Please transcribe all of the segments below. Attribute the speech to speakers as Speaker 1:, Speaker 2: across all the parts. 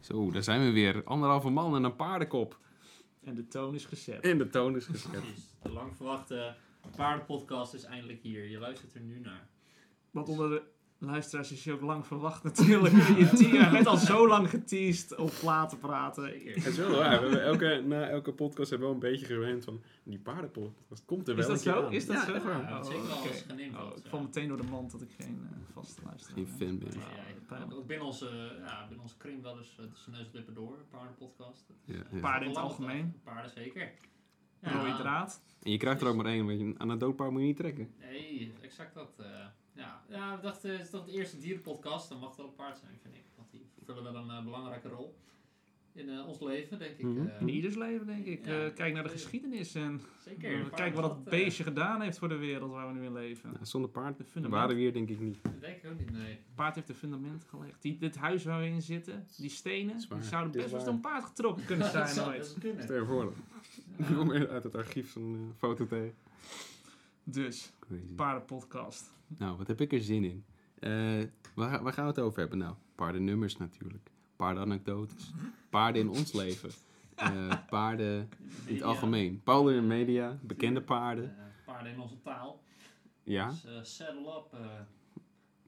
Speaker 1: Zo, daar zijn we weer. Anderhalve man en een paardenkop.
Speaker 2: En de toon is gezet.
Speaker 1: En de toon is gezet.
Speaker 3: Dus de lang verwachte paardenpodcast is eindelijk hier. Je luistert er nu naar.
Speaker 2: Want onder de luisteraars is je ook lang verwacht natuurlijk. Je te- je werd al zo lang geteased op platen praten.
Speaker 1: Dat is wel waar. We hebben elke, na elke podcast hebben we wel een beetje gewend van die paardenpodcast. Komt er wel
Speaker 2: Is dat
Speaker 1: een keer
Speaker 2: zo?
Speaker 1: aan.
Speaker 2: Is dat
Speaker 1: Ja,
Speaker 2: zo?
Speaker 1: echt waar.
Speaker 3: Ja, dat zeker wel
Speaker 2: oké.
Speaker 3: eens geneemd eh,
Speaker 2: Oh,
Speaker 3: wordt,
Speaker 2: ik
Speaker 3: ja.
Speaker 2: val meteen door de mand dat ik geen eh, vaste luisteraar
Speaker 1: Geen fan ben.
Speaker 3: Dus
Speaker 2: Ja,
Speaker 3: ja, ik-
Speaker 2: pijnlijk.
Speaker 3: ook binnen onze, ja, binnen onze kring wel eens eh, tussen neus en lippen door. Paardenpodcast.
Speaker 1: Ja, ja.
Speaker 2: Paarden in het
Speaker 3: Belangrijk.
Speaker 2: algemeen.
Speaker 3: Paarden zeker.
Speaker 2: Rode draad.
Speaker 1: En je krijgt er ook maar één, want je- aan een doodpaard moet je niet trekken.
Speaker 3: Nee, exact dat. eh, ja. ja, we dachten, het is toch de eerste dierenpodcast, dan mag het wel een paard zijn, vind ik. Want die vullen wel een eh, belangrijke rol in eh, ons leven, denk ik.
Speaker 1: Mhm.
Speaker 3: eh.
Speaker 2: In ieders leven, denk ik.
Speaker 3: Ja.
Speaker 2: Eh, kijk naar de geschiedenis en
Speaker 3: zeker. een
Speaker 2: kijk
Speaker 3: paard
Speaker 2: wat
Speaker 3: is
Speaker 2: dat
Speaker 3: eh,
Speaker 2: beestje gedaan heeft voor de wereld waar we nu in leven.
Speaker 1: Nou, zonder paard
Speaker 2: De fundament.
Speaker 1: waren we hier denk ik niet.
Speaker 3: eh, Dat denk ik ook niet, nee.
Speaker 2: Het paard heeft de fundament gelegd. Die, dit huis waar we in zitten, die stenen,
Speaker 1: Zwaar.
Speaker 2: die zouden
Speaker 1: Dit
Speaker 2: best
Speaker 1: is
Speaker 2: wel eens
Speaker 1: waar.
Speaker 2: door een paard getrokken kunnen
Speaker 3: dat
Speaker 2: zijn
Speaker 3: zou
Speaker 2: ooit.
Speaker 3: best wel kunnen.
Speaker 1: Stel je voor dan. Ik kom weer uit het archief zo'n eh, foto tegen.
Speaker 2: Dus,
Speaker 1: Crazy.
Speaker 2: paardenpodcast.
Speaker 1: Nou, wat heb ik er zin in? Eh, waar, ga- waar gaan we het over hebben? Nou, paardennummers natuurlijk. Paardenanekdotes. Paarden in ons leven. Eh, paarden in het
Speaker 3: Media,
Speaker 1: algemeen. Paarden in de media. Bekende paarden.
Speaker 3: eh, paarden in onze taal.
Speaker 1: Ja,
Speaker 3: Dus eh, saddle up, eh,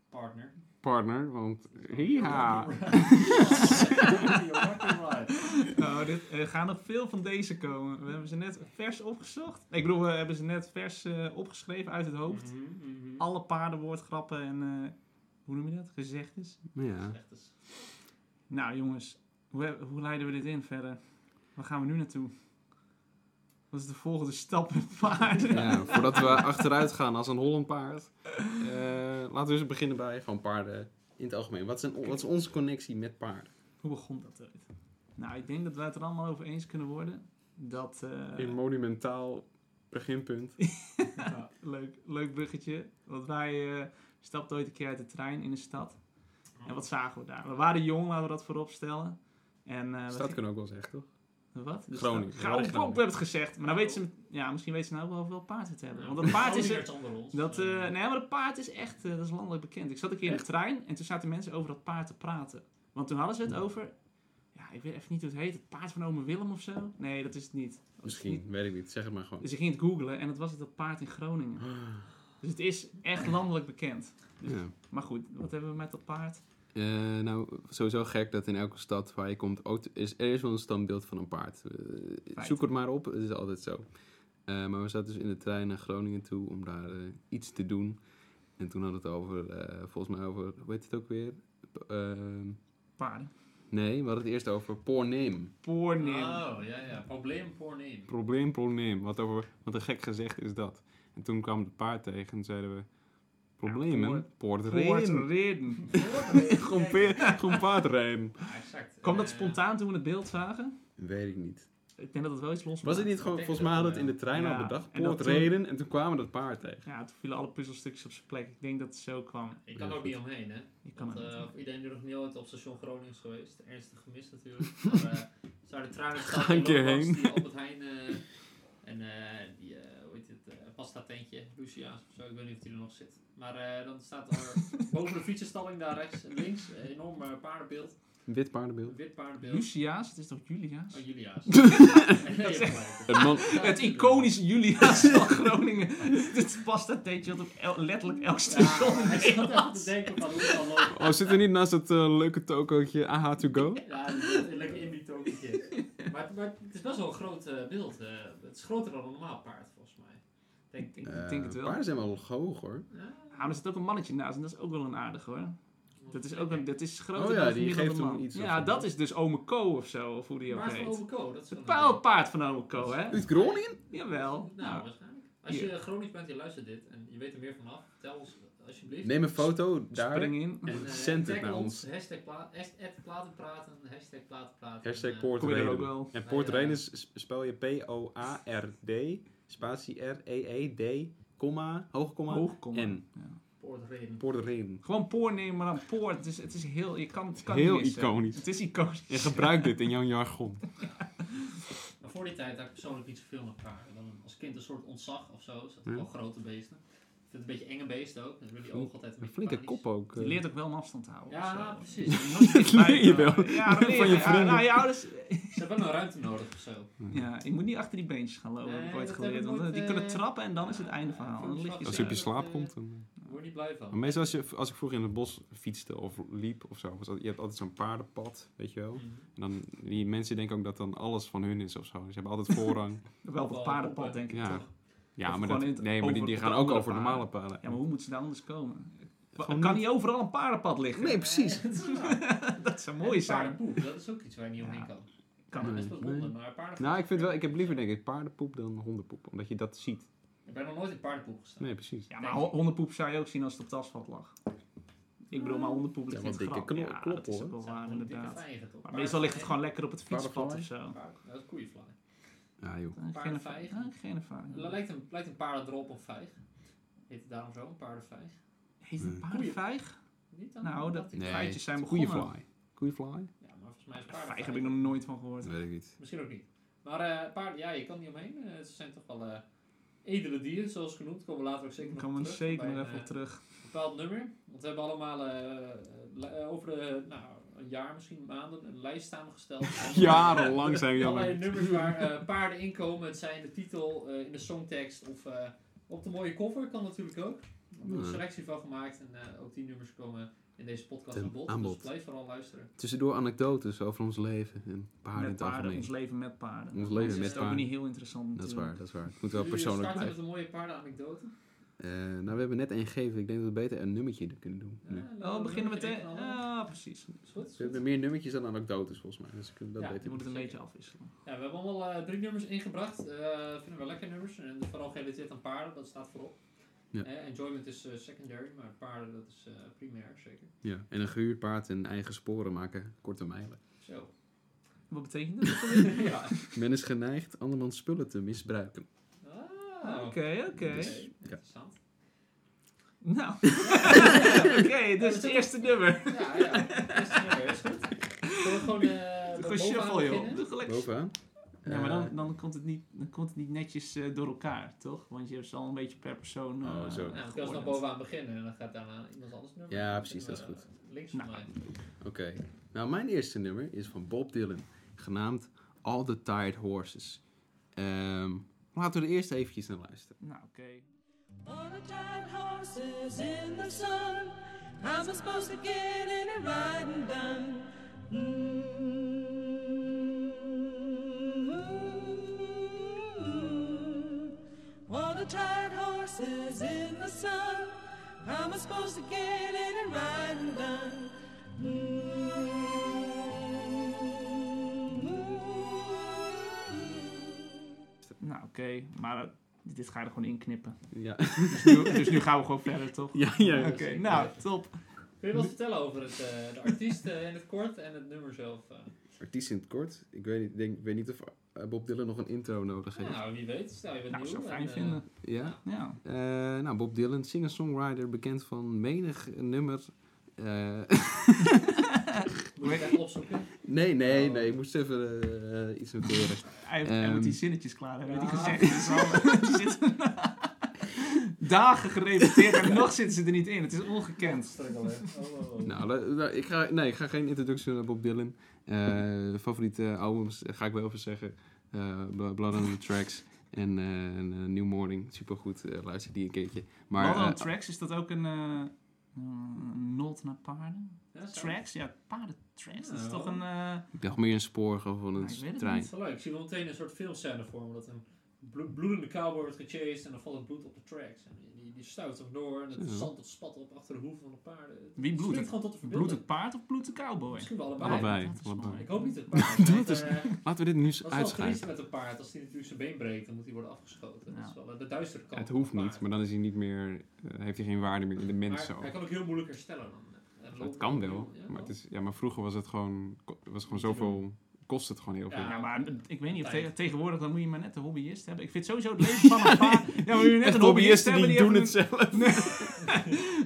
Speaker 3: partner.
Speaker 1: partner. Want ja,
Speaker 2: Nou, dit, er gaan nog veel van deze komen. We hebben ze net vers opgezocht. Ik bedoel, we hebben ze net vers eh, opgeschreven uit het
Speaker 3: Mhm.
Speaker 2: hoofd.
Speaker 3: eh,
Speaker 2: Alle paardenwoordgrappen en, eh, hoe noem je dat, gezegdes.
Speaker 1: ja.
Speaker 2: Nou jongens, hoe, he- hoe leiden we dit in verder? Waar gaan we nu naartoe? Wat is de volgende stap met paarden?
Speaker 1: Ja, voordat we achteruit gaan als een Holland paard. eh, laten we eens beginnen bij van paarden in het algemeen. Wat is, een, wat is onze connectie met paarden?
Speaker 2: Hoe begon dat ooit? Nou, ik denk dat wij het er allemaal over eens kunnen worden. Dat, eh,
Speaker 1: Een monumentaal beginpunt.
Speaker 2: nou, leuk, leuk bruggetje. Want wij eh stapten ooit een keer uit de trein in de stad. En wat zagen we daar? We waren jong, laten we dat voorop stellen. En, eh, we
Speaker 1: Stad
Speaker 2: gingen-
Speaker 1: kunnen we ook wel zeggen, toch?
Speaker 2: Wat? De
Speaker 1: Groningen.
Speaker 2: stad-
Speaker 1: We waren in
Speaker 2: Ga-
Speaker 1: Groningen.
Speaker 2: oh, we hebben het gezegd. Maar dan weten ze, ja, misschien weten ze nou wel hoeveel paard het hebben. Want dat paard
Speaker 3: Oh,
Speaker 2: is... een- Dat, eh, nee, maar dat paard is echt, eh, dat is landelijk bekend. Ik zat een keer in de trein en toen zaten mensen over dat paard te praten. Want toen hadden ze het over, ja, ik weet even niet hoe het heet, het paard van ome Willem of zo? Nee, dat is het niet. Dat is niet.
Speaker 1: Misschien, weet ik niet. Zeg het maar gewoon.
Speaker 2: Dus ik ging het googlen en dat was het dat paard in Groningen. Dus het is echt landelijk bekend.
Speaker 1: Ja.
Speaker 2: Maar goed, wat hebben we met dat paard?
Speaker 1: Eh, nou, sowieso gek dat in elke stad waar je komt, ook, is, er is wel een standbeeld van een paard. Eh,
Speaker 2: Feit.
Speaker 1: zoek het maar op, het is altijd zo. Eh, maar we zaten dus in de trein naar Groningen toe om daar eh, iets te doen. En toen had het over, eh, volgens mij over, hoe heet het ook weer? P- ehm,
Speaker 2: Paarden.
Speaker 1: nee, we hadden het eerst over porneem.
Speaker 2: Poornim.
Speaker 3: Oh, ja, ja. Probleem voor neem.
Speaker 1: Probleem, porneem. Wat, over, wat een gek gezegd is dat. En toen kwam het paard tegen en zeiden we,
Speaker 2: Ja,
Speaker 1: problemen? Poortreem.
Speaker 2: Poortreden.
Speaker 1: Gewoon pe- gewoon paardreem.
Speaker 3: Exact.
Speaker 2: Kwam dat
Speaker 3: Eh,
Speaker 2: spontaan toen we het beeld zagen?
Speaker 1: Weet ik niet.
Speaker 2: Ik denk dat het wel iets los
Speaker 1: Was het niet gewoon,
Speaker 3: Ik denk
Speaker 1: volgens
Speaker 3: dat
Speaker 1: mij hadden we
Speaker 3: wel,
Speaker 1: het in de trein
Speaker 2: Ja,
Speaker 1: al bedacht,
Speaker 2: en dat
Speaker 1: poort
Speaker 2: toen-
Speaker 1: reden en toen kwamen we dat paard tegen.
Speaker 2: Ja, toen vielen alle puzzelstukjes op zijn plek. Ik denk dat het zo kwam.
Speaker 3: Ik kan
Speaker 1: Ja,
Speaker 3: er
Speaker 1: goed.
Speaker 3: ook niet omheen, hè.
Speaker 2: Je kan
Speaker 3: Want,
Speaker 2: het
Speaker 3: eh,
Speaker 2: niet.
Speaker 3: voor iedereen die nog niet ooit op station Groningen is geweest, ernstig gemist natuurlijk. Maar, eh, zou de trein
Speaker 1: Ga een keer heen.
Speaker 3: Die Albert Heijn eh, en eh, die, eh, hoe heet het, eh, pasta tentje, Lucia's of zo, ik weet niet of die er nog zit. Maar eh, dan staat er boven de fietsenstalling daar rechts, en links, een enorm eh, paardenbeeld,
Speaker 1: Een wit
Speaker 3: een
Speaker 1: paardenbeeld.
Speaker 3: wit paardenbeeld.
Speaker 2: Lucia's, het is toch Julia's?
Speaker 3: Oh, Julia's. Nee,
Speaker 2: Dat is-
Speaker 3: gelijk.
Speaker 1: Een man,
Speaker 2: Het iconische Julia's van Groningen. Dit pasta teentje dat op el- letterlijk elk
Speaker 3: Ja,
Speaker 2: station in
Speaker 3: ik zat even
Speaker 2: Nederland.
Speaker 3: te denken van hoe het al loopt.
Speaker 1: oh, zit er niet naast dat eh, leuke tokootje AH to go?
Speaker 3: Ja, die zit lekker in die tokentje. maar, maar het is best wel een groot eh, beeld. eh. het is groter dan een normaal paard, volgens mij. Denk,
Speaker 2: Ik
Speaker 3: denk,
Speaker 1: Eh,
Speaker 2: denk het wel.
Speaker 1: Paarden zijn wel hoog hoor.
Speaker 2: Ja, maar er zit ook een mannetje naast en dat is ook wel een aardig hoor. Dat is ook een, dat is groter
Speaker 1: Oh ja,
Speaker 2: dan
Speaker 1: die
Speaker 2: gemiddelde
Speaker 1: geeft hem
Speaker 2: man.
Speaker 1: iets of
Speaker 2: Ja,
Speaker 1: zo.
Speaker 2: dat is dus ome Ko of zo, of hoe die ook
Speaker 3: Maar van
Speaker 2: heet.
Speaker 3: Overko, dat is
Speaker 2: Het
Speaker 3: wel
Speaker 2: pa- het paard van ome Ko, hè?
Speaker 1: Uit Groningen?
Speaker 2: Jawel.
Speaker 3: Nou,
Speaker 2: Nou,
Speaker 3: waarschijnlijk. Als je
Speaker 2: Hier.
Speaker 3: eh, Gronings bent, je luistert dit en je weet er meer vanaf, vertel ons eh, alsjeblieft.
Speaker 1: Neem een foto daar.
Speaker 2: spring in.
Speaker 3: En, eh,
Speaker 1: Zend het
Speaker 3: tag
Speaker 1: naar ons.
Speaker 3: Hashtag pla- hasht- at platen praten, hashtag platen praten.
Speaker 1: Hashtag
Speaker 3: eh,
Speaker 2: Kom je er ook
Speaker 1: poortreden.
Speaker 2: wel.
Speaker 1: En poortreden is- sp- spel je P-O-A-R-D, spatie R-E-E-D, komma, hoogkomma,
Speaker 2: Hoog komen.
Speaker 1: en
Speaker 2: Ja.
Speaker 3: poortreden.
Speaker 1: poortreden.
Speaker 2: Gewoon poornemen, maar dan poort. Het is, het is heel, je kan, het kan
Speaker 1: Heel
Speaker 2: niet missen.
Speaker 1: iconisch.
Speaker 2: Het is iconisch.
Speaker 1: Je gebruikt dit in jouw jargon.
Speaker 3: Maar voor die tijd had ik persoonlijk niet zoveel met paarden. Dan als kind een soort ontzag of zo. Zat
Speaker 1: Ja.
Speaker 3: wel grote beesten. vind het een beetje enge beest ook. Dan wil die
Speaker 1: Flink-
Speaker 3: oog altijd een
Speaker 1: Een
Speaker 3: beetje
Speaker 1: flinke
Speaker 3: panisch.
Speaker 1: kop ook.
Speaker 2: Je
Speaker 1: eh.
Speaker 2: leert ook wel een afstand te houden. of
Speaker 3: Ja,
Speaker 2: zo. eh,
Speaker 3: precies.
Speaker 1: Dat leer je wel.
Speaker 2: Ja, dat
Speaker 1: Van
Speaker 2: leer
Speaker 1: je
Speaker 2: je. Ja,
Speaker 1: vrienden.
Speaker 2: nou, je ouders...
Speaker 3: Ze hebben wel een ruimte nodig of zo.
Speaker 2: Ja, je moet niet achter die beentjes gaan lopen, heb
Speaker 3: Nee,
Speaker 2: ik ooit
Speaker 3: dat heb ik
Speaker 2: geleerd. Want eh,
Speaker 3: nooit,
Speaker 2: die
Speaker 3: eh,
Speaker 2: kunnen trappen en dan is het einde verhaal. En dan lig je
Speaker 1: Als
Speaker 3: Ja,
Speaker 1: je
Speaker 2: zo.
Speaker 1: op je
Speaker 3: dat,
Speaker 1: slaap
Speaker 3: eh,
Speaker 1: komt. Dan...
Speaker 3: Daar word je niet blij van.
Speaker 1: Maar meestal als, je, als ik vroeger in het bos fietste of liep of zo. was dat- je hebt altijd zo'n paardenpad, weet je wel.
Speaker 3: Mhm.
Speaker 1: En dan, die mensen denken ook dat dan alles van hun is of zo. Ze hebben altijd voorrang.
Speaker 2: Wel op het paardenpad, denk ik
Speaker 1: Ja.
Speaker 2: toch.
Speaker 1: ja,
Speaker 2: Of
Speaker 1: maar,
Speaker 2: gewoon
Speaker 1: dat,
Speaker 2: in het-
Speaker 1: nee, maar
Speaker 2: over
Speaker 1: die, die
Speaker 2: de
Speaker 1: gaan ook
Speaker 2: andere
Speaker 1: over
Speaker 2: paarden.
Speaker 1: normale paden.
Speaker 2: Ja, maar hoe moet ze daar anders komen?
Speaker 1: Gewoon
Speaker 2: Het kan niet overal een paardenpad liggen.
Speaker 1: Nee, precies.
Speaker 2: Dat zou
Speaker 3: En
Speaker 2: mooi zijn.
Speaker 3: paardenpoep, dat is ook iets waar je niet
Speaker 2: Ja.
Speaker 3: omheen kan.
Speaker 2: Kan
Speaker 3: er
Speaker 1: Nee,
Speaker 3: best wel
Speaker 1: nee.
Speaker 3: honden, maar paarden.
Speaker 1: Nou, ik vind wel, ik heb liever denk ik paardenpoep dan hondenpoep. Omdat je dat ziet.
Speaker 3: Ik ben nog nooit in paardenpoep gestaan.
Speaker 1: Nee, precies.
Speaker 2: Ja, maar ho- hondenpoep zou je ook zien als het op het asfalt lag. Ik bedoel, maar hondenpoep ligt in
Speaker 1: Ja,
Speaker 2: het
Speaker 1: wel dikke
Speaker 2: gras.
Speaker 1: knop-
Speaker 2: Ja,
Speaker 1: kloppen,
Speaker 2: dat is
Speaker 1: hoor.
Speaker 2: ook wel
Speaker 3: Het zijn
Speaker 2: waar,
Speaker 3: gewoon dikke
Speaker 2: inderdaad.
Speaker 3: vijgen, toch?
Speaker 2: Maar meestal ligt het gewoon lekker op het fietspad
Speaker 1: Paardenvlaai?
Speaker 2: of zo.
Speaker 3: Paarden- Dat is koeienvlaai.
Speaker 1: Ja, joh.
Speaker 2: Eh, Geen ervaring.
Speaker 3: Paardenvijgen?
Speaker 2: Ah, Geen ervaring.
Speaker 3: Dat Lijkt een, lijkt een paardendrop op vijg. Heet het daarom zo, een paardenvijg?
Speaker 2: Heet het
Speaker 1: Nee.
Speaker 2: paardenvijg?
Speaker 3: Niet dan?
Speaker 2: Nou, dat
Speaker 3: ik-
Speaker 1: Nee.
Speaker 2: feitjes zijn begonnen.
Speaker 1: Koeienfly. Koeienfly?
Speaker 3: Ja, maar volgens mij is
Speaker 2: Vijg
Speaker 3: paardenvijg.
Speaker 2: heb ik nog nooit van gehoord.
Speaker 1: Dat weet ik niet.
Speaker 3: Misschien ook niet. Maar eh paarden, ja, je kan niet omheen. Eh, ze zijn toch wel eh, edele dieren, zoals genoemd. Komen we later ook zeker
Speaker 2: Daar
Speaker 3: nog
Speaker 2: komen we
Speaker 3: terug,
Speaker 2: zeker
Speaker 3: bij
Speaker 2: nog
Speaker 3: een,
Speaker 2: even op
Speaker 3: eh,
Speaker 2: terug.
Speaker 3: bepaald nummer. Want we hebben allemaal eh, eh, li- eh, over de, nou, een jaar, misschien maanden, een lijst samengesteld. Van
Speaker 1: Jarenlang zijn we
Speaker 3: allerlei
Speaker 1: jammer.
Speaker 3: nummers waar eh, paarden in komen. Het zijn de titel, eh, in de songtekst of eh, op de mooie cover kan natuurlijk ook. We hebben er een
Speaker 1: Ja.
Speaker 3: selectie van gemaakt en eh, ook die nummers komen in deze podcast
Speaker 1: Ten
Speaker 3: aan bod.
Speaker 1: aan
Speaker 3: Dus
Speaker 1: bod.
Speaker 3: blijf vooral luisteren.
Speaker 1: Tussendoor anekdotes over ons leven en paarden in het
Speaker 2: Met paarden,
Speaker 1: algemeen.
Speaker 2: ons leven met paarden.
Speaker 1: Ons
Speaker 2: Dat
Speaker 1: leven
Speaker 2: is
Speaker 3: met
Speaker 2: ook
Speaker 1: paarden.
Speaker 2: niet heel interessant
Speaker 1: Dat is
Speaker 2: natuurlijk.
Speaker 1: waar, dat is waar. Het moet wel
Speaker 3: Jullie
Speaker 1: persoonlijk
Speaker 3: starten met
Speaker 1: blijven.
Speaker 3: een mooie paardenanekdote.
Speaker 1: Eh, nou, we hebben net één gegeven. Ik denk dat we beter een nummertje kunnen doen.
Speaker 3: Ja,
Speaker 1: nu.
Speaker 3: laten
Speaker 2: Oh,
Speaker 3: een
Speaker 2: we beginnen
Speaker 3: nummertje
Speaker 2: meteen.
Speaker 3: knallen.
Speaker 2: Ah, precies.
Speaker 3: Is goed, is
Speaker 1: We
Speaker 3: goed.
Speaker 1: hebben meer nummertjes dan anekdotes volgens mij. Dus ik dat
Speaker 3: Ja,
Speaker 2: Je
Speaker 1: beter
Speaker 2: moet het een
Speaker 3: Zeker.
Speaker 2: beetje afwisselen.
Speaker 3: Ja, we hebben allemaal eh, drie nummers ingebracht. Eh vinden we lekker nummers. En vooral gerelateerd aan paarden, dat staat voorop.
Speaker 1: Ja.
Speaker 3: Eh, enjoyment is eh, secondary, maar paarden dat is eh, primair, zeker.
Speaker 1: Ja. En een gehuurd paard en eigen sporen maken korte mijlen.
Speaker 3: Zo.
Speaker 2: Wat betekent
Speaker 3: Oh.
Speaker 2: dat?
Speaker 3: ja.
Speaker 1: Men is geneigd andermans spullen te misbruiken.
Speaker 3: Ah, oké.
Speaker 2: Oké, oké.
Speaker 1: Dus-
Speaker 3: Interessant.
Speaker 2: Nou,
Speaker 3: ja,
Speaker 2: oké, dus het eerste nummer.
Speaker 3: ja. Eerste nummer, is goed. Zullen we gewoon eh
Speaker 2: Gewoon
Speaker 3: bovenaan
Speaker 2: shuffle, joh.
Speaker 3: beginnen?
Speaker 2: Doe gelijk.
Speaker 1: Bovenaan.
Speaker 2: Ja, maar
Speaker 1: Eh,
Speaker 2: dan, dan, komt het niet, dan komt het niet netjes eh, door elkaar, toch? Want je hebt ze al een beetje per persoon eh,
Speaker 1: Oh, zo.
Speaker 3: Ja, dan
Speaker 2: geordend.
Speaker 3: kunnen we nog bovenaan beginnen en dan gaat daarna iemand anders nummer.
Speaker 1: Ja,
Speaker 3: Dan
Speaker 1: precies,
Speaker 3: beginnen
Speaker 1: dat is
Speaker 3: we, eh, Links van
Speaker 2: Nou.
Speaker 3: mij.
Speaker 1: Oké. Nou, mijn eerste nummer is van Bob Dylan, genaamd All the Tired Horses. Ehm, laten we er eerst eventjes naar luisteren.
Speaker 2: Nou, oké.
Speaker 4: On the tired horses in the sun. How's am supposed to get any riding done. Mm. Mm-hmm. On the tired horses in the sun. How's am supposed to get any riding done. Mm-hmm.
Speaker 2: Nou, oké. Maar eh, dit ga je er gewoon inknippen.
Speaker 1: Ja,
Speaker 2: Dus nu, dus nu gaan we gewoon verder, toch?
Speaker 1: ja, ja.
Speaker 2: Oké, nou, top.
Speaker 3: Kun je wat vertellen over het, eh, de artiest eh, in het kort en het nummer zelf? eh?
Speaker 1: Artiest in het kort. Ik weet niet, denk, ik weet niet of eh, Bob Dylan nog een intro nodig heeft. Ja.
Speaker 3: Nou, wie weet. Stel, je bent
Speaker 2: Nou, ik
Speaker 3: nieuw.
Speaker 2: zou fijn
Speaker 3: en, eh,
Speaker 2: vinden. Ja.
Speaker 1: Eh, nou, Bob Dylan, singer-songwriter, bekend van menig nummer. Eh,
Speaker 3: Moet je het echt opzoeken?
Speaker 1: nee, nee, nee, ik moest even eh, iets noteren.
Speaker 2: Hij, heeft- hij
Speaker 1: Ehm,
Speaker 2: moet die zinnetjes klaar hebben, weet ik
Speaker 3: Ja.
Speaker 2: gezegd. Dus al- die zitten dagen gerepeteerd en nog zitten ze er niet in. Het is ongekend.
Speaker 3: Struggelen. Oh, oh, oh.
Speaker 1: Nou, la- la- ik ga, nee, ik ga geen introductie doen naar Bob Dylan. Eh, favoriete albums eh, ga ik wel even zeggen. Eh, Bl- Blood on the Tracks en, eh, en, eh, New Morning. Supergoed, eh, luister die een keertje. Maar
Speaker 2: Blood on
Speaker 1: eh,
Speaker 2: Tracks, is dat ook een eh, een nolt naar paarden?
Speaker 3: Ja, zo.
Speaker 2: Tracks? Ja, paardentracks. Dat is
Speaker 3: Ja.
Speaker 2: toch een... eh,
Speaker 1: ik dacht meer een spoor gewoon van
Speaker 2: Nou, ik weet
Speaker 1: een
Speaker 2: het
Speaker 1: trein.
Speaker 3: Dat is wel leuk. Ik zie wel meteen een soort filmscène voor me. Dat een blo- bloedende cowboy wordt gechased en dan valt het bloed op de tracks. En die, die, die stuit hem door en het
Speaker 1: Zo.
Speaker 3: zand dat spat op achter de hoeven van de paarden. Het
Speaker 2: Wie bloedt
Speaker 3: spreekt
Speaker 2: het?
Speaker 3: gewoon tot de
Speaker 2: bloedt
Speaker 3: verbeelding.
Speaker 2: het paard of bloedt de cowboy?
Speaker 3: Misschien wel allebei.
Speaker 1: Allebei. dus
Speaker 2: dat is mooi.
Speaker 1: allebei.
Speaker 3: Ik hoop niet het paard.
Speaker 1: Dat
Speaker 3: Dat
Speaker 1: is-
Speaker 3: is, eh,
Speaker 1: Laten we dit nu eens
Speaker 3: dat is wel triest
Speaker 1: uitschrijven.
Speaker 3: met een paard. Als hij natuurlijk zijn been breekt, dan moet hij worden afgeschoten. Dat
Speaker 2: Ja.
Speaker 3: is wel eh, de duistere kant.
Speaker 1: Het
Speaker 3: van
Speaker 1: hoeft
Speaker 3: een
Speaker 1: niet,
Speaker 3: paard.
Speaker 1: maar dan is hij niet meer, eh, heeft hij geen waarde meer in de mens
Speaker 3: Maar
Speaker 1: zo.
Speaker 3: hij kan ook heel moeilijk herstellen dan. Eh,
Speaker 1: Maar
Speaker 3: loopt
Speaker 1: Het kan
Speaker 3: hij
Speaker 1: wel,
Speaker 3: opnieuw. Ja,
Speaker 1: maar, het is, ja, maar vroeger was het gewoon, ko- was gewoon zoveel, kost het gewoon heel veel.
Speaker 3: Ja.
Speaker 2: Ja, maar ik weet niet of
Speaker 3: Tijd.
Speaker 2: tegen- tegenwoordig dan moet je maar net een hobbyist hebben. Ik vind sowieso het leven van een paard... Ja, maar moet je net
Speaker 1: Echt
Speaker 2: een hobbyist
Speaker 1: hobbyisten
Speaker 2: hebben
Speaker 1: die
Speaker 2: die
Speaker 1: doen
Speaker 2: even
Speaker 1: het zelf.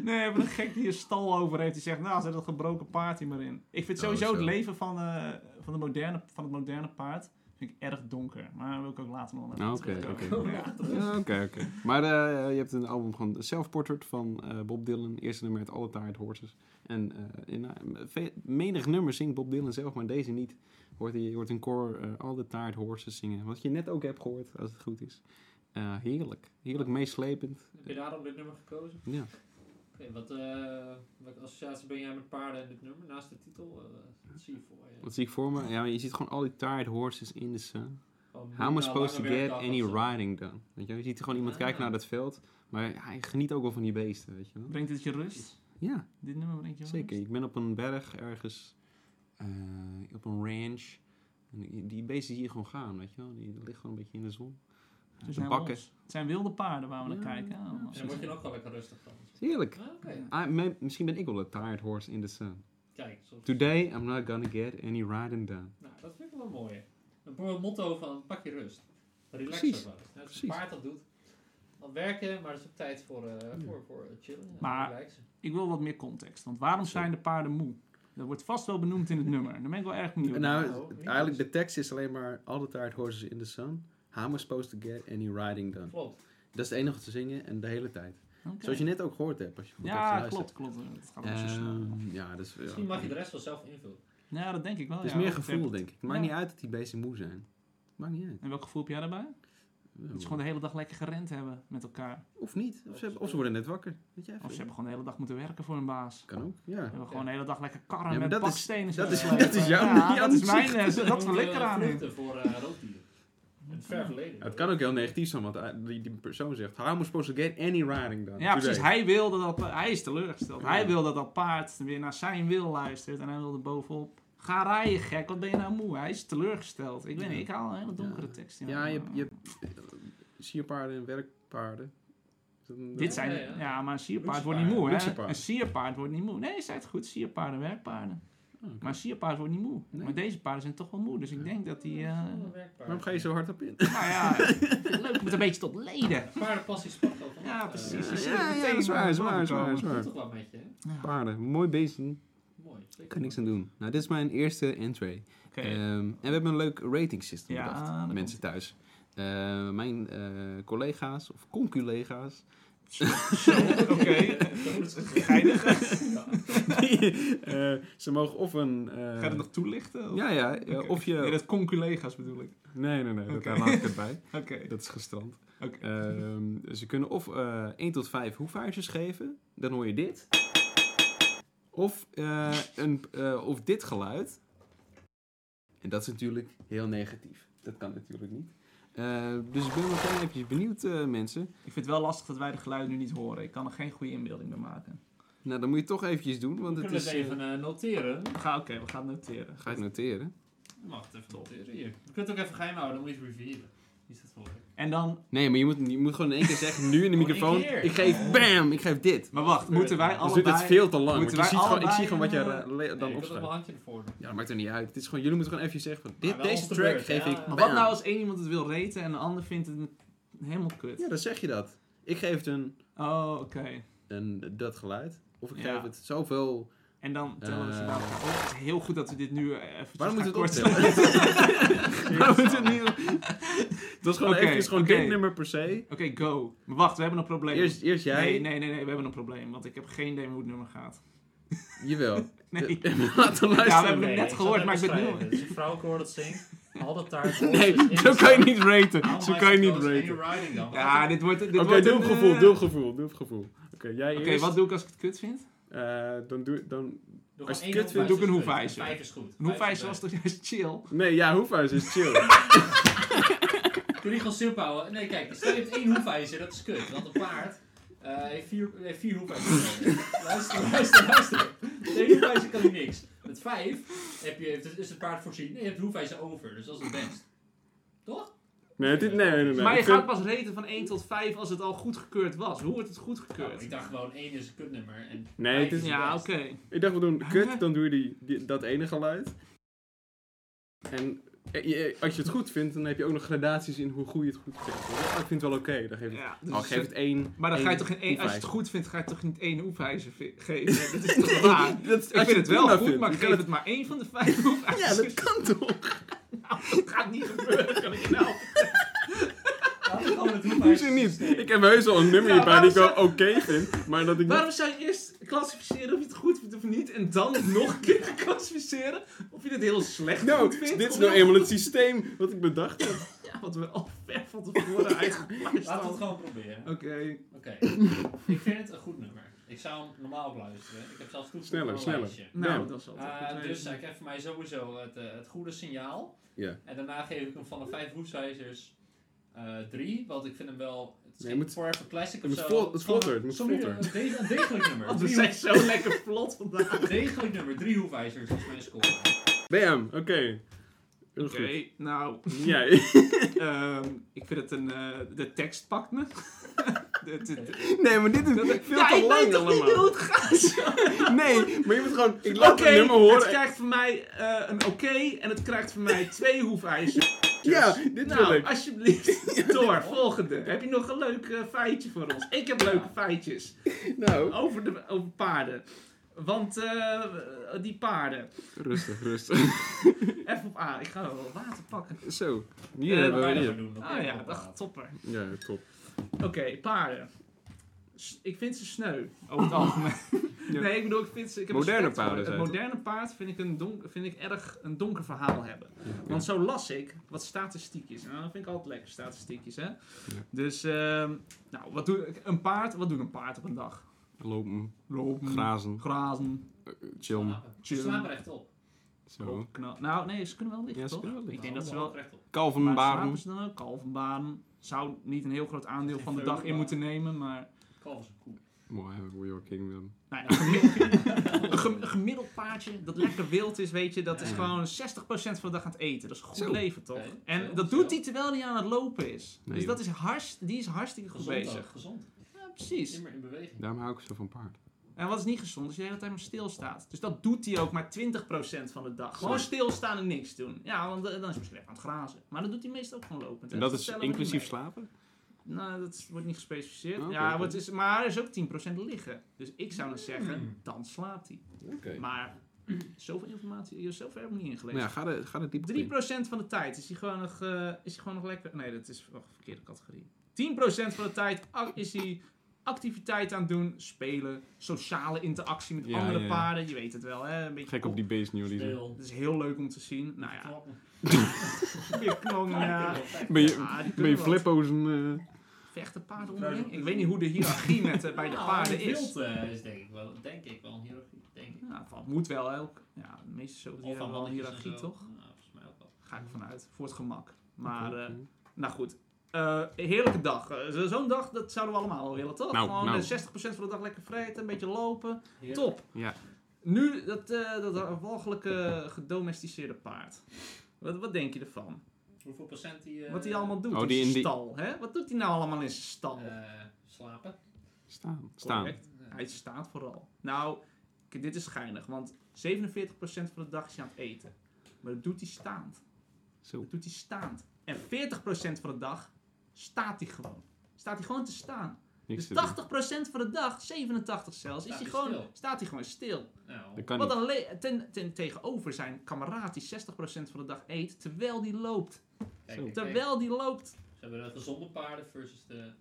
Speaker 2: Nee, maar een gek die een stal over heeft. Die zegt, nou, zet dat gebroken paard hier maar in. Ik vind
Speaker 1: Oh,
Speaker 2: sowieso
Speaker 1: zo.
Speaker 2: het leven van, eh, van, de moderne, van het moderne paard... Vind ik erg donker. Maar daar wil ik ook later nog
Speaker 1: Ah,
Speaker 2: even
Speaker 1: oké,
Speaker 2: terugkomen.
Speaker 1: oké.
Speaker 2: Ja.
Speaker 1: Ja, Oké, oké. Maar eh, je hebt een album gewoon Self-Portrait van eh, Bob Dylan. Eerste nummer met alle Tired Horses. En eh, in, eh, ve- menig nummer zingt Bob Dylan zelf, maar deze niet. Hoort, hij- je hoort een koor eh, All the Tired Horses zingen. Wat je net ook hebt gehoord, als het goed is. Eh, heerlijk. Heerlijk meeslepend.
Speaker 3: Heb je daarom dit nummer gekozen?
Speaker 1: Ja.
Speaker 3: Oké, wat, eh, welke associatie ben jij met paarden en dit nummer? Naast de titel? eh, wat zie je voor je?
Speaker 1: Wat zie ik voor me? Ja, maar je ziet gewoon al die tired horses in the sun.
Speaker 3: Gewoon
Speaker 1: How am I
Speaker 3: na
Speaker 1: supposed to
Speaker 3: lange
Speaker 1: get
Speaker 3: werkdag
Speaker 1: any
Speaker 3: of zo.
Speaker 1: riding done? Weet je, wel, je ziet gewoon iemand kijken
Speaker 3: Ah.
Speaker 1: naar dat veld, maar hij geniet ook wel van die beesten, weet je wel.
Speaker 2: Brengt het je rust?
Speaker 1: Ja,
Speaker 2: Dit nummer brengt je wel
Speaker 1: zeker.
Speaker 2: rust?
Speaker 1: Ik ben op een berg ergens, eh, op een ranch. En die- die beesten zie je gewoon gaan, weet je wel. Die liggen gewoon een beetje in de zon.
Speaker 2: Ze
Speaker 1: Te
Speaker 2: zijn
Speaker 1: bakken.
Speaker 2: los. Dus Het zijn wilde paarden waar we naar
Speaker 1: Ja,
Speaker 2: kijken.
Speaker 1: ja,
Speaker 2: Ah,
Speaker 1: precies.
Speaker 3: En dan
Speaker 2: precies.
Speaker 3: word je er ook wel lekker rustig van.
Speaker 1: Heerlijk.
Speaker 3: Ah, Oké,
Speaker 1: Ah, me- misschien ben ik wel een tired horse in the sun.
Speaker 3: kijk. Soms,
Speaker 1: Today I'm not gonna get any riding done.
Speaker 3: nou, dat vind ik wel mooi. Een mooi motto van pak je rust. Relax
Speaker 1: Precies,
Speaker 3: ervan. Nou, als
Speaker 1: precies.
Speaker 3: een paard dat doet, dan werken, maar er is ook tijd voor, eh, voor, voor eh, chillen. en
Speaker 2: Maar-
Speaker 3: relaxen.
Speaker 2: Ik wil wat meer context. Want waarom zijn de paarden moe? Dat wordt vast wel benoemd in het nummer. Daar ben ik wel erg benieuwd naar.
Speaker 1: Nou,
Speaker 3: Nou,
Speaker 1: eigenlijk de tekst is alleen maar all the tired horses in the sun. How am I supposed to get any riding done?
Speaker 3: Klopt.
Speaker 1: Dat is het enige wat ze zingen en de hele tijd.
Speaker 2: Oké.
Speaker 1: Zoals je net ook gehoord hebt. Als je goed hebt
Speaker 2: Ja,
Speaker 1: geluisterd.
Speaker 2: klopt, klopt. Het gaat ook zo snel.
Speaker 1: Ehm, ja, dus, ja.
Speaker 3: Misschien mag je de rest wel zelf invullen.
Speaker 2: Ja, dat denk ik wel.
Speaker 1: Het is
Speaker 2: ja,
Speaker 1: meer
Speaker 2: wat
Speaker 1: gevoel,
Speaker 2: betreft-
Speaker 1: denk ik. Het maakt
Speaker 2: Ja.
Speaker 1: niet uit dat die beesten moe zijn. Maakt niet uit.
Speaker 2: En welk gevoel heb jij daarbij?
Speaker 1: Ja,
Speaker 2: Dat ze gewoon de hele dag lekker gerend hebben met elkaar.
Speaker 1: Of niet. Of ze, hebben- of ze worden net wakker. Weet jij
Speaker 2: Of ze
Speaker 1: veel.
Speaker 2: hebben gewoon de hele dag moeten werken voor hun baas.
Speaker 1: Kan ook,
Speaker 2: Ze
Speaker 1: ja.
Speaker 2: hebben gewoon de hele dag lekker karren
Speaker 1: Ja, maar
Speaker 2: met
Speaker 1: dat is-
Speaker 2: bakstenen.
Speaker 1: dat is-
Speaker 2: zitten
Speaker 1: dat is jouw-
Speaker 2: slepen.
Speaker 1: jouw
Speaker 2: Ja, dat is mijn...
Speaker 1: zicht.
Speaker 2: eh, Dat
Speaker 3: Ook,
Speaker 2: verlekker
Speaker 3: eh,
Speaker 2: aan nu.
Speaker 3: vluchten voor eh roofdieren. In het ver verleden.
Speaker 1: Het kan ook heel negatief zijn, want eh, die, die persoon zegt... How am I supposed to get any riding done?
Speaker 2: Ja, precies.
Speaker 1: today?"
Speaker 2: Hij wilde dat... Hij is teleurgesteld. Hij
Speaker 1: Ja.
Speaker 2: wilde dat paard weer naar zijn wil luistert. En hij wilde bovenop... Ga rijden, gek. Wat ben je nou moe? Hij is teleurgesteld. Ik weet
Speaker 1: Ja.
Speaker 2: niet, ik haal een hele donkere tekst in.
Speaker 1: Ja, je hebt...
Speaker 2: Maar-
Speaker 1: Je hebt eh, sierpaarden en werkpaarden. eh, Is dat een-
Speaker 2: Dit zijn...
Speaker 3: Ja,
Speaker 2: Ja,
Speaker 3: ja.
Speaker 2: maar een sierpaard
Speaker 3: Luxe
Speaker 2: wordt niet moe,
Speaker 1: paarden.
Speaker 2: hè?
Speaker 1: Luxe
Speaker 2: Een sierpaard wordt niet moe. Nee, je zei het goed. Sierpaarden, werkpaarden.
Speaker 1: Oh, oké.
Speaker 2: Maar een sierpaard wordt niet moe.
Speaker 1: Nee.
Speaker 2: Maar deze paarden zijn toch wel moe. Dus ik denk dat die... eh,
Speaker 1: Waarom ga je zo hard op in?
Speaker 2: nou ja, leuk met een beetje tot leden.
Speaker 3: Paardenpassie sport al van.
Speaker 2: Ja,
Speaker 3: eh,
Speaker 2: precies.
Speaker 1: Ja,
Speaker 2: je ziet
Speaker 1: ja,
Speaker 2: het
Speaker 1: ja,
Speaker 2: meteen
Speaker 1: dat is waar, is
Speaker 2: boven
Speaker 1: waar, is waar,
Speaker 2: komen.
Speaker 1: is
Speaker 3: Dat
Speaker 1: waar.
Speaker 3: doet toch wel een beetje, hè?
Speaker 1: Paarden, mooi beesten.
Speaker 3: Mooi. zeker.
Speaker 1: Kan niks aan doen. Nou, dit is mijn eerste entry.
Speaker 2: Oké.
Speaker 1: Ehm, en we hebben een leuk rating system
Speaker 2: Ja, dat
Speaker 1: bedacht,
Speaker 2: komt.
Speaker 1: mensen thuis. Eh, mijn eh, collega's of conculega's,
Speaker 2: Zo, Oké. Geinig.
Speaker 1: eh, ze mogen of een... eh,
Speaker 2: Ga je dat nog toelichten?
Speaker 1: Ja, ja. eh,
Speaker 2: Oké.
Speaker 1: Of je...
Speaker 2: Nee, dat conculega's bedoel ik.
Speaker 1: Nee, nee, nee. dat-
Speaker 2: Oké.
Speaker 1: Daar laat ik het bij.
Speaker 2: Oké.
Speaker 1: Dat is gestrand.
Speaker 2: Oké.
Speaker 1: Ehm, ze kunnen of eh 1 tot 5 hoevaartjes geven. Dan hoor je dit. Of, eh, een, eh, of dit geluid. En dat is natuurlijk heel negatief. Dat kan natuurlijk niet. Eh, dus ik ben meteen eventjes benieuwd, eh, mensen.
Speaker 2: Ik vind het wel lastig dat wij de geluiden nu niet horen. Ik kan er geen goede inbeelding meer maken.
Speaker 1: Nou, dan moet je het toch eventjes doen,
Speaker 3: We
Speaker 1: want het
Speaker 3: kunnen
Speaker 1: is... eh,
Speaker 3: het even eh, noteren.
Speaker 2: Ga, Oké, we gaan het noteren.
Speaker 1: Ga je het noteren?
Speaker 3: Je mag het even noteren hier. Je kunt het ook even geheim houden, dan moet je het revealen. Wie is dat voor?
Speaker 2: En dan...
Speaker 1: Nee, maar je moet, je moet gewoon in één keer zeggen, nu in de
Speaker 3: Gewoon één
Speaker 1: microfoon.
Speaker 3: keer.
Speaker 1: Ik geef, bam, ik geef dit.
Speaker 2: Maar wacht, moeten wij
Speaker 1: Dan zit het
Speaker 2: allebei...
Speaker 1: veel te lang. want
Speaker 2: moeten
Speaker 1: je
Speaker 2: wij
Speaker 1: ziet gewoon, ik
Speaker 2: allebei,
Speaker 1: zie gewoon wat jij
Speaker 2: eh,
Speaker 1: eh, le- dan
Speaker 3: Dan nee, ik wil
Speaker 1: opschrijft.
Speaker 3: er wel een handje ervoor doen.
Speaker 1: Ja, dat maakt er niet uit. Het is gewoon, jullie moeten gewoon even zeggen van, dit,
Speaker 3: wel
Speaker 1: deze
Speaker 3: op de
Speaker 1: track
Speaker 3: beurt,
Speaker 1: geef
Speaker 3: ja.
Speaker 1: ik
Speaker 2: Maar
Speaker 1: bam.
Speaker 2: wat nou als één iemand het wil reten en de ander vindt het helemaal kut?
Speaker 1: Ja, dan zeg je dat. Ik geef het een,
Speaker 2: Oh, oké.
Speaker 1: een dat geluid. Of ik
Speaker 2: Ja.
Speaker 1: geef het zoveel...
Speaker 2: En dan tellen we ze
Speaker 1: Eh.
Speaker 2: daarop. Oh, het is heel goed dat we dit nu eh, even
Speaker 1: Waarom moeten we het
Speaker 2: kort
Speaker 1: optellen? Waarom moeten we het niet... Het was gewoon
Speaker 2: Oké,
Speaker 1: eventjes gewoon
Speaker 2: oké.
Speaker 1: dit nummer per se.
Speaker 2: Oké, go. Maar wacht, we hebben een probleem.
Speaker 1: Eerst, eerst jij.
Speaker 2: Nee, nee, nee, nee, we hebben een probleem. Want ik heb geen idee hoe het nummer gaat.
Speaker 1: Jawel.
Speaker 2: Nee.
Speaker 1: Laten we luisteren.
Speaker 2: we hebben hem net gehoord, maar ik ben
Speaker 3: het
Speaker 2: nieuw.
Speaker 3: Het is een vrouwenkoor dat zingt. Al dat taart.
Speaker 1: Nee, zo kan je niet raten.
Speaker 2: Oh,
Speaker 3: Allemaal
Speaker 1: Zo kan je niet
Speaker 3: suppose
Speaker 1: raten.
Speaker 3: any riding dan.
Speaker 2: Ja, dit wordt. dit
Speaker 1: Oké,
Speaker 2: wordt
Speaker 1: doe
Speaker 2: een,
Speaker 1: een gevoel,
Speaker 2: eh,
Speaker 1: doe een gevoel, doe een gevoel. Oké, jij
Speaker 2: Oké,
Speaker 1: eerst.
Speaker 2: wat doe ik als ik het kut vind?
Speaker 1: Eh, dan doe dan...
Speaker 3: Doe
Speaker 1: Als
Speaker 3: gewoon
Speaker 1: je
Speaker 3: één
Speaker 1: het kut vindt,
Speaker 2: doe ik een
Speaker 3: hoefijzer.
Speaker 2: hoefijzer.
Speaker 3: Vijf is goed.
Speaker 2: Een hoefijzer was toch juist chill?
Speaker 1: Nee, ja, hoefhuis is chill.
Speaker 3: Kun je gewoon simpel houden? Nee, kijk, stel je hebt één hoefijzer, dat is kut. Want een paard eh, heeft vier, heeft vier hoefijzers. nodig. luister, luister, luister. Met één hoefijzer kan hij niks. Met vijf heb je, heeft- is het paard voorzien en je hebt de hoefijzer over. Dus dat is het best.
Speaker 1: Nee, dit, nee, nee, nee.
Speaker 2: maar je
Speaker 1: Ik vind-
Speaker 2: gaat pas reten van 1 tot 5 als het al goedgekeurd was. Hoe wordt het
Speaker 3: Nou,
Speaker 2: goedgekeurd?
Speaker 3: ik dacht gewoon één is een kutnummer. En
Speaker 1: Nee,
Speaker 3: vijf
Speaker 1: het is-
Speaker 2: ja,
Speaker 3: best.
Speaker 2: oké.
Speaker 1: Ik dacht, we doen kut, dan doe je die, die- dat ene geluid. En eh, je- als je het goed vindt, dan heb je ook nog gradaties in hoe goed je het goed vindt. Dus, ah, ik vind het wel oké. dan geef ik,
Speaker 2: Ja,
Speaker 1: oh, ik
Speaker 2: dus,
Speaker 1: geef het één.
Speaker 2: maar dan ga je
Speaker 1: één,
Speaker 2: toch in één, als je het
Speaker 1: vijf.
Speaker 2: goed vindt, ga je toch niet één hoefijzer vi- geven? Dat is toch raar?
Speaker 1: Dat is- als
Speaker 2: Ik
Speaker 1: je
Speaker 2: vind het wel
Speaker 1: prima
Speaker 2: goed,
Speaker 1: vindt,
Speaker 2: maar
Speaker 1: je
Speaker 2: ik
Speaker 1: kan
Speaker 2: geef het maar één van de vijf
Speaker 1: Ja,
Speaker 2: hoefijzers.
Speaker 1: dat kan toch?
Speaker 2: Het gaat niet gebeuren, kan ik je nou.
Speaker 3: Laten we gewoon het
Speaker 1: Hoezo
Speaker 3: hoefijzersysteem.
Speaker 1: niet? Ik heb heus al een nummer
Speaker 2: Nou,
Speaker 1: hierbij die ik wel
Speaker 2: waarom
Speaker 1: oké vind, maar dat ik niet-
Speaker 2: Waarom zou je eerst klassificeren of je het goed vindt of niet, en dan nog een keer klassificeren of je het heel slecht
Speaker 1: Nou,
Speaker 2: goed vindt?
Speaker 1: dit is
Speaker 2: of
Speaker 1: nou
Speaker 2: heel-
Speaker 1: eenmaal het systeem wat ik bedacht heb.
Speaker 2: Ja, wat we al ver van tevoren uitgeplaatst
Speaker 3: Laten we het
Speaker 2: hadden.
Speaker 3: gewoon proberen.
Speaker 2: Oké.
Speaker 3: Oké. ik vind het een goed nummer. Ik zou hem normaal op luisteren. Ik heb zelfs toegevoegd
Speaker 1: Sneller,
Speaker 3: aan een
Speaker 1: sneller.
Speaker 3: lijstje.
Speaker 2: Nou,
Speaker 1: Ja.
Speaker 2: dat is altijd
Speaker 3: Eh,
Speaker 2: goed weten.
Speaker 3: dus ik heb voor mij sowieso het, eh, het goede signaal.
Speaker 1: Ja.
Speaker 3: En daarna geef ik hem van de vijf hoefijzers eh drie. Want ik vind hem wel... Het is
Speaker 1: Nee,
Speaker 3: geen
Speaker 1: moet-
Speaker 3: Forever Classic
Speaker 1: Het
Speaker 3: of
Speaker 1: moet
Speaker 3: zo.
Speaker 1: vlot- het
Speaker 3: Gewoon
Speaker 1: vlotter, het
Speaker 3: een-
Speaker 1: moet
Speaker 3: sorry,
Speaker 1: vlotter.
Speaker 3: Een de- een degelijk nummer.
Speaker 2: Want we
Speaker 3: Drie
Speaker 2: zijn zo lekker vlot vandaag.
Speaker 3: hoef- degelijk nummer. Drie hoefijzers is mijn score.
Speaker 1: Bam, oké. Heel
Speaker 2: Oké,
Speaker 1: goed.
Speaker 2: nou,
Speaker 1: Jij.
Speaker 2: ehm, ik vind het een. eh, de tekst pakt me. De- de- de-
Speaker 1: Nee, maar dit is veel
Speaker 2: ja,
Speaker 1: te
Speaker 2: ik weet
Speaker 1: lang
Speaker 2: toch niet
Speaker 1: allemaal.
Speaker 2: hoe het gaat.
Speaker 1: Nee, maar je moet gewoon... Ik laat
Speaker 2: Oké,
Speaker 1: het nummer horen.
Speaker 2: het krijgt van mij eh, een oké en het krijgt van mij twee hoefijzers.
Speaker 1: Ja, dit wil
Speaker 2: Nou,
Speaker 1: ik.
Speaker 2: alsjeblieft, door. Volgende. Heb je nog een leuk eh, feitje voor ons? Ik heb leuke feitjes
Speaker 1: Nou,
Speaker 2: over, de, over paarden. Want eh, die paarden.
Speaker 1: rustig, rustig.
Speaker 2: Even op aan. Ik ga wel water pakken.
Speaker 1: Zo, hier
Speaker 2: Eh,
Speaker 1: hebben
Speaker 3: Wat
Speaker 1: we
Speaker 3: wij
Speaker 1: die.
Speaker 3: daarvoor doen. dat
Speaker 2: Ah
Speaker 3: kunnen we
Speaker 2: ja,
Speaker 3: ophalen.
Speaker 2: dat topper.
Speaker 1: Ja, top.
Speaker 2: Oké, paarden. S- Ik vind ze sneu, over het algemeen.
Speaker 1: Ja.
Speaker 2: Nee, ik bedoel, ik vind ze... Ik heb
Speaker 1: Moderne
Speaker 2: respect voor
Speaker 1: paarden
Speaker 2: Het
Speaker 1: zijn het.
Speaker 2: moderne paard vind ik, een donker, vind ik erg een donker verhaal hebben. Want zo las ik wat statistiekjes. Nou, dat vind ik altijd lekker, statistiekjes, hè. Dus, ehm, nou, wat doe, een paard, wat doet een paard op een dag?
Speaker 1: Lopen,
Speaker 2: Lopen,
Speaker 1: grazen,
Speaker 2: grazen,
Speaker 1: chillen.
Speaker 3: Slapen.
Speaker 2: Chill.
Speaker 3: Ze slapen rechtop.
Speaker 1: Zo.
Speaker 2: knal- Nou, nee, ze kunnen wel liggen,
Speaker 1: Ja, ze
Speaker 2: toch?
Speaker 1: kunnen wel
Speaker 2: ik
Speaker 1: liggen.
Speaker 2: denk dat ze wel...
Speaker 3: rechtop.
Speaker 1: Kalven,
Speaker 2: Maar
Speaker 1: baren.
Speaker 2: slapen ze dan ook? Kalvenbaren. Zou niet een heel groot aandeel van de dag in moeten nemen, maar...
Speaker 3: Kalf is een koe.
Speaker 1: Mooi, hebben we Your Kingdom.
Speaker 2: Nou ja, een gemiddeld- een gem- een gemiddeld paardje dat lekker wild is, weet je, dat is
Speaker 1: Ja.
Speaker 2: gewoon 60% van de dag aan het eten. Dat is een goed
Speaker 1: Zo.
Speaker 2: leven toch?
Speaker 3: Oké.
Speaker 2: En
Speaker 3: Zo,
Speaker 2: dat
Speaker 3: zo.
Speaker 2: doet hij terwijl hij aan het lopen is.
Speaker 1: Nee,
Speaker 2: dus dat is hartst, die is hartstikke goed
Speaker 3: Gezond ook,
Speaker 2: bezig.
Speaker 3: Gezond.
Speaker 2: Ja, precies.
Speaker 3: Immer in beweging.
Speaker 1: Daarom hou ik zo van paard.
Speaker 2: En wat is niet gezond, als je de hele tijd maar stilstaat. Dus dat doet hij ook maar 20% van de dag. Gewoon
Speaker 1: Zo.
Speaker 2: stilstaan en niks doen. Ja, want eh, dan is hij misschien even aan het grazen. Maar dat doet hij meestal ook gewoon lopen.
Speaker 1: En dat is
Speaker 2: tellen we niet
Speaker 1: inclusief
Speaker 2: mee.
Speaker 1: slapen?
Speaker 2: Nou, dat is- wordt niet gespecificeerd.
Speaker 1: Oké,
Speaker 2: ja,
Speaker 1: oké.
Speaker 2: wat is, maar er is ook 10% liggen. Dus ik zou dan zeggen,
Speaker 3: Mm.
Speaker 2: dan slaapt hij.
Speaker 1: Oké.
Speaker 2: Maar zoveel informatie, je hebt zoveel heb ik niet
Speaker 1: Maar ja,
Speaker 2: ingelezen.
Speaker 1: ga er, ga er dieper
Speaker 2: 3%
Speaker 1: in.
Speaker 2: van de tijd is hij gewoon nog, eh, is hij gewoon nog lekker. Nee, dat is oh, verkeerde categorie. 10% van de tijd ac- is hij activiteit aan het doen, spelen, sociale interactie met
Speaker 1: Ja,
Speaker 2: andere
Speaker 1: ja, ja.
Speaker 2: paarden. Je weet het wel, hè? Een beetje
Speaker 1: Gek op die beest nieuw. Die zo-
Speaker 3: Speel.
Speaker 2: Het is heel leuk om te zien. Nou ja,
Speaker 3: Klappen.
Speaker 2: weer knongen. Ja.
Speaker 1: Ben je,
Speaker 2: Ja, die
Speaker 1: ben je
Speaker 2: kunnen wat.
Speaker 1: flippo's een... eh,
Speaker 2: Vechten paarden onderling? Ik weet niet hoe de hiërarchie met, eh, bij de
Speaker 3: Nou,
Speaker 2: paarden
Speaker 3: het
Speaker 2: is.
Speaker 3: wild, eh, is denk ik wel, denk ik wel een hiërarchie. Denk ik.
Speaker 2: Ja, het moet wel elk. Ja, de meeste zo
Speaker 3: Of
Speaker 2: hebben wel een
Speaker 3: mannetjes en
Speaker 2: hiërarchie,
Speaker 3: zo.
Speaker 2: toch?
Speaker 3: Nou, volgens mij ook wel.
Speaker 2: Ga ik vanuit. Voor het gemak. Maar eh,
Speaker 1: oké.
Speaker 2: Nou goed. Eh, heerlijke dag. Eh, zo- Zo'n dag, dat zouden we allemaal wel willen, toch?
Speaker 1: Nou,
Speaker 2: Gewoon
Speaker 1: nou.
Speaker 2: eh, 60% van de dag lekker vreten, een beetje lopen.
Speaker 3: Heerlijk.
Speaker 2: Top.
Speaker 1: Ja.
Speaker 2: Nu dat, eh, dat walgelijke gedomesticeerde paard. Wat, wat denk je ervan?
Speaker 3: Hoeveel procent die... eh,
Speaker 2: Wat hij allemaal doet
Speaker 1: Oh,
Speaker 2: in
Speaker 1: die
Speaker 2: zijn
Speaker 1: in die-
Speaker 2: stal. Hè? Wat doet hij nou allemaal in zijn stal?
Speaker 3: eh, slapen.
Speaker 1: Staan. Staan.
Speaker 2: Correct. Hij staat vooral. Nou, k- dit is geinig, want 47% van de dag is hij aan het eten. Maar dat doet hij staand.
Speaker 1: Zo.
Speaker 2: Dat doet hij staand. En 40% van de dag staat hij gewoon. Staat hij gewoon te staan.
Speaker 1: Niks
Speaker 2: Dus
Speaker 1: te doen.
Speaker 2: 80% van de dag, 87 zelfs, is
Speaker 3: Staat
Speaker 2: hij
Speaker 3: hij
Speaker 2: gewoon,
Speaker 3: stil.
Speaker 2: staat hij gewoon stil.
Speaker 3: Nou,
Speaker 1: Dat kan
Speaker 2: Wat
Speaker 1: niet.
Speaker 2: dan le- ten, ten, tegenover zijn kameraad die 60% van de dag eet, terwijl die loopt.
Speaker 3: kijk,
Speaker 1: Zo.
Speaker 3: kijk, kijk.
Speaker 2: Terwijl die loopt.
Speaker 3: Ze hebben de gezonde paarden versus de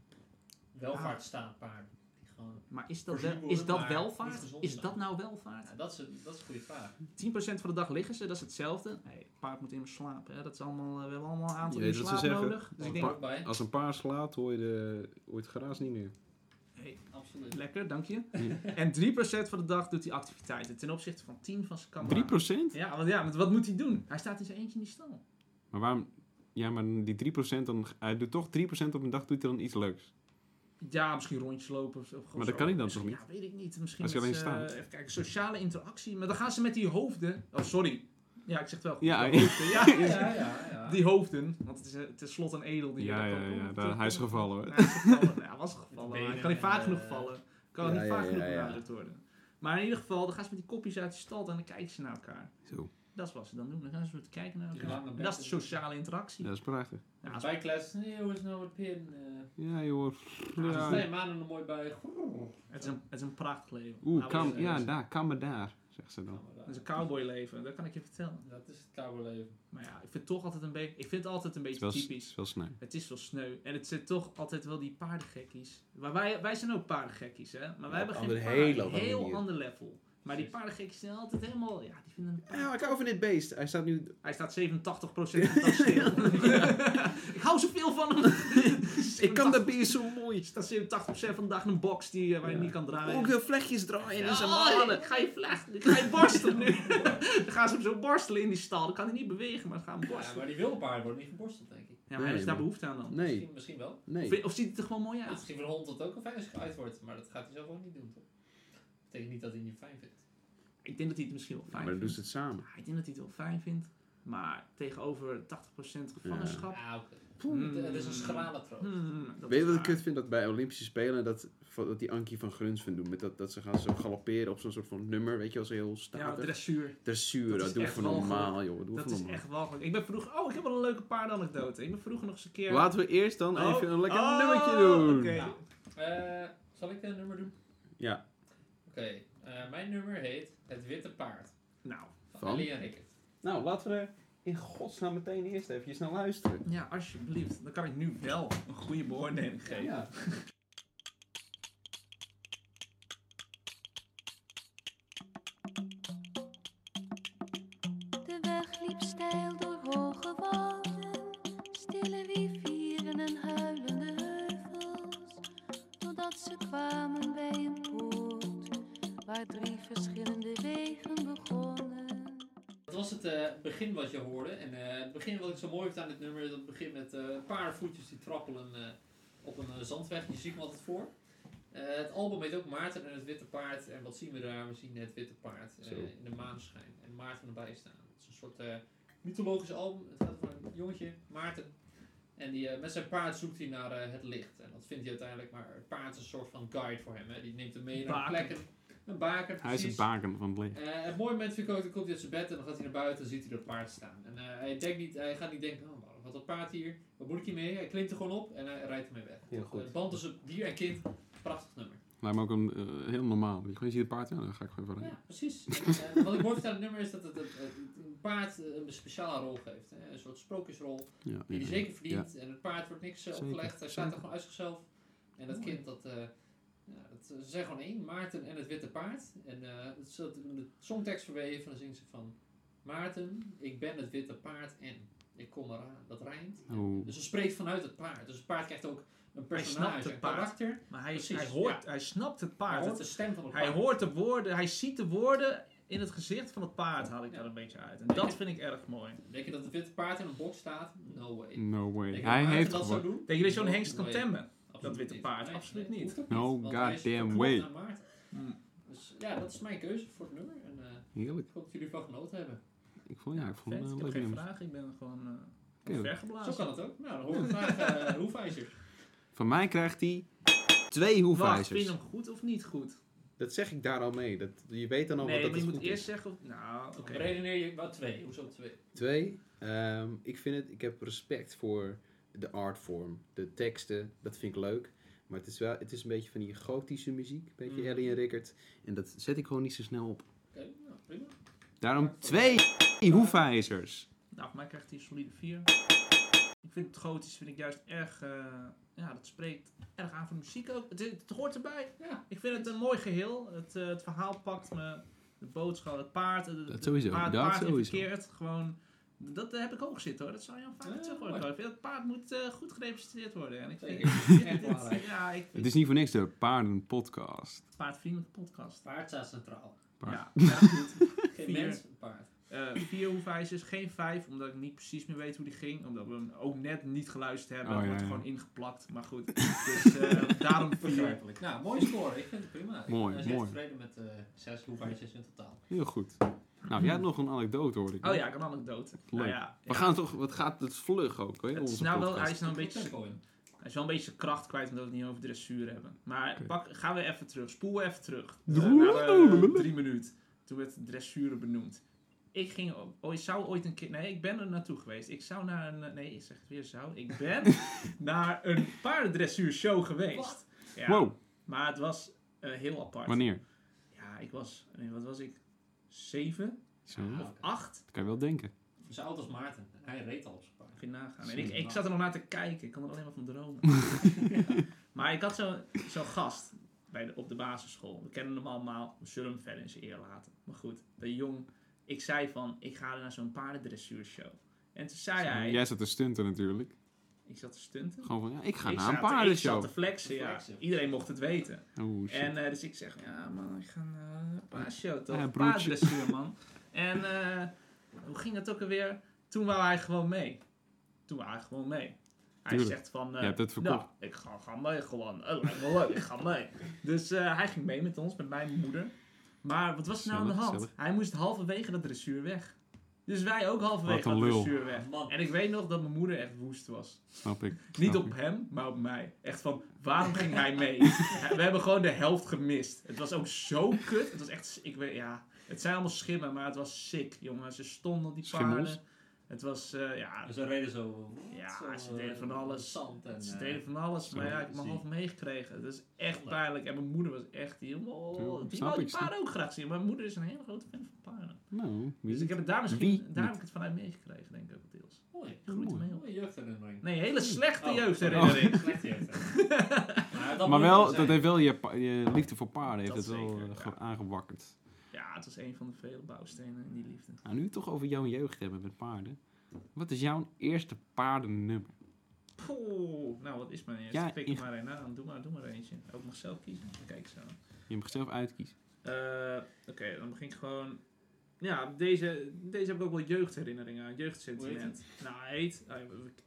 Speaker 3: welvaartsstaand paarden. Die gewoon...
Speaker 2: Maar is dat,
Speaker 3: Voorzien
Speaker 2: wel, is
Speaker 3: worden,
Speaker 2: dat
Speaker 3: maar niet
Speaker 2: welvaart?
Speaker 3: gezond
Speaker 2: Is
Speaker 3: zijn.
Speaker 2: dat nou welvaart? 10%
Speaker 3: Ja, dat, is een, dat is een goede vraag.
Speaker 2: Dus van de dag liggen ze, dat is hetzelfde. Nee, het paard moet immers slapen. Hè? Dat is allemaal, eh, we hebben allemaal een aantal
Speaker 1: Je
Speaker 2: uur
Speaker 1: weet wat ze
Speaker 2: slaap
Speaker 1: zeggen.
Speaker 2: nodig. Dus ik denk,
Speaker 3: Ook bij.
Speaker 1: Als een paar slaat, hoor je, de, hoor je het geraas niet meer.
Speaker 3: Absoluut.
Speaker 2: Lekker, dank je. En 3% van de dag doet hij activiteiten ten opzichte van 10 van zijn kameraden.
Speaker 1: 3%?
Speaker 2: Ja, want ja, want wat moet hij doen? Hij staat in zijn eentje in die stal.
Speaker 1: Maar waarom... Ja, maar die 3% dan... Hij doet toch 3% op een dag doet hij dan iets leuks.
Speaker 2: Ja, misschien rondjes lopen. Of, of gewoon
Speaker 1: Maar dat
Speaker 2: zo.
Speaker 1: kan ik dan
Speaker 2: Misschien-
Speaker 1: toch
Speaker 2: Ja, weet ik niet. Misschien
Speaker 1: Als je
Speaker 2: met,
Speaker 1: alleen
Speaker 2: eh,
Speaker 1: staat.
Speaker 2: even kijken, sociale interactie. Maar dan gaan ze met die hoofden... Oh, sorry. Ja, ik zeg het wel goed.
Speaker 1: Ja,
Speaker 2: Die hoofden, ja,
Speaker 3: Ja, ja, ja.
Speaker 2: Die hoofden. Want het is eh, tenslotte een edel die...
Speaker 1: Ja,
Speaker 2: daar
Speaker 1: ja,
Speaker 2: kan
Speaker 1: ja.
Speaker 2: komen.
Speaker 1: Daar, hij is gevallen hoor.
Speaker 2: Hij is gevallen. Ja, hij was gevallen.
Speaker 3: Benen
Speaker 2: Hij kan niet vaak
Speaker 3: en,
Speaker 2: genoeg
Speaker 3: eh,
Speaker 2: vallen. Kan
Speaker 1: ja,
Speaker 2: niet
Speaker 1: ja,
Speaker 2: vaak
Speaker 1: ja,
Speaker 2: genoeg
Speaker 1: ja.
Speaker 2: benadrukt worden. Maar in ieder geval, dan gaan ze met die kopjes uit de stad en dan kijken ze naar elkaar.
Speaker 1: Zo.
Speaker 2: Dat is wat ze dan doen. Dan gaan ze te kijken naar
Speaker 3: Die
Speaker 2: elkaar.
Speaker 3: lange
Speaker 2: En dat is de
Speaker 3: bekken.
Speaker 2: sociale interactie.
Speaker 1: Dat is prachtig.
Speaker 2: Ja, als-
Speaker 3: Bijkles, nee, hoe is nou een pin? eh Dus
Speaker 1: Ja, joh.
Speaker 3: Nee,
Speaker 1: Ja.
Speaker 3: maanden er mooi bij. Groen.
Speaker 2: het, is een, het is een prachtig leven.
Speaker 1: Oeh,
Speaker 2: Nou,
Speaker 1: kam,
Speaker 2: eh,
Speaker 1: ja, daar. Kan me daar. zegt ze dan.
Speaker 2: Dat is een cowboyleven, dat kan ik je vertellen.
Speaker 3: Dat is het cowboyleven.
Speaker 2: Maar ja, ik vind het toch altijd een beetje, ik vind het altijd een
Speaker 1: Het is
Speaker 2: beetje
Speaker 1: wel, s- het
Speaker 2: typisch.
Speaker 1: is wel sneu.
Speaker 2: Het is wel sneu. En het zit toch altijd wel die paardengekkies. Maar wij, wij zijn ook paardengekkies, hè? Maar wij
Speaker 5: Ja,
Speaker 2: hebben
Speaker 5: op
Speaker 2: geen
Speaker 5: andere-
Speaker 2: paard.
Speaker 5: hele
Speaker 2: Heel,
Speaker 5: andere manier.
Speaker 2: ander level. Maar die paardengekkies zijn altijd helemaal... Ja, die vinden een paard-
Speaker 5: Ja, ik hou van dit beest. Hij staat nu...
Speaker 2: Hij staat 87% van de stil. ik hou zoveel van hem.
Speaker 5: Ik kan dat beest zo mooi.
Speaker 2: Er staat 87% van de dag in een box die, eh, waar je
Speaker 5: Ja.
Speaker 2: niet kan draaien.
Speaker 5: Ook de vlechtjes draaien
Speaker 2: Ja,
Speaker 5: en zijn
Speaker 2: oh,
Speaker 5: manen.
Speaker 2: ik ga je vlechten, ik ga je borstelen nu. dan gaan ze hem zo borstelen in die stal. Dan kan hij niet bewegen, maar ze gaan hem
Speaker 3: Ja,
Speaker 2: borstelen.
Speaker 3: maar die wilpaarden worden niet geborsteld, denk ik.
Speaker 2: Ja, maar
Speaker 5: Nee,
Speaker 2: is daar
Speaker 5: maar-
Speaker 2: behoefte aan dan?
Speaker 5: Nee,
Speaker 3: Misschien, misschien wel.
Speaker 5: nee.
Speaker 2: Of, of ziet het er gewoon mooi
Speaker 3: Ja,
Speaker 2: uit?
Speaker 3: misschien voor een hond dat ook een fijne geuit wordt, maar dat gaat hij zelf ook niet doen, toch? Dat betekent niet dat hij het niet fijn vindt.
Speaker 2: Ik denk dat hij het misschien wel fijn
Speaker 5: Maar dan doen
Speaker 2: vindt.
Speaker 5: ze het samen.
Speaker 2: Ja, ik denk dat hij het wel fijn vindt. Maar tegenover 80% gevangenschap...
Speaker 3: Ja, Mm. oké.
Speaker 2: Hmm.
Speaker 3: Het
Speaker 5: Mm.
Speaker 3: is een schrale troon.
Speaker 2: hmm, dat
Speaker 5: Weet je
Speaker 2: is
Speaker 5: wat ik
Speaker 2: waar.
Speaker 5: kut vind? Dat bij Olympische Spelen dat, dat die Ankie van Grunsven doen. Met dat, dat ze gaan zo galopperen op zo'n soort van nummer. Weet je, als heel
Speaker 2: Ja,
Speaker 5: statig.
Speaker 2: dressuur.
Speaker 5: Dressuur,
Speaker 2: Dat
Speaker 5: dat,
Speaker 2: is
Speaker 5: doe
Speaker 2: echt
Speaker 5: voor
Speaker 2: walgelijk.
Speaker 5: normaal, joh. Doe
Speaker 2: Dat
Speaker 5: voor
Speaker 2: is
Speaker 5: normaal.
Speaker 2: echt walgelijk. Ik ben vroeger... Oh, ik heb wel een leuke paardenanekdote. Ik ben vroeger nog eens een keer...
Speaker 1: Laten we eerst dan
Speaker 2: Oh.
Speaker 1: even een lekker
Speaker 2: Oh,
Speaker 1: nummertje doen.
Speaker 2: oké.
Speaker 3: Nou, eh, zal ik een nummer doen?
Speaker 5: Ja.
Speaker 3: Oké, eh, mijn nummer heet Het Witte Paard.
Speaker 2: Nou,
Speaker 3: Van,
Speaker 5: Van?
Speaker 3: Elia Rickert.
Speaker 5: Nou, laten we er in godsnaam meteen eerst even snel luisteren.
Speaker 2: ja, alsjeblieft. Dan kan ik nu wel een goede beoordeling geven.
Speaker 5: Ja.
Speaker 6: De weg liep steil door hoge wouden, stille rivieren en huilende heuvels. Totdat ze kwamen bij een poort, waar drie verschillende wegen begonnen.
Speaker 3: Dat was het eh, begin wat je hoorde. En eh, het begin wat ik zo mooi vind aan dit nummer is dat het begin met eh, een paar voetjes die trappelen eh, op een eh, zandweg. Je ziet me altijd voor. Eh, het album heet ook Maarten en het Witte Paard. En wat zien we daar? We zien het Witte Paard eh,
Speaker 5: Zo.
Speaker 3: in de maanschijn. En Maarten erbij staan. Het is een soort eh, mythologisch album. Het gaat over een jongetje, Maarten. En die, eh, met zijn paard zoekt hij naar eh, het licht. En dat vindt hij uiteindelijk. Maar het paard is een soort van guide voor hem. Hè. Die neemt hem mee naar
Speaker 2: Baken.
Speaker 3: plekken. Een baken,
Speaker 1: Hij is
Speaker 3: precies.
Speaker 1: het baken van het leven.
Speaker 3: Eh, het mooie moment vind ik ook, dan komt hij uit zijn bed en dan gaat hij naar buiten en ziet hij dat paard staan. En eh, hij, denkt niet, hij gaat niet denken, oh, waarom had dat paard hier? Wat moet ik hiermee? Hij klimt er gewoon op en hij rijdt ermee weg.
Speaker 5: Heel goed.
Speaker 3: Het band tussen dier en kind, prachtig nummer.
Speaker 1: Lijkt me ook een, eh, heel normaal. Je gewoon ziet het paard aan, dan ga ik gewoon even rijden.
Speaker 3: Ja, precies. En, eh, wat ik mooi vind aan het nummer is dat het, het, het- een paard eh, een speciale rol geeft. Hè? Een soort sprookjesrol,
Speaker 1: Ja,
Speaker 3: die hij
Speaker 1: ja.
Speaker 3: zeker verdient. En het paard wordt niks eh,
Speaker 1: Zeker,
Speaker 3: opgelegd, hij staat er
Speaker 1: zeker.
Speaker 3: gewoon uit zichzelf. En dat kind, dat, eh, ja, dat, eh, ze zijn gewoon één, Maarten en het witte paard. En eh het is dat- de songtekst verweven, dan zingen ze van... Maarten, ik ben het witte paard en ik kom eraan. Dat rijmt.
Speaker 1: Oh.
Speaker 3: Dus ze spreekt vanuit het paard. Dus het paard krijgt ook een
Speaker 2: snapt
Speaker 3: personage,
Speaker 2: het
Speaker 3: een
Speaker 2: paard.
Speaker 3: karakter.
Speaker 2: Maar hij,
Speaker 3: Precies,
Speaker 2: hij, hoort, hij snapt het paard.
Speaker 3: Hij hoort
Speaker 2: Het-
Speaker 3: de stem van het
Speaker 2: Hij
Speaker 3: paard.
Speaker 2: hoort de woorden, hij ziet de woorden in het gezicht van het paard, haal ik
Speaker 3: Ja.
Speaker 2: daar een beetje uit. En dat vind ik erg mooi.
Speaker 3: Denk je dat het witte paard in een box staat? No
Speaker 2: Dus
Speaker 3: way.
Speaker 1: No way.
Speaker 3: Denk je dat
Speaker 1: Hij
Speaker 3: Maarten
Speaker 1: heeft
Speaker 3: dat zou
Speaker 1: gewoon...
Speaker 3: doen?
Speaker 2: Denk je dat zo'n
Speaker 3: No
Speaker 2: hengst kan
Speaker 3: way.
Speaker 2: temmen?
Speaker 3: Absoluut
Speaker 2: dat witte
Speaker 3: niet.
Speaker 2: paard?
Speaker 3: Nee,
Speaker 2: Absoluut
Speaker 3: nee,
Speaker 2: niet.
Speaker 3: hoeft ook
Speaker 1: No
Speaker 3: niet, want hij is
Speaker 1: goddamn
Speaker 3: verknocht
Speaker 1: way.
Speaker 3: aan Maarten.
Speaker 2: Hmm.
Speaker 3: Dus ja, dat is mijn keuze voor het nummer. En eh,
Speaker 1: Heerlijk.
Speaker 3: ik hoop dat jullie ervan genoten hebben.
Speaker 1: Ik vond, ja, ik vond
Speaker 2: Vet,
Speaker 1: het
Speaker 2: ik
Speaker 1: een
Speaker 2: heb
Speaker 1: leuk
Speaker 2: geen
Speaker 1: nummer.
Speaker 2: vraag, ik ben gewoon eh,
Speaker 1: Oké.
Speaker 2: vergeblazen.
Speaker 3: Zo kan het ook. Nou, dan hoor ik graag eh hoe
Speaker 1: Van mij krijgt hij twee
Speaker 2: Wacht, vind
Speaker 1: hoefijzers.
Speaker 2: je hem goed of niet goed?
Speaker 5: Dat zeg ik daar al mee. Dat, je weet dan al
Speaker 2: nee,
Speaker 5: wat
Speaker 2: maar
Speaker 5: dat het
Speaker 2: je moet
Speaker 5: goed
Speaker 2: eerst
Speaker 5: is.
Speaker 2: zeggen... Of, nou, oké.
Speaker 3: Redeneer je wel twee. Hoezo twee?
Speaker 5: Twee, ehm, ik vind het, ik heb respect voor de artvorm. De teksten, dat vind ik leuk. Maar het is wel, het is een beetje van die gotische muziek. Een beetje
Speaker 3: Mm.
Speaker 5: Ellie en Rickert. En dat zet ik gewoon niet zo snel op.
Speaker 3: Oké, nou prima.
Speaker 1: Daarom twee hoefijzers.
Speaker 2: Nou, voor mij krijgt hij een solide 4. Ik vind het gotisch, vind ik juist erg... eh, ja, dat spreekt erg aan voor de muziek ook. Het, het hoort erbij.
Speaker 3: Ja.
Speaker 2: Ik vind het een mooi geheel. Het, eh, het verhaal pakt me, de boodschap, het paard. Het,
Speaker 1: Dat
Speaker 2: het
Speaker 1: sowieso,
Speaker 2: Paard,
Speaker 1: dat
Speaker 2: paard in
Speaker 1: sowieso.
Speaker 2: verkeerd. Gewoon, dat eh, heb ik ook zitten hoor. Dat zou je al vaak
Speaker 3: Ja,
Speaker 2: terug
Speaker 3: mooi.
Speaker 2: horen. Ik vind het paard moet eh, goed gerepresenteerd worden. En ik vind
Speaker 3: Zeker.
Speaker 2: dit-
Speaker 3: Echt
Speaker 2: dit-
Speaker 3: belangrijk.
Speaker 2: ja, ik vind
Speaker 1: Het is niet voor niks de paardenpodcast.
Speaker 2: het paardvriendelijke podcast.
Speaker 3: Paard staat centraal.
Speaker 1: Paard.
Speaker 2: Ja, ja, goed.
Speaker 3: Geen
Speaker 2: Vier.
Speaker 3: mens, een paard.
Speaker 2: Eh, vier hoefijzers, geen vijf, omdat ik niet precies meer weet hoe die ging. Omdat we hem ook net niet geluisterd
Speaker 1: Oh,
Speaker 2: hebben. Het
Speaker 1: ja,
Speaker 2: wordt er
Speaker 1: ja.
Speaker 2: gewoon ingeplakt, maar goed. Dus eh, daarom vier.
Speaker 3: Begrijpelijk. Nou, mooie score. Ik vind het prima.
Speaker 1: Mooi,
Speaker 3: Ik ben
Speaker 1: mooi.
Speaker 3: tevreden met eh zes hoeveeltjes in totaal.
Speaker 1: Heel goed. Nou, jij had nog een anekdote hoor ik.
Speaker 2: Oh ja, ik kan anekdote. Nou
Speaker 1: Leuk.
Speaker 2: ja,
Speaker 1: We
Speaker 2: ja.
Speaker 1: gaan toch, wat gaat het vlug ook, hè,
Speaker 2: Het is
Speaker 1: onze
Speaker 2: nou wel,
Speaker 1: podcast.
Speaker 2: hij is nou een
Speaker 3: Ik
Speaker 2: beetje
Speaker 3: heb er
Speaker 2: Hij is wel een beetje zijn kracht kwijt omdat we het niet over dressuur hebben. Maar
Speaker 1: Oké.
Speaker 2: pak, gaan we even terug. Spoel we even terug.
Speaker 1: Doe-
Speaker 2: Eh, naar de, eh, drie minuten. Toen werd dressuren benoemd. Ik ging o- ooit, zou ooit een keer. Nee, ik ben er naartoe geweest. Ik zou naar een. eh, Nee, ik zeg het weer zou. Ik ben naar een paardendressuurshow geweest. Ja,
Speaker 1: Wow,
Speaker 2: Maar het was eh, heel apart.
Speaker 1: wanneer?
Speaker 2: Ja, ik was. nee, wat was ik? 7
Speaker 1: Zo,
Speaker 3: Ah,
Speaker 2: of
Speaker 3: oké.
Speaker 2: 8.
Speaker 1: dat kan je wel denken.
Speaker 3: Zo oud als Maarten. En hij reed al op zijn paard.
Speaker 2: Kun je nagaan. En
Speaker 3: Zeven,
Speaker 2: ik, ik
Speaker 3: acht.
Speaker 2: zat er nog naar te kijken. Ik kan er alleen maar van dromen. maar ik had zo- zo'n gast bij de, op de basisschool. We kennen hem allemaal. We zullen hem verder in zijn eer laten. Maar goed, de jong. Ik zei van, ik ga naar zo'n paardendressuurshow. En toen zei hij...
Speaker 1: Jij zat te stunten natuurlijk.
Speaker 2: Ik zat te stunten.
Speaker 1: Gewoon van, ja, ik ga
Speaker 2: ik
Speaker 1: naar een
Speaker 2: zat te- Ik
Speaker 1: paardenshow.
Speaker 2: zat te flexen, ja.
Speaker 3: Flexen.
Speaker 2: Iedereen mocht het weten.
Speaker 1: Oh, shit.
Speaker 2: En eh, dus ik zeg, ja man, ik ga naar een paardshow toch?
Speaker 1: Ja,
Speaker 2: Ja,
Speaker 1: broertje.
Speaker 2: man. En eh, hoe ging dat ook alweer? Toen wou hij gewoon mee. Toen wou hij gewoon mee. Hij
Speaker 1: Tuurlijk.
Speaker 2: zegt van, eh,
Speaker 1: Je hebt het
Speaker 2: nou,
Speaker 1: verkocht.
Speaker 2: ik ga, ga mee gewoon. Het lijkt me leuk, ik ga mee. Dus eh, hij ging mee met ons, met mijn moeder. Maar wat was er nou aan de
Speaker 1: Gezellig,
Speaker 2: hand? Hij moest halverwege dat dressuur weg. Dus wij ook
Speaker 1: Wat
Speaker 2: halverwege dat
Speaker 1: een lul.
Speaker 2: dressuur weg.
Speaker 3: Man.
Speaker 2: En ik weet nog dat mijn moeder echt woest was.
Speaker 1: Snap ik.
Speaker 2: eh, Niet
Speaker 1: Snap
Speaker 2: op
Speaker 1: ik.
Speaker 2: hem, maar op mij. Echt van, waarom ging hij mee? We hebben gewoon de helft gemist. Het was ook zo kut. Het was echt, ik weet, ja. Het zijn allemaal schimmen, maar het was sick, jongen. Ze stonden op die
Speaker 1: Schimmels?
Speaker 2: paarden. Het was, eh, ja,
Speaker 3: En ze reden zo.
Speaker 2: Ja,
Speaker 3: zo,
Speaker 2: ze deden
Speaker 3: eh,
Speaker 2: van alles.
Speaker 3: Zand en,
Speaker 2: ze
Speaker 3: eh,
Speaker 2: deden van alles. Maar
Speaker 1: zo
Speaker 2: ja, ik heb me
Speaker 3: zie.
Speaker 2: half meegekregen. Dat is echt
Speaker 3: Ja.
Speaker 2: pijnlijk. En mijn moeder was echt, die, oh, die
Speaker 1: snap
Speaker 2: wou
Speaker 1: ik,
Speaker 2: die
Speaker 1: snap
Speaker 2: paarden ook graag zien. Maar mijn moeder is een hele grote fan van paarden.
Speaker 1: Nou, wie
Speaker 2: Dus ik
Speaker 1: niet?
Speaker 2: heb het daar
Speaker 1: Wie
Speaker 2: misschien, daar heb
Speaker 1: niet?
Speaker 2: ik het vanuit meegekregen, denk ik ook deels.
Speaker 3: Mooi.
Speaker 2: Groeit
Speaker 1: Mooi.
Speaker 2: mee op.
Speaker 3: Mooie jeugdherinnering.
Speaker 2: Nee, hele slechte
Speaker 3: Oh,
Speaker 2: jeugdherinnering.
Speaker 3: sorry. Slechte jeugdherinnering. Maar, dat
Speaker 1: Maar
Speaker 3: moet
Speaker 1: wel,
Speaker 3: zijn.
Speaker 1: dat heeft wel je, pa- je liefde voor paarden heeft
Speaker 2: Dat
Speaker 1: het wel
Speaker 2: zeker,
Speaker 1: eh, ge-
Speaker 2: ja.
Speaker 1: aangewakkerd.
Speaker 2: Ja, het was een van de vele bouwstenen in die liefde.
Speaker 1: Nou, nu we het toch over jouw jeugd hebben met paarden. Wat is jouw eerste paardennummer?
Speaker 2: Poeh, nou wat is mijn eerste?
Speaker 1: Ja,
Speaker 2: Pik
Speaker 1: in-
Speaker 2: er maar een aan, doe maar, doe maar eentje. Ook mag zelf kiezen, kijk zo.
Speaker 1: Je mag zelf uitkiezen.
Speaker 2: Eh, Oké, dan begin ik gewoon... Ja, deze, deze heb ik ook wel jeugdherinneringen aan,
Speaker 3: Hoe heet
Speaker 2: jeugdsentiment. Nou, hij heet... ah,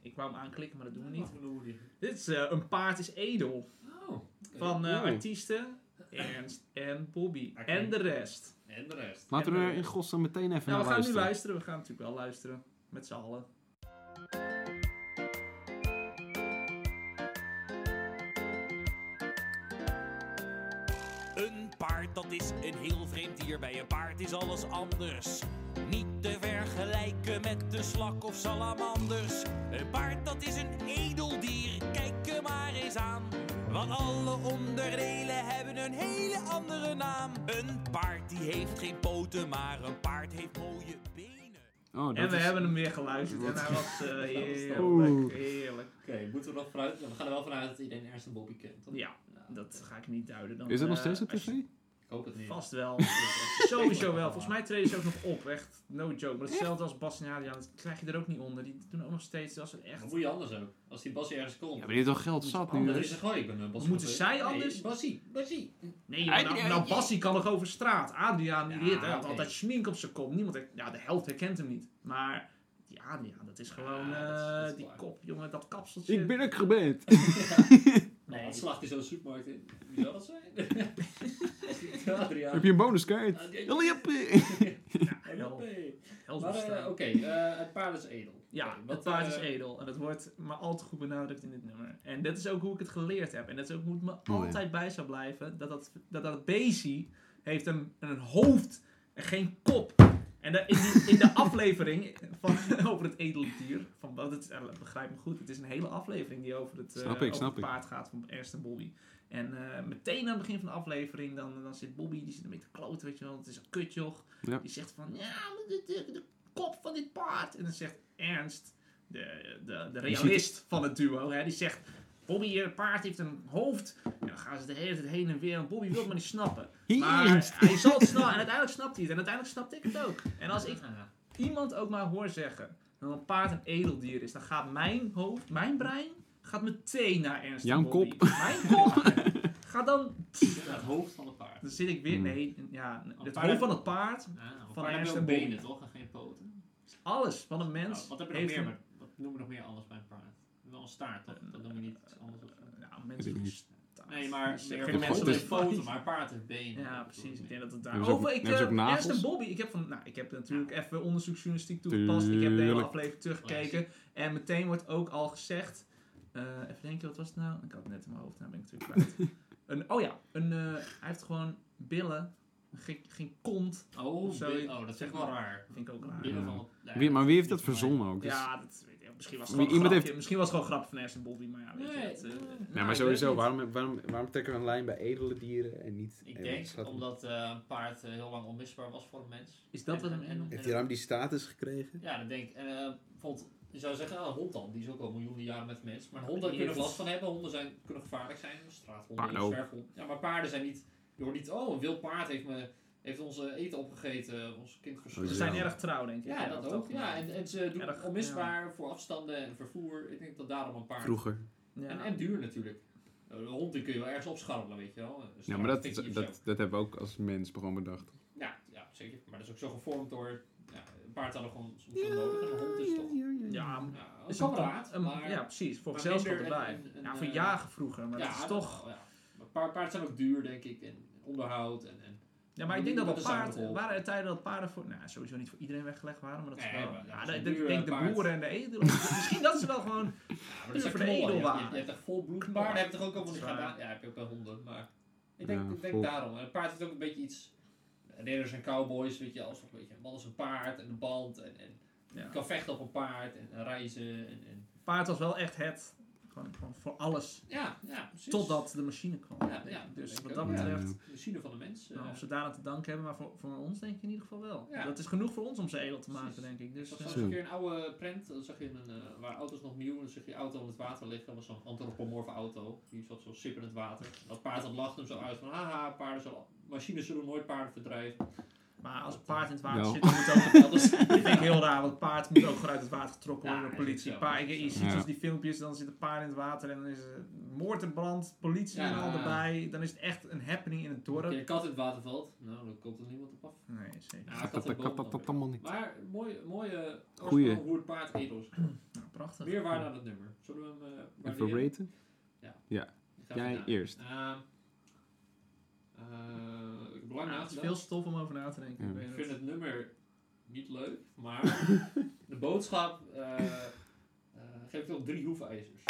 Speaker 2: ik wou hem aanklikken, maar dat doen we niet.
Speaker 3: Wat een oordeel.
Speaker 2: Dit is eh, Een paard is edel.
Speaker 3: Oh, oké.
Speaker 2: Van eh,
Speaker 1: Wow.
Speaker 2: artiesten Ernst en Bobby.
Speaker 3: Oké.
Speaker 2: En de rest.
Speaker 3: En de rest.
Speaker 1: Laten we
Speaker 2: En,
Speaker 1: er
Speaker 2: eh,
Speaker 1: in godsnaam meteen even
Speaker 2: Nou,
Speaker 1: naar
Speaker 2: we gaan nu
Speaker 1: luisteren.
Speaker 2: luisteren. We gaan natuurlijk wel luisteren. Met z'n allen.
Speaker 7: Een paard, dat is een heel vreemd dier. Bij een paard is alles anders. Niet te vergelijken met de slak of salamanders. Een paard, dat is een edeldier. Kijk er maar eens aan. Want alle onderdelen hebben een hele andere naam. Een paard, die heeft geen poten, maar een paard heeft mooie benen.
Speaker 1: Oh, dat
Speaker 2: En we
Speaker 1: is-
Speaker 2: hebben hem weer geluisterd. En hij was eh, heerlijk,
Speaker 1: Oeh.
Speaker 2: heerlijk.
Speaker 3: Oké, moeten we nog vooruit? We gaan er wel vanuit dat iedereen Ernst en Bobby kent. toch? Nou,
Speaker 2: Ja, dat ga ik niet duiden. Dan,
Speaker 1: Is dat nog
Speaker 2: eh,
Speaker 1: steeds op
Speaker 2: als
Speaker 1: tv?
Speaker 2: je-
Speaker 3: Ik hoop het niet.
Speaker 2: Vast wel. Sowieso wel. Volgens mij treden ze ook nog op. Echt, no joke. Maar hetzelfde als Bas en Adriaan. Dat krijg je er ook niet onder. Die doen ook nog steeds. Als het echt...
Speaker 3: Wat moet je anders ook? Als die Bassie ergens komt.
Speaker 1: Ja, maar dit is toch geld zat nu?
Speaker 3: dan is
Speaker 1: dus?
Speaker 3: het gewoon, ik ben een Bassie.
Speaker 2: Oh, Moeten
Speaker 3: van-
Speaker 2: zij
Speaker 3: Nee,
Speaker 2: anders?
Speaker 3: Bassie, Bassie.
Speaker 2: Nee, joh, nou, nou Bassie kan nog over straat. Adriaan, die
Speaker 3: Ja,
Speaker 2: dit, hè, had
Speaker 3: oké.
Speaker 2: altijd schmink op zijn kop. Niemand, her- ja, de helft herkent hem niet. Maar die Adriaan, dat is gewoon...
Speaker 3: Ja, dat is-
Speaker 2: eh,
Speaker 3: dat is
Speaker 2: die
Speaker 3: klaar.
Speaker 2: kop, jongen. Dat kapseltje.
Speaker 1: Ik ben ook gebed.
Speaker 3: Nee,
Speaker 2: Nee.
Speaker 3: Nou, dat slacht hij zo'n supermarkt in. Wie zou dat zijn? Als die- Adriaan.
Speaker 1: Heb je een bonuskaart? Jullie hebben-
Speaker 2: Ja, hel-
Speaker 3: Hel- Maar eh,
Speaker 2: helsbestaan.
Speaker 3: oké, eh, het paard is edel.
Speaker 2: Ja,
Speaker 3: Oké, wat,
Speaker 2: het paard is
Speaker 3: eh,
Speaker 2: edel. En dat wordt maar al te goed benadrukt in dit nummer. En dat is ook hoe ik het geleerd heb. En dat is ook hoe het me
Speaker 1: ja.
Speaker 2: altijd bij zou blijven. Dat dat, dat, dat beestje heeft een, een hoofd en geen kop. En dat- in, die- in de aflevering van, over het edeldier, van, dat is, eh, begrijp me goed, het is een hele aflevering die over het, eh,
Speaker 1: Snap ik,
Speaker 2: over
Speaker 1: snap
Speaker 2: het
Speaker 1: ik.
Speaker 2: paard gaat van Ernst en Bobby. En eh, meteen aan het begin van de aflevering, dan, dan zit Bobby, die zit een beetje te kloten, weet je wel. Het is een kutjoch.
Speaker 1: Ja.
Speaker 2: Die zegt van, ja, maar de, de, de kop van dit paard. En dan zegt Ernst, de, de, de realist van het duo, hè, die zegt... Bobby, je paard heeft een hoofd. En dan gaan ze de hele tijd heen en weer. En Bobby wil het maar niet snappen. Maar
Speaker 1: Ernst.
Speaker 2: hij zal het snappen. En uiteindelijk snapt hij het. En uiteindelijk snapte ik het ook. En als ik
Speaker 3: ah,
Speaker 2: iemand ook maar hoor zeggen dat een paard een edeldier is, dan gaat mijn hoofd, mijn brein, gaat meteen naar Ernst. en
Speaker 1: Jouw
Speaker 2: Bobby.
Speaker 1: kop.
Speaker 2: Mijn kop. Gaat dan...
Speaker 3: het hoofd van het paard.
Speaker 2: Dan zit ik
Speaker 1: Hmm.
Speaker 2: weer... Nee, ja, het
Speaker 3: paard-
Speaker 2: hoofd van het paard.
Speaker 3: Ah,
Speaker 2: Van
Speaker 3: van paard
Speaker 2: Ernst
Speaker 3: heeft
Speaker 2: en
Speaker 3: ook
Speaker 2: Bobby.
Speaker 3: benen toch en geen poten?
Speaker 2: Alles van een mens.
Speaker 3: Nou, wat heb je nog
Speaker 2: heeft
Speaker 3: meer?
Speaker 2: een-
Speaker 3: Met, wat noemen we nog meer anders bij een paard? Wel een staart toch? Dat noemen we niet iets anders. of zo.
Speaker 2: Ja,
Speaker 1: Weet ik
Speaker 2: mensen
Speaker 1: niet.
Speaker 2: staart.
Speaker 3: Nee, maar
Speaker 2: Die
Speaker 3: meer
Speaker 2: zeggen
Speaker 3: voor
Speaker 1: geen
Speaker 3: mensen
Speaker 1: poten.
Speaker 3: met poten, maar een paard heeft benen.
Speaker 2: Ja, precies. Ik denk dat het daar...
Speaker 1: Hebben ze ook-
Speaker 2: Over, ik,
Speaker 1: hebben ze ook
Speaker 2: eh,
Speaker 1: nagels?
Speaker 2: Ernst en Bobby, ik heb, van, nou, ik heb natuurlijk even onderzoeksjournalistiek toegepast. Ik heb de hele
Speaker 1: Tuurlijk.
Speaker 2: aflevering teruggekeken. En meteen wordt ook al gezegd... eh, even denken, wat was het nou? Ik had het net in mijn hoofd, nou ben ik natuurlijk kwijt. een, oh ja, een, eh, hij heeft gewoon billen Geen, geen kont.
Speaker 3: Oh,
Speaker 2: Of zo.
Speaker 3: bi- oh, dat vind ik wel raar.
Speaker 2: Vind ik ook raar.
Speaker 3: Binnen
Speaker 1: Ja.
Speaker 3: van- nou ja,
Speaker 1: Wie, maar wie heeft dat
Speaker 3: niet voor mij.
Speaker 1: verzonnen ook? Dus-
Speaker 2: eh, Ja, dat, weet ik, misschien was
Speaker 1: Wie-
Speaker 2: het gewoon een
Speaker 1: iemand
Speaker 2: grapje.
Speaker 1: heeft-
Speaker 2: Misschien was het gewoon een grap van Ernst en Bobby, maar ja, weet je, dat, eh,
Speaker 3: Nee,
Speaker 1: Nee, maar
Speaker 3: ik weet
Speaker 1: sowieso,
Speaker 3: het niet.
Speaker 1: waarom, waarom, waarom trekken we een lijn bij edele dieren en niet...
Speaker 3: Ik
Speaker 5: Eh,
Speaker 3: denk
Speaker 5: schat-
Speaker 3: omdat eh, een paard eh, heel lang onmisbaar was voor een mens.
Speaker 2: is dat
Speaker 3: En-
Speaker 2: wat hem...
Speaker 3: en- en-
Speaker 5: Heeft hij daarom die status gekregen?
Speaker 3: Ja, dat denk ik. En eh, bijvoorbeeld, je zou zeggen, ah, een hond dan, die is ook al miljoenen jaren met mens. Maar honden
Speaker 2: Die
Speaker 3: kunnen er
Speaker 2: heeft-
Speaker 3: last van hebben, honden zijn, kunnen gevaarlijk zijn. Straathonden,
Speaker 1: Paarden ook.
Speaker 3: zwerfhonden. Ja, maar paarden zijn niet, je hoort niet, oh, een wild paard heeft, me, heeft ons eh, eten opgegeten, ons kind
Speaker 1: Oh,
Speaker 2: Ze
Speaker 3: verscheurd.
Speaker 1: zo.
Speaker 2: zijn erg trouw, denk ik.
Speaker 3: Ja, dat ook. Ja, en, en ze doen
Speaker 2: Erg,
Speaker 3: onmisbaar voor afstanden en vervoer. Ik denk dat daarom een paard.
Speaker 5: Vroeger.
Speaker 2: Ja.
Speaker 3: En, en duur natuurlijk. Eh, Een hond die kun je wel ergens opscharrelen, weet je wel. Een
Speaker 1: Ja, maar dat,
Speaker 3: straatfikkie of zo.
Speaker 1: dat, dat hebben we ook als mens gewoon bedacht.
Speaker 3: Ja, ja, zeker. Maar dat is ook zo gevormd door. Ja, een paard hadden gewoon soms wel nodig en een hond is toch.
Speaker 2: ja, maar-
Speaker 3: Ja, een
Speaker 2: is een-
Speaker 3: kameraad,
Speaker 2: een-
Speaker 3: maar.
Speaker 2: Ja, precies. Voor
Speaker 3: maar
Speaker 2: gezelschap
Speaker 3: minder
Speaker 2: erbij.
Speaker 3: een- een- een,
Speaker 2: ja, voor
Speaker 3: eh,
Speaker 2: jagen vroeger, maar
Speaker 3: ja,
Speaker 2: dat is toch...
Speaker 3: wel, Ja. Maar paar, paarden zijn ook duur, denk ik. En onderhoud. En, en,
Speaker 2: Ja, maar ik denk dat
Speaker 3: Dat
Speaker 2: dat
Speaker 3: is een
Speaker 2: paarden...
Speaker 3: rol.
Speaker 2: Waren er tijden dat paarden voor... Nou, sowieso niet voor iedereen weggelegd waren, maar dat is
Speaker 3: Nee,
Speaker 2: wel...
Speaker 3: maar dat
Speaker 2: Ja,
Speaker 3: is een
Speaker 2: dat- dat- ik
Speaker 3: duur,
Speaker 2: denk
Speaker 3: eh,
Speaker 2: de
Speaker 3: paard.
Speaker 2: boeren en de edelen. Misschien dat ze wel gewoon...
Speaker 3: ja, maar
Speaker 2: Puur
Speaker 3: dat zijn
Speaker 2: voor de
Speaker 3: knollen. Je, hebt- je,
Speaker 2: edelwaarde.
Speaker 3: je hebt echt vol
Speaker 2: Knollen.
Speaker 3: bloedpaarden. Heb je toch ook al van die
Speaker 2: Dat is waar.
Speaker 3: gedaan? Ja, heb je ook bij honden. Maar ik denk,
Speaker 1: Ja,
Speaker 3: ik denk
Speaker 1: vol.
Speaker 3: daarom. En een paard is ook een beetje iets. Ridders en cowboys, weet je, als een beetje. Een man is een paard en een band. En, en
Speaker 2: Ja.
Speaker 3: je kan vechten op een paard en, en reizen. En, en,
Speaker 2: Paard was wel echt het... Gewoon, gewoon voor alles.
Speaker 3: ja, ja, precies.
Speaker 2: Totdat de machine kwam.
Speaker 3: Ja,
Speaker 2: denk ik.
Speaker 3: ja,
Speaker 2: dus
Speaker 3: denk ik
Speaker 2: wat dat
Speaker 3: ook,
Speaker 1: ja.
Speaker 2: betreft...
Speaker 3: De machine van de mens. eh,
Speaker 2: Nou, of ze daar aan te danken hebben, maar voor, voor ons denk ik in ieder geval wel.
Speaker 3: Ja.
Speaker 2: Dat is genoeg voor ons om ze edel te maken,
Speaker 3: Precies.
Speaker 2: denk ik. Dus,
Speaker 3: Dat
Speaker 2: eh,
Speaker 3: was
Speaker 1: Zo.
Speaker 3: een keer een oude print, dan zag je een, eh, waar auto's nog nieuw, dan zag je auto in het water liggen. Dat was zo'n antropomorfe auto, die zat zo sip in het water. En dat paard dat lachte hem zo uit van, haha, paarden zullen, machines zullen nooit paarden verdrijven.
Speaker 2: maar als een paard in het water
Speaker 1: Ja.
Speaker 2: zit, dan moet ook dat is, dat vind ik heel raar, want paard moet ook gewoon uit het water getrokken worden
Speaker 3: Ja,
Speaker 2: door
Speaker 3: is
Speaker 2: politie.
Speaker 3: ook zo,
Speaker 2: Paard,
Speaker 3: is
Speaker 2: je,
Speaker 3: ook
Speaker 2: je
Speaker 3: zo.
Speaker 2: ziet
Speaker 1: Ja.
Speaker 2: dus die filmpjes, dan zit een paard in het water en dan is er moord en brand, politie
Speaker 3: Ja.
Speaker 2: en al erbij. Dan is het echt een happening in het
Speaker 3: Als
Speaker 2: dorp.
Speaker 3: je een kat in het water valt, nou, dan komt er niemand op af.
Speaker 2: Nee, zeker.
Speaker 3: Ja,
Speaker 1: Dat,
Speaker 3: kat en
Speaker 1: dat,
Speaker 3: boom
Speaker 1: dat,
Speaker 3: dan
Speaker 1: dat, dat
Speaker 3: weer.
Speaker 1: allemaal niet.
Speaker 3: Maar mooie, mooie
Speaker 1: Goeie.
Speaker 3: oorsprong hoe het paard edels.
Speaker 2: Nou, prachtig.
Speaker 3: Meer waarde aan het nummer. Zullen we hem eh
Speaker 1: Even
Speaker 3: waarderen?
Speaker 1: raten?
Speaker 3: Ik ga
Speaker 1: Jij
Speaker 3: even na-
Speaker 1: eerst.
Speaker 3: Ehm, eh, ik
Speaker 2: Ja, het
Speaker 3: heb lang
Speaker 2: is
Speaker 3: nagedacht.
Speaker 2: Ah, veel stof om over na te denken.
Speaker 1: Ja.
Speaker 2: ik weet
Speaker 3: Ik
Speaker 2: het.
Speaker 3: vind het nummer niet leuk, maar de boodschap eh, eh, geef ik toch drie hoefijzers.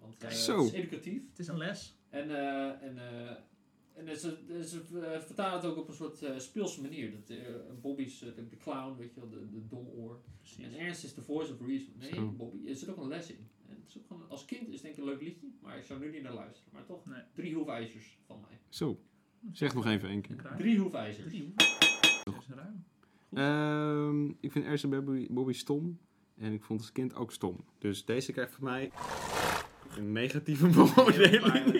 Speaker 3: Want eh,
Speaker 1: Zo.
Speaker 3: het is educatief.
Speaker 2: Het is een les.
Speaker 3: En, eh, en, eh, en ze, ze eh, vertalen het ook op een soort eh, speelse manier. Dat, eh, Bobby is eh, de, de clown, weet je wel, de, de domoor. En Ernst is de voice of reason. Nee,
Speaker 1: Zo.
Speaker 3: Bobby, er zit ook een les in. En het is ook gewoon, als kind is het denk ik een leuk liedje, maar ik zou nu niet naar luisteren. Maar toch,
Speaker 2: Nee.
Speaker 3: drie hoefijzers van mij.
Speaker 1: Zo. Zeg nog even één keer.
Speaker 2: Drie.
Speaker 3: Drie hoefijzers.
Speaker 2: Drie. Dat is ruim.
Speaker 1: Ehm, ik vind Ernst en Bobby, Bobby stom. En ik vond het kind ook stom. Dus deze krijgt van mij een negatieve beoordeling.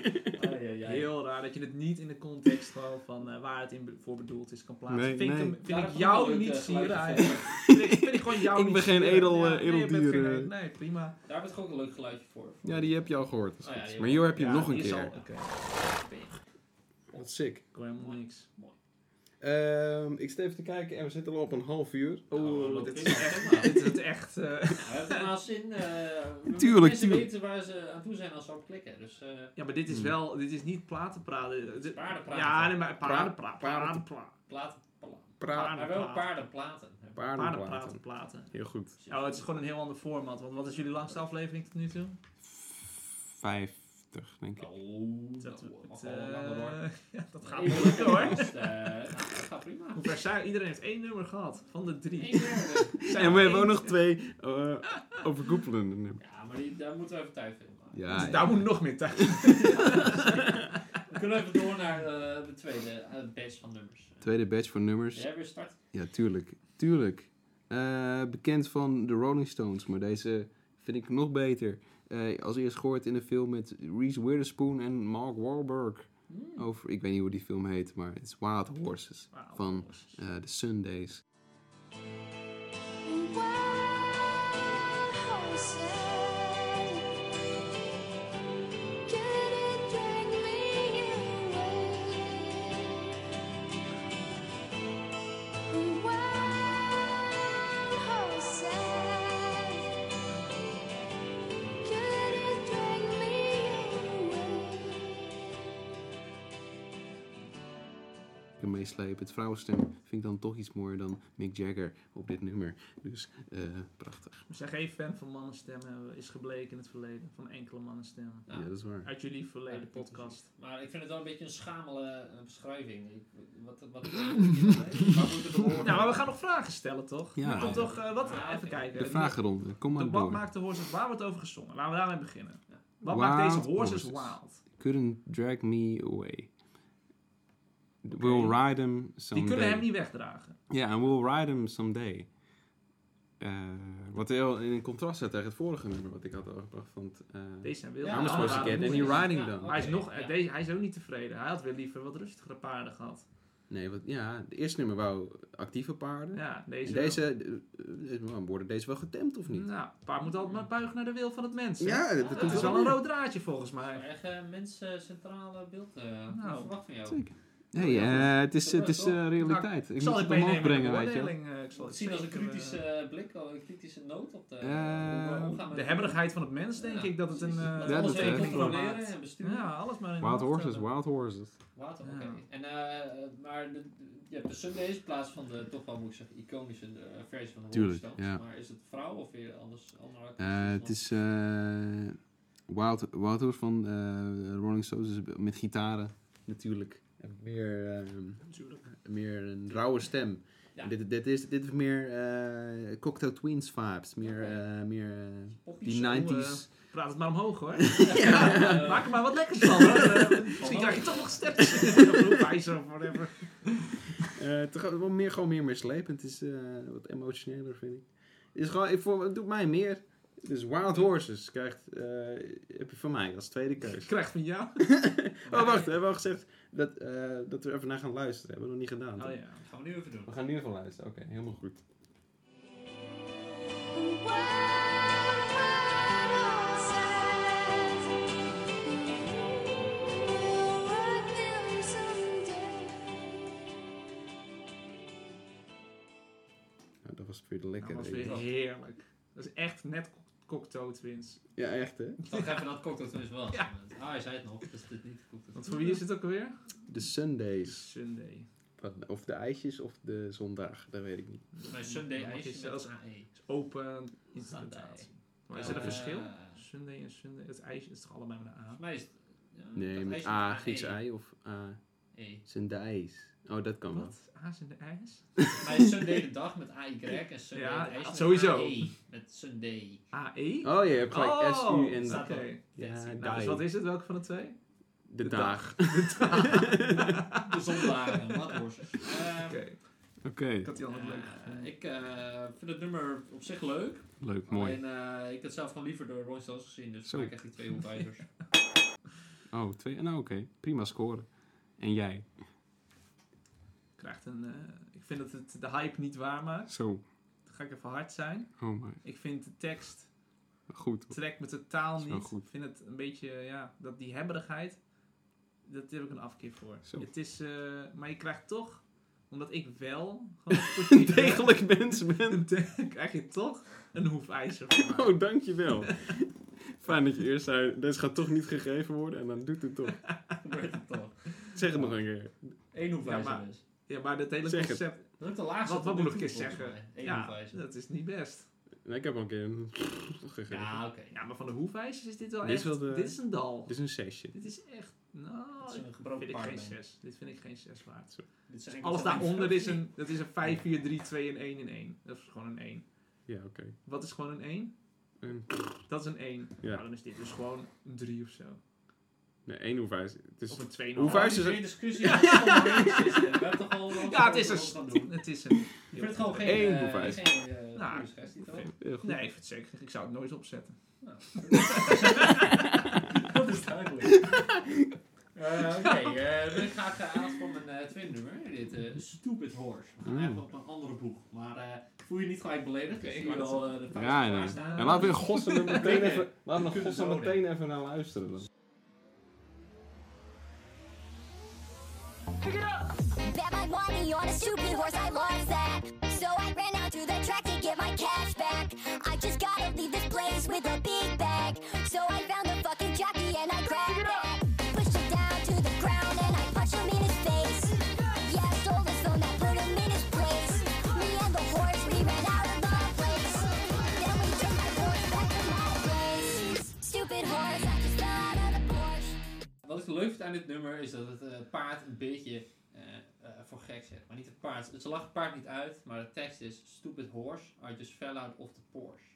Speaker 2: Heel raar dat je het niet in de context gewoon van eh, waar het in be- voor bedoeld is kan plaatsen.
Speaker 1: Nee,
Speaker 2: vind
Speaker 1: nee.
Speaker 2: ik, hem- vind
Speaker 3: Daarom
Speaker 2: ik
Speaker 3: vond ik
Speaker 2: jou
Speaker 3: het
Speaker 2: niet
Speaker 3: leuk, eh,
Speaker 2: zieren
Speaker 3: geluidje
Speaker 2: eigenlijk. vind, ik, vind ik gewoon jou
Speaker 1: Ik
Speaker 2: niet
Speaker 1: ben geen
Speaker 2: zieren.
Speaker 1: edel, eh,
Speaker 2: nee, je bent
Speaker 1: edeldier,
Speaker 2: geen
Speaker 1: eh.
Speaker 2: edel- Nee, prima.
Speaker 3: Daar heb ik ook een leuk geluidje voor.
Speaker 1: Ja, die heb je al gehoord.
Speaker 3: Oh ja, die
Speaker 1: maar hier heb je
Speaker 2: Ja,
Speaker 1: hem nog een
Speaker 2: die is al-
Speaker 1: keer.
Speaker 2: Oké,
Speaker 5: Wat sick.
Speaker 2: ik hoor helemaal niks.
Speaker 5: Ehm, ik sta even te kijken en we zitten al op een half uur.
Speaker 2: Oh,
Speaker 3: dat
Speaker 2: dit
Speaker 3: is
Speaker 2: is echt... dit is het echt eh,
Speaker 3: We hebben er naast in. eh
Speaker 1: Tuurlijk,
Speaker 3: mensen
Speaker 1: tuurlijk.
Speaker 3: weten waar ze aan toe zijn als ze op klikken. Dus eh
Speaker 2: ja, maar
Speaker 1: Hmm.
Speaker 2: dit is wel... Dit is niet platenpraten. Dit-
Speaker 3: Paardenpraten.
Speaker 2: Ja, nee, maar paardenpraten.
Speaker 5: Pra-
Speaker 2: Paardenpraten.
Speaker 3: platen. pla-
Speaker 5: Praat.
Speaker 3: Maar wel paardenplaten.
Speaker 2: Paardenpraten. Platen.
Speaker 1: Heel goed.
Speaker 2: Oh, het is gewoon een heel ander format. Want wat is jullie langste aflevering tot nu toe?
Speaker 1: 50, denk ik.
Speaker 3: Oh,
Speaker 2: Dat,
Speaker 3: dat
Speaker 2: het,
Speaker 3: mag
Speaker 2: eh,
Speaker 3: wel langer hoor.
Speaker 2: ja, dat gaat
Speaker 3: Eén
Speaker 2: moeilijk
Speaker 3: nummer
Speaker 2: hoor.
Speaker 3: vast, eh, nou, Dat gaat prima.
Speaker 2: Hoe ver zijn- Iedereen heeft één nummer gehad van de drie.
Speaker 3: Eén nummer.
Speaker 2: Zijn
Speaker 1: En we hebben ook
Speaker 2: één-
Speaker 1: nog twee eh, overkoepelende nummers.
Speaker 3: Ja, maar die, daar moeten we even tijd voor in maken.
Speaker 1: Ja,
Speaker 2: Dus
Speaker 1: ja.
Speaker 2: daar moet nog meer tijd.
Speaker 3: We kunnen even door naar eh, de tweede eh batch van nummers. Eh,
Speaker 1: Tweede badge voor nummers.
Speaker 3: Jij weer start?
Speaker 1: Ja, tuurlijk. Tuurlijk. Eh, bekend van de Rolling Stones, maar deze vind ik nog beter. Eh, als eerst gehoord in de film met Reese Witherspoon en Mark Wahlberg.
Speaker 3: Hmm.
Speaker 1: Over, ik weet niet hoe die film heet, maar het is Wild Horses van eh The Sundays.
Speaker 6: away?
Speaker 1: kan meeslepen. Het vrouwenstem vind ik dan toch iets mooier dan Mick Jagger op dit nummer. Dus eh, prachtig.
Speaker 2: We zijn geen fan van mannenstemmen, is gebleken in het verleden. Van enkele mannenstemmen.
Speaker 3: Nou,
Speaker 1: Ja, dat is waar.
Speaker 2: Uit jullie verleden
Speaker 3: Ja,
Speaker 2: podcast.
Speaker 3: Maar ik vind het wel een beetje een schamele eh, beschrijving. Ik, wat, wat, wat, waar moeten de woorden?
Speaker 2: Nou, maar we gaan nog vragen stellen, toch?
Speaker 1: Ja.
Speaker 2: Er komt toch eh, wat?
Speaker 3: Ja,
Speaker 2: Even
Speaker 3: oké.
Speaker 2: kijken.
Speaker 1: De vragenronde, kom
Speaker 2: De-
Speaker 1: maar
Speaker 2: Wat
Speaker 1: door.
Speaker 2: maakt de horses? Waar wordt over gezongen? Laten we daarmee beginnen.
Speaker 3: Ja.
Speaker 2: Wat
Speaker 1: Wild
Speaker 2: maakt deze horses,
Speaker 1: horses.
Speaker 2: wild?
Speaker 1: Couldn't drag me away. We'll ride them someday.
Speaker 2: Die kunnen hem niet wegdragen.
Speaker 1: Ja, en We'll Ride Him Someday. Eh, wat heel in contrast staat tegen het vorige nummer wat ik had overgebracht. Want, eh,
Speaker 2: Deze zijn wild.
Speaker 3: Ja,
Speaker 1: I'm a
Speaker 2: Andere
Speaker 1: supposed to
Speaker 2: waren
Speaker 1: get
Speaker 2: moe.
Speaker 1: any riding
Speaker 3: Ja,
Speaker 1: done.
Speaker 2: Maar hij is, nog,
Speaker 3: Oké, ja.
Speaker 2: deze, hij is ook niet tevreden. Hij had weer liever wat rustigere paarden gehad.
Speaker 1: nee, wat, ja, het eerste nummer wou actieve paarden.
Speaker 2: Ja,
Speaker 1: En
Speaker 2: deze.
Speaker 1: deze, eh, eh, man, worden deze wel getemd of niet?
Speaker 2: Nou, het paard moet altijd maar buigen naar de wil van het mens. hè?
Speaker 1: Ja, dat,
Speaker 2: dat
Speaker 1: komt
Speaker 2: is
Speaker 1: wel
Speaker 2: wel een
Speaker 1: weer.
Speaker 2: rood draadje volgens mij.
Speaker 3: Echt eh, mensen centrale beeld. eh
Speaker 2: Nou.
Speaker 3: verwacht van jou.
Speaker 1: Zeker. Hey, eh, het is, het is eh, realiteit. Ik
Speaker 2: zal
Speaker 1: moet
Speaker 2: het
Speaker 1: het omhoog
Speaker 2: meenemen in de
Speaker 1: brengen, weet je. wel.
Speaker 2: beoordeling, eh, Ik zal
Speaker 3: Het
Speaker 2: het
Speaker 3: zien als een
Speaker 2: zeker, eh,
Speaker 3: kritische eh, blik, al een kritische noot op de
Speaker 1: Eh,
Speaker 3: hoe we omgaan met-
Speaker 2: De hebberigheid van het mens, denk
Speaker 3: Ja,
Speaker 2: ik, dat het een...
Speaker 3: precies.
Speaker 2: eh,
Speaker 3: dat
Speaker 1: Ja,
Speaker 3: alles
Speaker 1: dat
Speaker 3: even
Speaker 1: echt.
Speaker 3: controleren en besturen.
Speaker 2: Ja, alles maar in de
Speaker 1: Wild
Speaker 2: hand
Speaker 1: horses,
Speaker 2: hebben.
Speaker 1: wild horses.
Speaker 3: Water,
Speaker 2: Ja.
Speaker 3: oké. En, eh, maar de, ja, de Sunday is in plaats van de toch wel, moet ik zeggen, iconische eh, versie van de
Speaker 1: Tuurlijk,
Speaker 3: Rolling Stones.
Speaker 1: ja.
Speaker 3: Maar is het vrouw of weer anders? Andere artiesten?
Speaker 1: Eh, het is eh, Wild, wild Horse van eh, Rolling Stones dus met gitaren natuurlijk. En Meer, ehm, meer een rauwe stem.
Speaker 3: Ja.
Speaker 1: En Dit, dit, is, dit is meer eh, Cocktail Twins vibes. Meer, eh, meer eh,
Speaker 3: Poppies.
Speaker 1: die
Speaker 3: Ja,
Speaker 1: 90s.
Speaker 2: Praat het maar omhoog, hoor.
Speaker 3: eh,
Speaker 2: Maak er maar wat lekkers van, hoor. Eh, Misschien krijg je toch nog sterktes in de groepwijzer of whatever.
Speaker 1: Eh, toch wel meer, gewoon meer meeslepend. Het is eh, wat emotioneler, vind ik. Het, is gewoon, ik, voor, het doet mij meer. Dus Wild Horses krijgt, eh, heb je van mij als tweede
Speaker 2: Ik
Speaker 1: keus.
Speaker 2: krijg van jou.
Speaker 1: Oh, wacht. We hebben al gezegd dat, eh, dat we even naar gaan luisteren. Hebben we nog niet gedaan. toch?
Speaker 2: Oh ja.
Speaker 3: Gaan we nu even doen.
Speaker 1: We gaan nu even luisteren. Oké, helemaal goed. Nou, dat was weer de
Speaker 2: Dat
Speaker 1: lekker.
Speaker 2: was
Speaker 1: weet
Speaker 2: weer
Speaker 1: je.
Speaker 2: heerlijk. Dat is echt net co- Cocteau Twins.
Speaker 1: Ja, echt hè.
Speaker 3: Ik zag even dat cocktail toen is wel.
Speaker 2: Ja.
Speaker 3: Ah, hij zei het nog, dus dit niet cocktail.
Speaker 2: Want voor wie is het ook alweer?
Speaker 1: De Sundays.
Speaker 2: Sunday.
Speaker 1: Van- Of de ijsjes of de zondag. Dat weet ik niet.
Speaker 3: Mijn Sunday
Speaker 2: Dan mag je
Speaker 3: ijsje
Speaker 2: zelfs-
Speaker 3: zelfs AE.
Speaker 2: Het is Open interpretatie. Maar is er een
Speaker 3: Eh,
Speaker 2: verschil? Sunday en Sunday. Het ijsje is toch allebei met een A?
Speaker 3: Volgens mij is het... ja,
Speaker 2: Hm,
Speaker 1: Nee,
Speaker 3: dat
Speaker 1: met
Speaker 3: ijsje
Speaker 1: A,
Speaker 3: met
Speaker 1: Grieks
Speaker 3: AE.
Speaker 1: ei of A,
Speaker 3: E.
Speaker 1: Sundays. Oh, dat kan wel.
Speaker 2: Wat? A's en de A's?
Speaker 3: Maar is Sunday de dag met AY en Sunday
Speaker 2: Ja,
Speaker 3: de ijsje met
Speaker 2: sowieso.
Speaker 3: AE. Met Sunday.
Speaker 2: AE?
Speaker 1: Oh, je hebt gelijk
Speaker 2: Oh,
Speaker 1: S, U en
Speaker 2: E? Oké.
Speaker 3: staat er.
Speaker 1: Ja,
Speaker 3: Nou,
Speaker 2: Nou, dus
Speaker 1: die.
Speaker 2: wat is het? Welke van de twee?
Speaker 1: de
Speaker 2: de
Speaker 1: dag.
Speaker 3: De zondagen, wat horses. Eh,
Speaker 2: Oké.
Speaker 1: Oké,
Speaker 2: Ik had die andere leuk
Speaker 3: Eh,
Speaker 2: gevonden.
Speaker 3: ik eh, vind het nummer op zich leuk.
Speaker 1: leuk, mooi.
Speaker 3: Alleen eh, ik had zelf gewoon liever de Rolling Stones gezien, dus
Speaker 1: Zo.
Speaker 3: maak ik eigenlijk twee hoefijzers.
Speaker 1: Oh, twee. Nou, oké. Prima scoren. En jij?
Speaker 2: krijgt een. eh, ik vind dat het de hype niet waar maakt.
Speaker 1: Zo.
Speaker 2: Dan ga ik even hard zijn.
Speaker 1: Oh, my.
Speaker 2: Ik vind de tekst
Speaker 1: Goed.
Speaker 2: trekt me totaal
Speaker 1: Is wel
Speaker 2: niet.
Speaker 1: goed.
Speaker 2: Ik vind het een beetje, ja, dat die hebberigheid, dat heb ik een afkeer voor.
Speaker 1: Zo.
Speaker 2: Het is, eh, maar je krijgt toch, omdat ik wel gewoon sportief ben,
Speaker 1: Degelijk mens ben.
Speaker 2: krijg je toch een hoefijzer van mij.
Speaker 1: Oh, dankjewel. Fijn dat je eerst zei, deze gaat toch niet gegeven worden en dan doet het toch.
Speaker 3: Gebeurt het toch?
Speaker 1: Zeg het nog een keer.
Speaker 3: Eén hoefijzer
Speaker 2: Ja, maar-
Speaker 3: dus.
Speaker 2: Ja, maar dat hele
Speaker 1: Zeg het.
Speaker 2: concept,
Speaker 3: Dat is de laagste.
Speaker 2: Wat- wat
Speaker 3: tot nu
Speaker 2: moet ik
Speaker 3: toe,
Speaker 2: eens
Speaker 3: volgens
Speaker 2: zeggen?
Speaker 3: mij. Eén
Speaker 2: ja,
Speaker 3: hoefijzer.
Speaker 2: dat is niet best.
Speaker 1: Nee, ik heb al een keer een gegeven.
Speaker 3: Ja, oké.
Speaker 2: Ja, maar van de hoefijzers is dit wel
Speaker 1: Dit is
Speaker 2: echt,
Speaker 1: wel de-
Speaker 2: dit is een dal.
Speaker 1: Dit is een sesje.
Speaker 2: Dit is echt, nou,
Speaker 3: Dat is een
Speaker 2: dit vind
Speaker 3: gebroken
Speaker 2: ik geen
Speaker 3: paardbeen.
Speaker 2: 6. Dit vind ik geen 6 waard.
Speaker 3: Dit zijn
Speaker 2: Alles
Speaker 3: enkel-
Speaker 2: daaronder is een, dat is een 5, 4, 3, 2 en 1 en 1. Dat is gewoon een 1.
Speaker 1: Ja, oké.
Speaker 2: Wat is gewoon een 1?
Speaker 1: Een-
Speaker 2: Dat is een 1.
Speaker 1: Ja.
Speaker 2: Nou, dan is dit dus gewoon een 3 of zo.
Speaker 1: Nee, één hoefijs. Het is...
Speaker 2: Of een 2
Speaker 1: Dus Hoe
Speaker 3: Oh,
Speaker 1: Hoefijzer-
Speaker 3: dit
Speaker 1: is-
Speaker 3: is geen discussie. Ja, We hebben toch al
Speaker 2: Ja, het is een...
Speaker 3: Ik
Speaker 2: st- Het is een
Speaker 3: vind het gewoon geen...
Speaker 1: Eén
Speaker 3: eh,
Speaker 1: hoefijzer.
Speaker 3: geen, eh,
Speaker 2: Nou,
Speaker 3: goede suggestie, toch?
Speaker 1: Heel eh, goed.
Speaker 2: nee, ik vind het zeker. Ik zou het nooit opzetten.
Speaker 3: Nou. Dat is duidelijk. Eh, Oké, eh, ik ga aan voor mijn eh, tweede nummer. Dit eh, Stupid Horse. We gaan
Speaker 1: Mm.
Speaker 3: even op een andere boeg. Maar eh, voel je niet gelijk beledigd?
Speaker 2: Oké,
Speaker 3: ik
Speaker 2: ik
Speaker 3: zie
Speaker 2: wou
Speaker 3: wel eh, de fouten
Speaker 1: Ja, nee.
Speaker 3: klaarstaan.
Speaker 1: En laten we in godsnaam er meteen even, laten we in
Speaker 3: Kunnen
Speaker 1: godsnaam
Speaker 3: zo, nee.
Speaker 1: meteen even naar luisteren dan.
Speaker 8: Bet my money on a stupid horse, I lost that. So I ran out to the track to get my cash back. I just gotta leave this place with a big bag. So I found a fucking jockey and I grabbed that. Pushed him down to the ground and I punched him in his face. Yes,
Speaker 3: leuk vind aan dit nummer is dat het eh, paard een beetje eh, eh, voor gek zet. Maar niet het paard. Ze lacht het paard niet uit, maar de tekst is Stupid horse, I just fell out of the Porsche.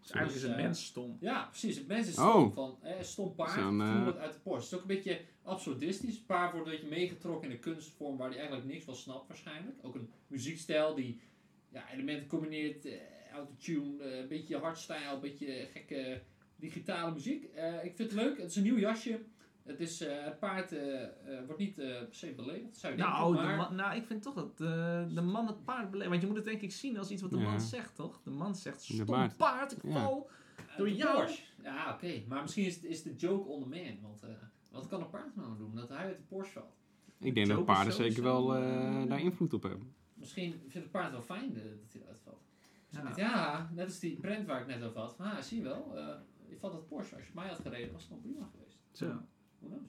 Speaker 2: Dus eigenlijk is
Speaker 3: Dus,
Speaker 2: het
Speaker 3: eh,
Speaker 2: mens stom.
Speaker 3: Ja, precies. Het mens is
Speaker 1: Oh.
Speaker 3: stom van eh, stom paard,
Speaker 1: Zo'n, eh,
Speaker 3: voel het uit de Porsche. Het is ook een beetje absurdistisch. Het paard wordt een beetje meegetrokken in een kunstvorm waar hij eigenlijk niks van snapt waarschijnlijk. Ook een muziekstijl die ja, elementen combineert, eh autotune, eh, een beetje hardstyle, een beetje gekke digitale muziek. Eh, ik vind het leuk. Het is een nieuw jasje. Het is, eh, het paard eh, eh, wordt niet eh, per se beledigd, zou je
Speaker 2: Nou,
Speaker 3: denken,
Speaker 2: de
Speaker 3: maar-
Speaker 2: man- nou, ik vind toch dat de, de man het paard beleeft. Want je moet het denk ik zien als iets wat de
Speaker 1: Ja.
Speaker 2: man zegt, toch? De man zegt,
Speaker 1: De
Speaker 2: stom
Speaker 1: paard.
Speaker 2: paard. ik
Speaker 1: Ja.
Speaker 2: val. Door
Speaker 3: de
Speaker 2: jou?
Speaker 3: Porsche. Ja, oké. Maar misschien is, is de joke on the man. Want eh, wat kan een paard nou doen? Dat hij uit de Porsche valt.
Speaker 1: Ik denk dat
Speaker 2: Joker
Speaker 1: paarden
Speaker 2: sowieso.
Speaker 1: zeker wel eh, daar invloed op hebben.
Speaker 3: Misschien vindt het paard wel fijn eh, dat hij eruit valt.
Speaker 2: Ja.
Speaker 3: Ja. ja, net als die brand waar ik net over had. Van, ah, zie je wel, eh, je valt uit Porsche. Als je mij had gereden, was het nog prima geweest.
Speaker 2: Zo.
Speaker 3: Hoe knows?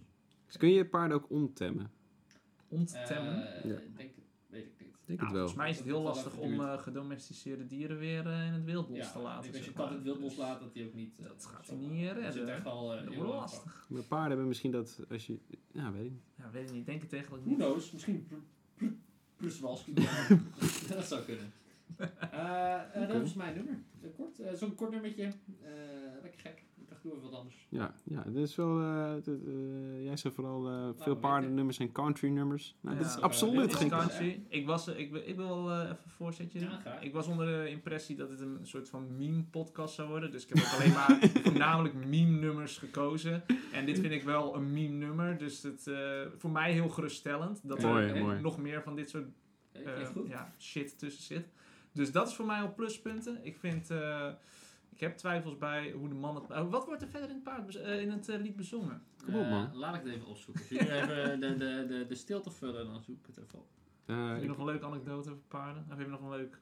Speaker 1: Dus kun je paarden ook ontemmen?
Speaker 2: Om te
Speaker 3: Eh,
Speaker 2: temmen.
Speaker 1: Ja.
Speaker 3: ik Denk, weet ik niet.
Speaker 1: Ik denk
Speaker 2: Nou,
Speaker 1: het wel.
Speaker 2: volgens mij is het heel
Speaker 3: Dat is wel
Speaker 2: lastig
Speaker 3: even
Speaker 2: om eh, gedomesticeerde dieren weer eh, in het wild los te
Speaker 3: ik
Speaker 2: laten.
Speaker 3: denk als je
Speaker 2: zeg
Speaker 3: kat
Speaker 2: maar.
Speaker 3: het wild
Speaker 2: Dus
Speaker 3: loslaat, dat hij ook niet... eh,
Speaker 2: Dat gaat
Speaker 3: zo-
Speaker 2: hij niet eh,
Speaker 3: Dat zit
Speaker 2: redden.
Speaker 3: echt al
Speaker 2: Dat
Speaker 3: heel
Speaker 2: wordt
Speaker 3: lang
Speaker 2: lastig.
Speaker 1: Maar paarden hebben misschien dat als je... Ja, weet ik niet.
Speaker 2: Ja, weet ik niet. Ik Denk het eigenlijk
Speaker 3: Who
Speaker 2: niet.
Speaker 3: knows? Misschien pr- pr- Przewalski. dat zou kunnen. Eh, eh, Dat is mijn nummer. Eh, Kort, eh, Zo'n kort nummertje. Eh, lekker gek. Ik dacht, doe even wat anders.
Speaker 1: Ja, ja dit is wel... eh, dit, eh, jij zei vooral eh, veel
Speaker 3: weten.
Speaker 1: paardennummers en countrynummers. Nou,
Speaker 2: Ja.
Speaker 1: dit is
Speaker 2: Ja,
Speaker 3: dit
Speaker 1: absoluut
Speaker 2: Dit is
Speaker 1: geen...
Speaker 3: kan-
Speaker 2: country. Eh, Ik was, eh, ik, wil- ik wil eh, even een voorzetje
Speaker 3: Ja,
Speaker 2: doen.
Speaker 3: graag.
Speaker 2: ik was onder de impressie dat het een soort van meme-podcast zou worden. Dus ik heb ook alleen maar voornamelijk meme-nummers gekozen. En dit vind ik wel een meme-nummer. Dus het, eh, voor mij heel geruststellend. Dat
Speaker 1: Mooi,
Speaker 2: er eh,
Speaker 1: mooi.
Speaker 2: nog meer van dit soort
Speaker 3: Eh,
Speaker 2: eh,
Speaker 3: klinkt goed.
Speaker 2: ja, shit tussen zit. Dus dat is voor mij al pluspunten. Ik vind... eh, ik heb twijfels bij hoe de man het... eh, wat wordt er verder in het, paard bez- eh, in het eh, lied bezongen?
Speaker 1: Kom op,
Speaker 3: Eh,
Speaker 1: man.
Speaker 3: laat ik het even opzoeken. Jullie even de, de, de, de stilte vullen, dan zoek ik het even op.
Speaker 1: Eh,
Speaker 2: heb je
Speaker 1: ik-
Speaker 2: nog een leuke anekdote over paarden? Of heb je nog een leuk...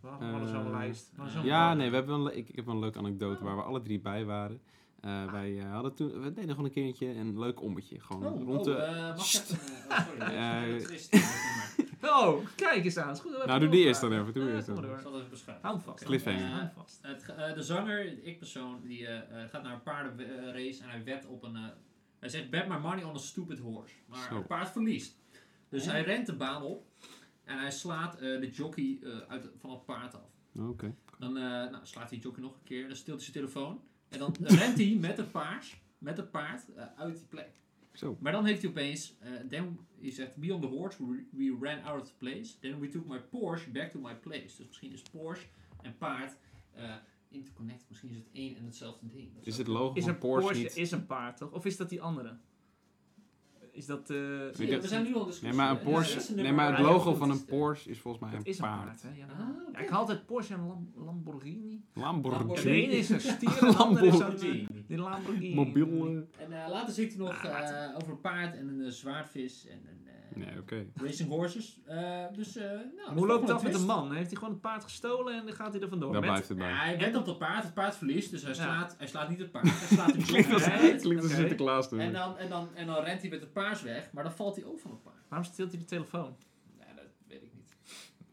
Speaker 2: We hadden
Speaker 1: Eh,
Speaker 2: alles zo'n lijst. We hadden zo'n
Speaker 1: Ja,
Speaker 2: lijst.
Speaker 1: nee, we hebben wel, een le- ik, ik heb wel een leuke anekdote waar we alle drie bij waren. Eh, Wij eh, hadden toen, we deden gewoon een keertje een leuk ommetje. Gewoon Oh, rond de,
Speaker 3: eh, mag ik even... eh, oh, sorry, dat
Speaker 1: Eh,
Speaker 3: is een twist. Dat is niet maar.
Speaker 2: Oh, kijk eens aan. Is goed, dat we
Speaker 1: nou,
Speaker 2: even
Speaker 1: doe die eerst
Speaker 2: doorgaan.
Speaker 1: dan even. Doe die
Speaker 2: Eh,
Speaker 1: eerst
Speaker 2: kom
Speaker 1: dan.
Speaker 2: maar
Speaker 3: Ik
Speaker 2: door.
Speaker 3: zal het even beschrijven.
Speaker 2: Hou hem vast.
Speaker 1: Cliffhanger.
Speaker 2: Hou hem vast.
Speaker 3: Het, ge- eh, de zanger, de ik-persoon, die eh, eh, gaat naar een paardenrace en hij wedt op een... eh, hij zegt, bet my money on a stupid horse. Maar
Speaker 1: Zo.
Speaker 3: het paard verliest. Dus hij rent de baan op en hij slaat eh, de jockey eh, uit, van het paard af.
Speaker 1: Oké.
Speaker 3: Dan eh, nou, slaat hij jockey nog een keer, dan stilt hij zijn telefoon. En dan rent hij met het paard, met het paard eh, uit die plek.
Speaker 1: Zo.
Speaker 3: Maar dan heeft hij opeens, eh then, hij zegt, beyond the horse, we, we ran out of the place. Then we took my Porsche back to my place. Dus misschien is Porsche en paard eh interconnected. Misschien is het één en hetzelfde ding. Dat
Speaker 1: Is
Speaker 3: zou
Speaker 1: het logo
Speaker 2: Is
Speaker 1: van
Speaker 2: een
Speaker 1: Porsche,
Speaker 2: Porsche
Speaker 1: niet?
Speaker 2: is een paard, toch? Of is dat die andere? Is dat... eh,
Speaker 1: Weet
Speaker 3: kunnen.
Speaker 1: je-
Speaker 3: Ja, we zijn nu al discussie.
Speaker 1: Nee, maar, een
Speaker 3: Ja,
Speaker 1: Porsche,
Speaker 3: dat is een
Speaker 1: nee,
Speaker 3: nummer.
Speaker 1: maar het
Speaker 3: Ja,
Speaker 1: logo
Speaker 3: goed,
Speaker 1: van
Speaker 3: is
Speaker 1: een
Speaker 3: de-
Speaker 1: Porsche is volgens mij
Speaker 2: het
Speaker 1: een,
Speaker 2: is een paard,
Speaker 1: paard.
Speaker 2: hè? Ja.
Speaker 3: Ah,
Speaker 2: Ja,
Speaker 3: oké.
Speaker 2: ik haal altijd Porsche en Lam- Lamborghini.
Speaker 1: Lamborghini.
Speaker 2: De ene is een stier, de andere is
Speaker 3: Lamborghini.
Speaker 2: een... eh, Die Lamborghini.
Speaker 1: Mobiel. eh.
Speaker 3: En eh, later zingt hij nog
Speaker 2: Ah, later.
Speaker 3: eh, over een paard en een eh, zwaardvis en een eh,
Speaker 1: Nee, oké.
Speaker 3: racing horses. Eh, dus, eh, nou,
Speaker 2: Maar
Speaker 3: dat is
Speaker 2: Hoe loopt
Speaker 3: wel
Speaker 2: dat met een
Speaker 3: twist.
Speaker 2: man? Heeft hij gewoon het paard gestolen en dan gaat hij er vandoor?
Speaker 1: Daar
Speaker 2: Met-
Speaker 1: blijft het
Speaker 3: Ja,
Speaker 1: bij.
Speaker 3: hij bent op het paard, het paard verliest, dus hij
Speaker 2: Ja.
Speaker 3: slaat, hij slaat niet het paard, hij slaat de jockey
Speaker 2: als-
Speaker 3: uit.
Speaker 1: Klinkt als
Speaker 2: Oké.
Speaker 1: Sinterklaas dus.
Speaker 3: En
Speaker 1: doen.
Speaker 3: dan, en, dan, en dan rent hij met het paars weg, maar dan valt hij ook van het paard.
Speaker 2: Waarom steelt hij de telefoon?
Speaker 3: Nou, dat weet ik niet.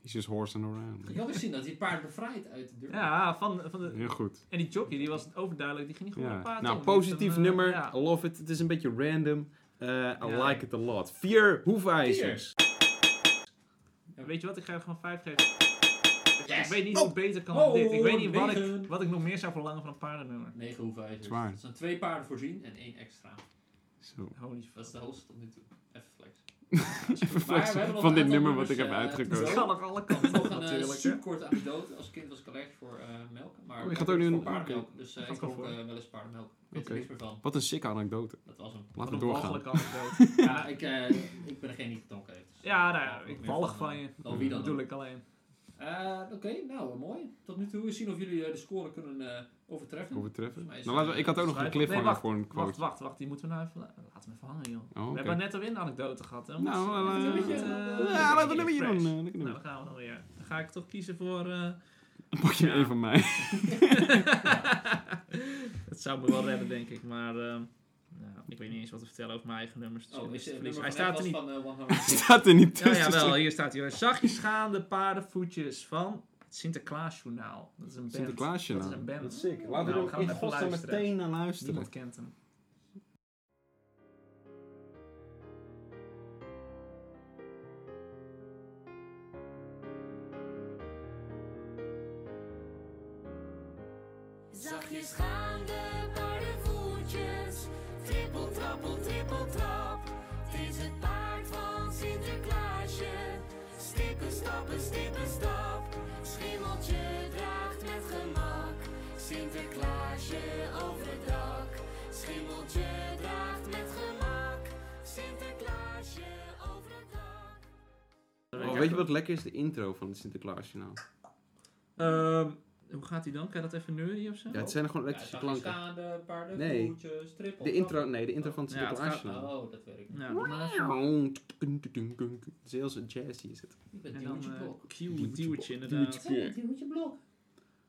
Speaker 1: He's just horsing around.
Speaker 3: Ik had ook zien dat hij het paard bevrijdt uit de deur.
Speaker 2: Ja, van, van de,
Speaker 1: Heel goed.
Speaker 2: En die jockey, die was overduidelijk, die ging niet goed naar
Speaker 1: Ja.
Speaker 2: paard.
Speaker 1: Nou,
Speaker 2: om. Die heeft
Speaker 1: positief
Speaker 2: hem, eh,
Speaker 1: nummer. Oh.
Speaker 2: ja.
Speaker 1: I love it. Het is een beetje random. Eh, I
Speaker 2: Ja.
Speaker 1: like it a lot. Vier hoefijzers.
Speaker 2: Ja, Weet je wat, ik ga er gewoon vijf geven. Ik
Speaker 3: Yes!
Speaker 2: weet niet
Speaker 3: Oh.
Speaker 2: hoe het beter kan dan
Speaker 3: Oh,
Speaker 2: dit. Ik weet niet wat ik,
Speaker 3: negen.
Speaker 2: wat ik nog meer zou verlangen van een paardennummer.
Speaker 3: 9 hoefijzers.
Speaker 1: Zwaar.
Speaker 3: Er zijn twee paarden voorzien en één extra.
Speaker 1: Zo.
Speaker 2: Holy fuck.
Speaker 3: Dat is de hoogste tot nu toe. Even
Speaker 1: Even
Speaker 3: flex. Maar we hebben
Speaker 1: flexen
Speaker 3: nog
Speaker 1: van
Speaker 3: een
Speaker 1: dit
Speaker 3: aantal
Speaker 1: nummer wat ik
Speaker 3: nummers,
Speaker 1: heb
Speaker 3: eh,
Speaker 1: uitgekozen.
Speaker 2: Dat
Speaker 3: Zo.
Speaker 2: kan aan alle kanten
Speaker 3: Nog
Speaker 2: op,
Speaker 3: een eh,
Speaker 2: natuurlijk. hè.
Speaker 3: superkorte anekdote. Als kind was ik allergisch voor eh, melk. Maar
Speaker 1: Oh, je
Speaker 3: ik
Speaker 1: gaat
Speaker 3: heb
Speaker 1: ook nu
Speaker 3: voor
Speaker 1: een-
Speaker 3: paardenmelk. Dus eh,
Speaker 2: Gaat
Speaker 3: ik
Speaker 2: wel
Speaker 3: koop
Speaker 2: voor.
Speaker 3: eh, wel eens paardenmelk. Ik weet
Speaker 1: Oké.
Speaker 3: er niks meer van.
Speaker 1: Wat een sikke anekdote.
Speaker 3: Dat was hem.
Speaker 1: Laten we
Speaker 2: Wat een
Speaker 1: doorgaan.
Speaker 2: walgelijke anekdote.
Speaker 3: Ja, ik, eh, ik ben degene die gedronken heeft. Dus,
Speaker 2: Ja,
Speaker 3: eh,
Speaker 2: nou ja,
Speaker 3: ook
Speaker 2: ik
Speaker 3: meer
Speaker 2: walg van
Speaker 3: eh,
Speaker 2: je.
Speaker 3: Dan
Speaker 2: Dat
Speaker 3: wie dan
Speaker 2: bedoel ik
Speaker 3: ook.
Speaker 2: alleen.
Speaker 3: Eh, Oké, nou eh, mooi. Tot nu toe. We zien of jullie eh, de score kunnen eh, overtreffen.
Speaker 1: Hoe we het treffen.
Speaker 3: Volgens mij is eh,
Speaker 1: Nou, laten we, ik had ook nog een
Speaker 2: schrijven.
Speaker 1: cliffhanger
Speaker 2: Nee, wacht,
Speaker 1: voor een
Speaker 2: Wacht,
Speaker 1: quote.
Speaker 2: wacht, wacht. Die moeten we nou even... la- Laat hem even hangen, joh.
Speaker 1: Oh,
Speaker 2: We
Speaker 1: oké.
Speaker 2: hebben net alweer een anekdote gehad, hè.
Speaker 1: Nou,
Speaker 2: Moet-
Speaker 1: eh,
Speaker 2: moet-
Speaker 3: eh,
Speaker 2: eh,
Speaker 1: Ja, laten we
Speaker 2: moet-
Speaker 1: hem hier doen.
Speaker 2: fresh.
Speaker 1: eh, lekker
Speaker 2: Nou,
Speaker 1: doen.
Speaker 2: dan gaan we dan weer. Dan ga ik toch kiezen voor... eh,
Speaker 1: Dan pak je
Speaker 2: Ja.
Speaker 1: een van mij.
Speaker 2: Het zou me wel redden, denk ik. Maar ehm, nou, ik weet niet eens wat te vertellen over mijn eigen nummers. Dus
Speaker 3: Oh,
Speaker 2: ik
Speaker 3: is
Speaker 2: mis
Speaker 3: het
Speaker 2: het
Speaker 3: nummer
Speaker 2: verlies.
Speaker 3: van
Speaker 2: Hij
Speaker 3: net
Speaker 2: staat er
Speaker 3: was
Speaker 2: niet.
Speaker 3: van eh,
Speaker 1: Die
Speaker 3: 100.
Speaker 1: staat er niet
Speaker 2: Ja,
Speaker 1: tussen.
Speaker 2: jawel, hier staat hij. Zachtjes gaande paardenvoetjes van het Sinterklaasjournaal. Dat is een band.
Speaker 1: Sinterklaasje
Speaker 2: Dat is
Speaker 1: nou.
Speaker 2: een band.
Speaker 5: sick.
Speaker 2: Nou, we gaan even luisteren.
Speaker 5: naar luisteren.
Speaker 2: Niemand kent hem.
Speaker 6: Zachtjes gaan de paardenvoetjes. Trippel, trappel, trippel, trap. Het is het paard van Sinterklaasje. Stippen, stappen, stippen, stap. Schimmeltje draagt met gemak. Sinterklaasje over het dak. Schimmeltje draagt met gemak. Sinterklaasje over het dak.
Speaker 1: Oh, weet je wat lekker is? De nou. intro van het Sinterklaasjournaal.
Speaker 2: Ehm, hoe gaat die dan? Kan je dat even neurien of zo?
Speaker 1: Ja, het zijn gewoon
Speaker 3: Ja,
Speaker 1: elektrische
Speaker 3: staan
Speaker 1: klanken.
Speaker 3: Staande, paarden,
Speaker 1: Nee.
Speaker 3: voetjes, trippel.
Speaker 1: De intro, nee, de intro van het nou.
Speaker 2: Ja, het
Speaker 1: Sinterklaasjournaal.
Speaker 3: Oh, dat weet ik niet.
Speaker 2: Ja, Nou, doe maar even.
Speaker 1: Het is heel zo jazzy is het.
Speaker 3: Ik ben
Speaker 2: En dan eh
Speaker 3: Diewertje Blok.
Speaker 2: Q, Duwtje
Speaker 3: Ik
Speaker 2: inderdaad.
Speaker 3: ben Diewertje Blok.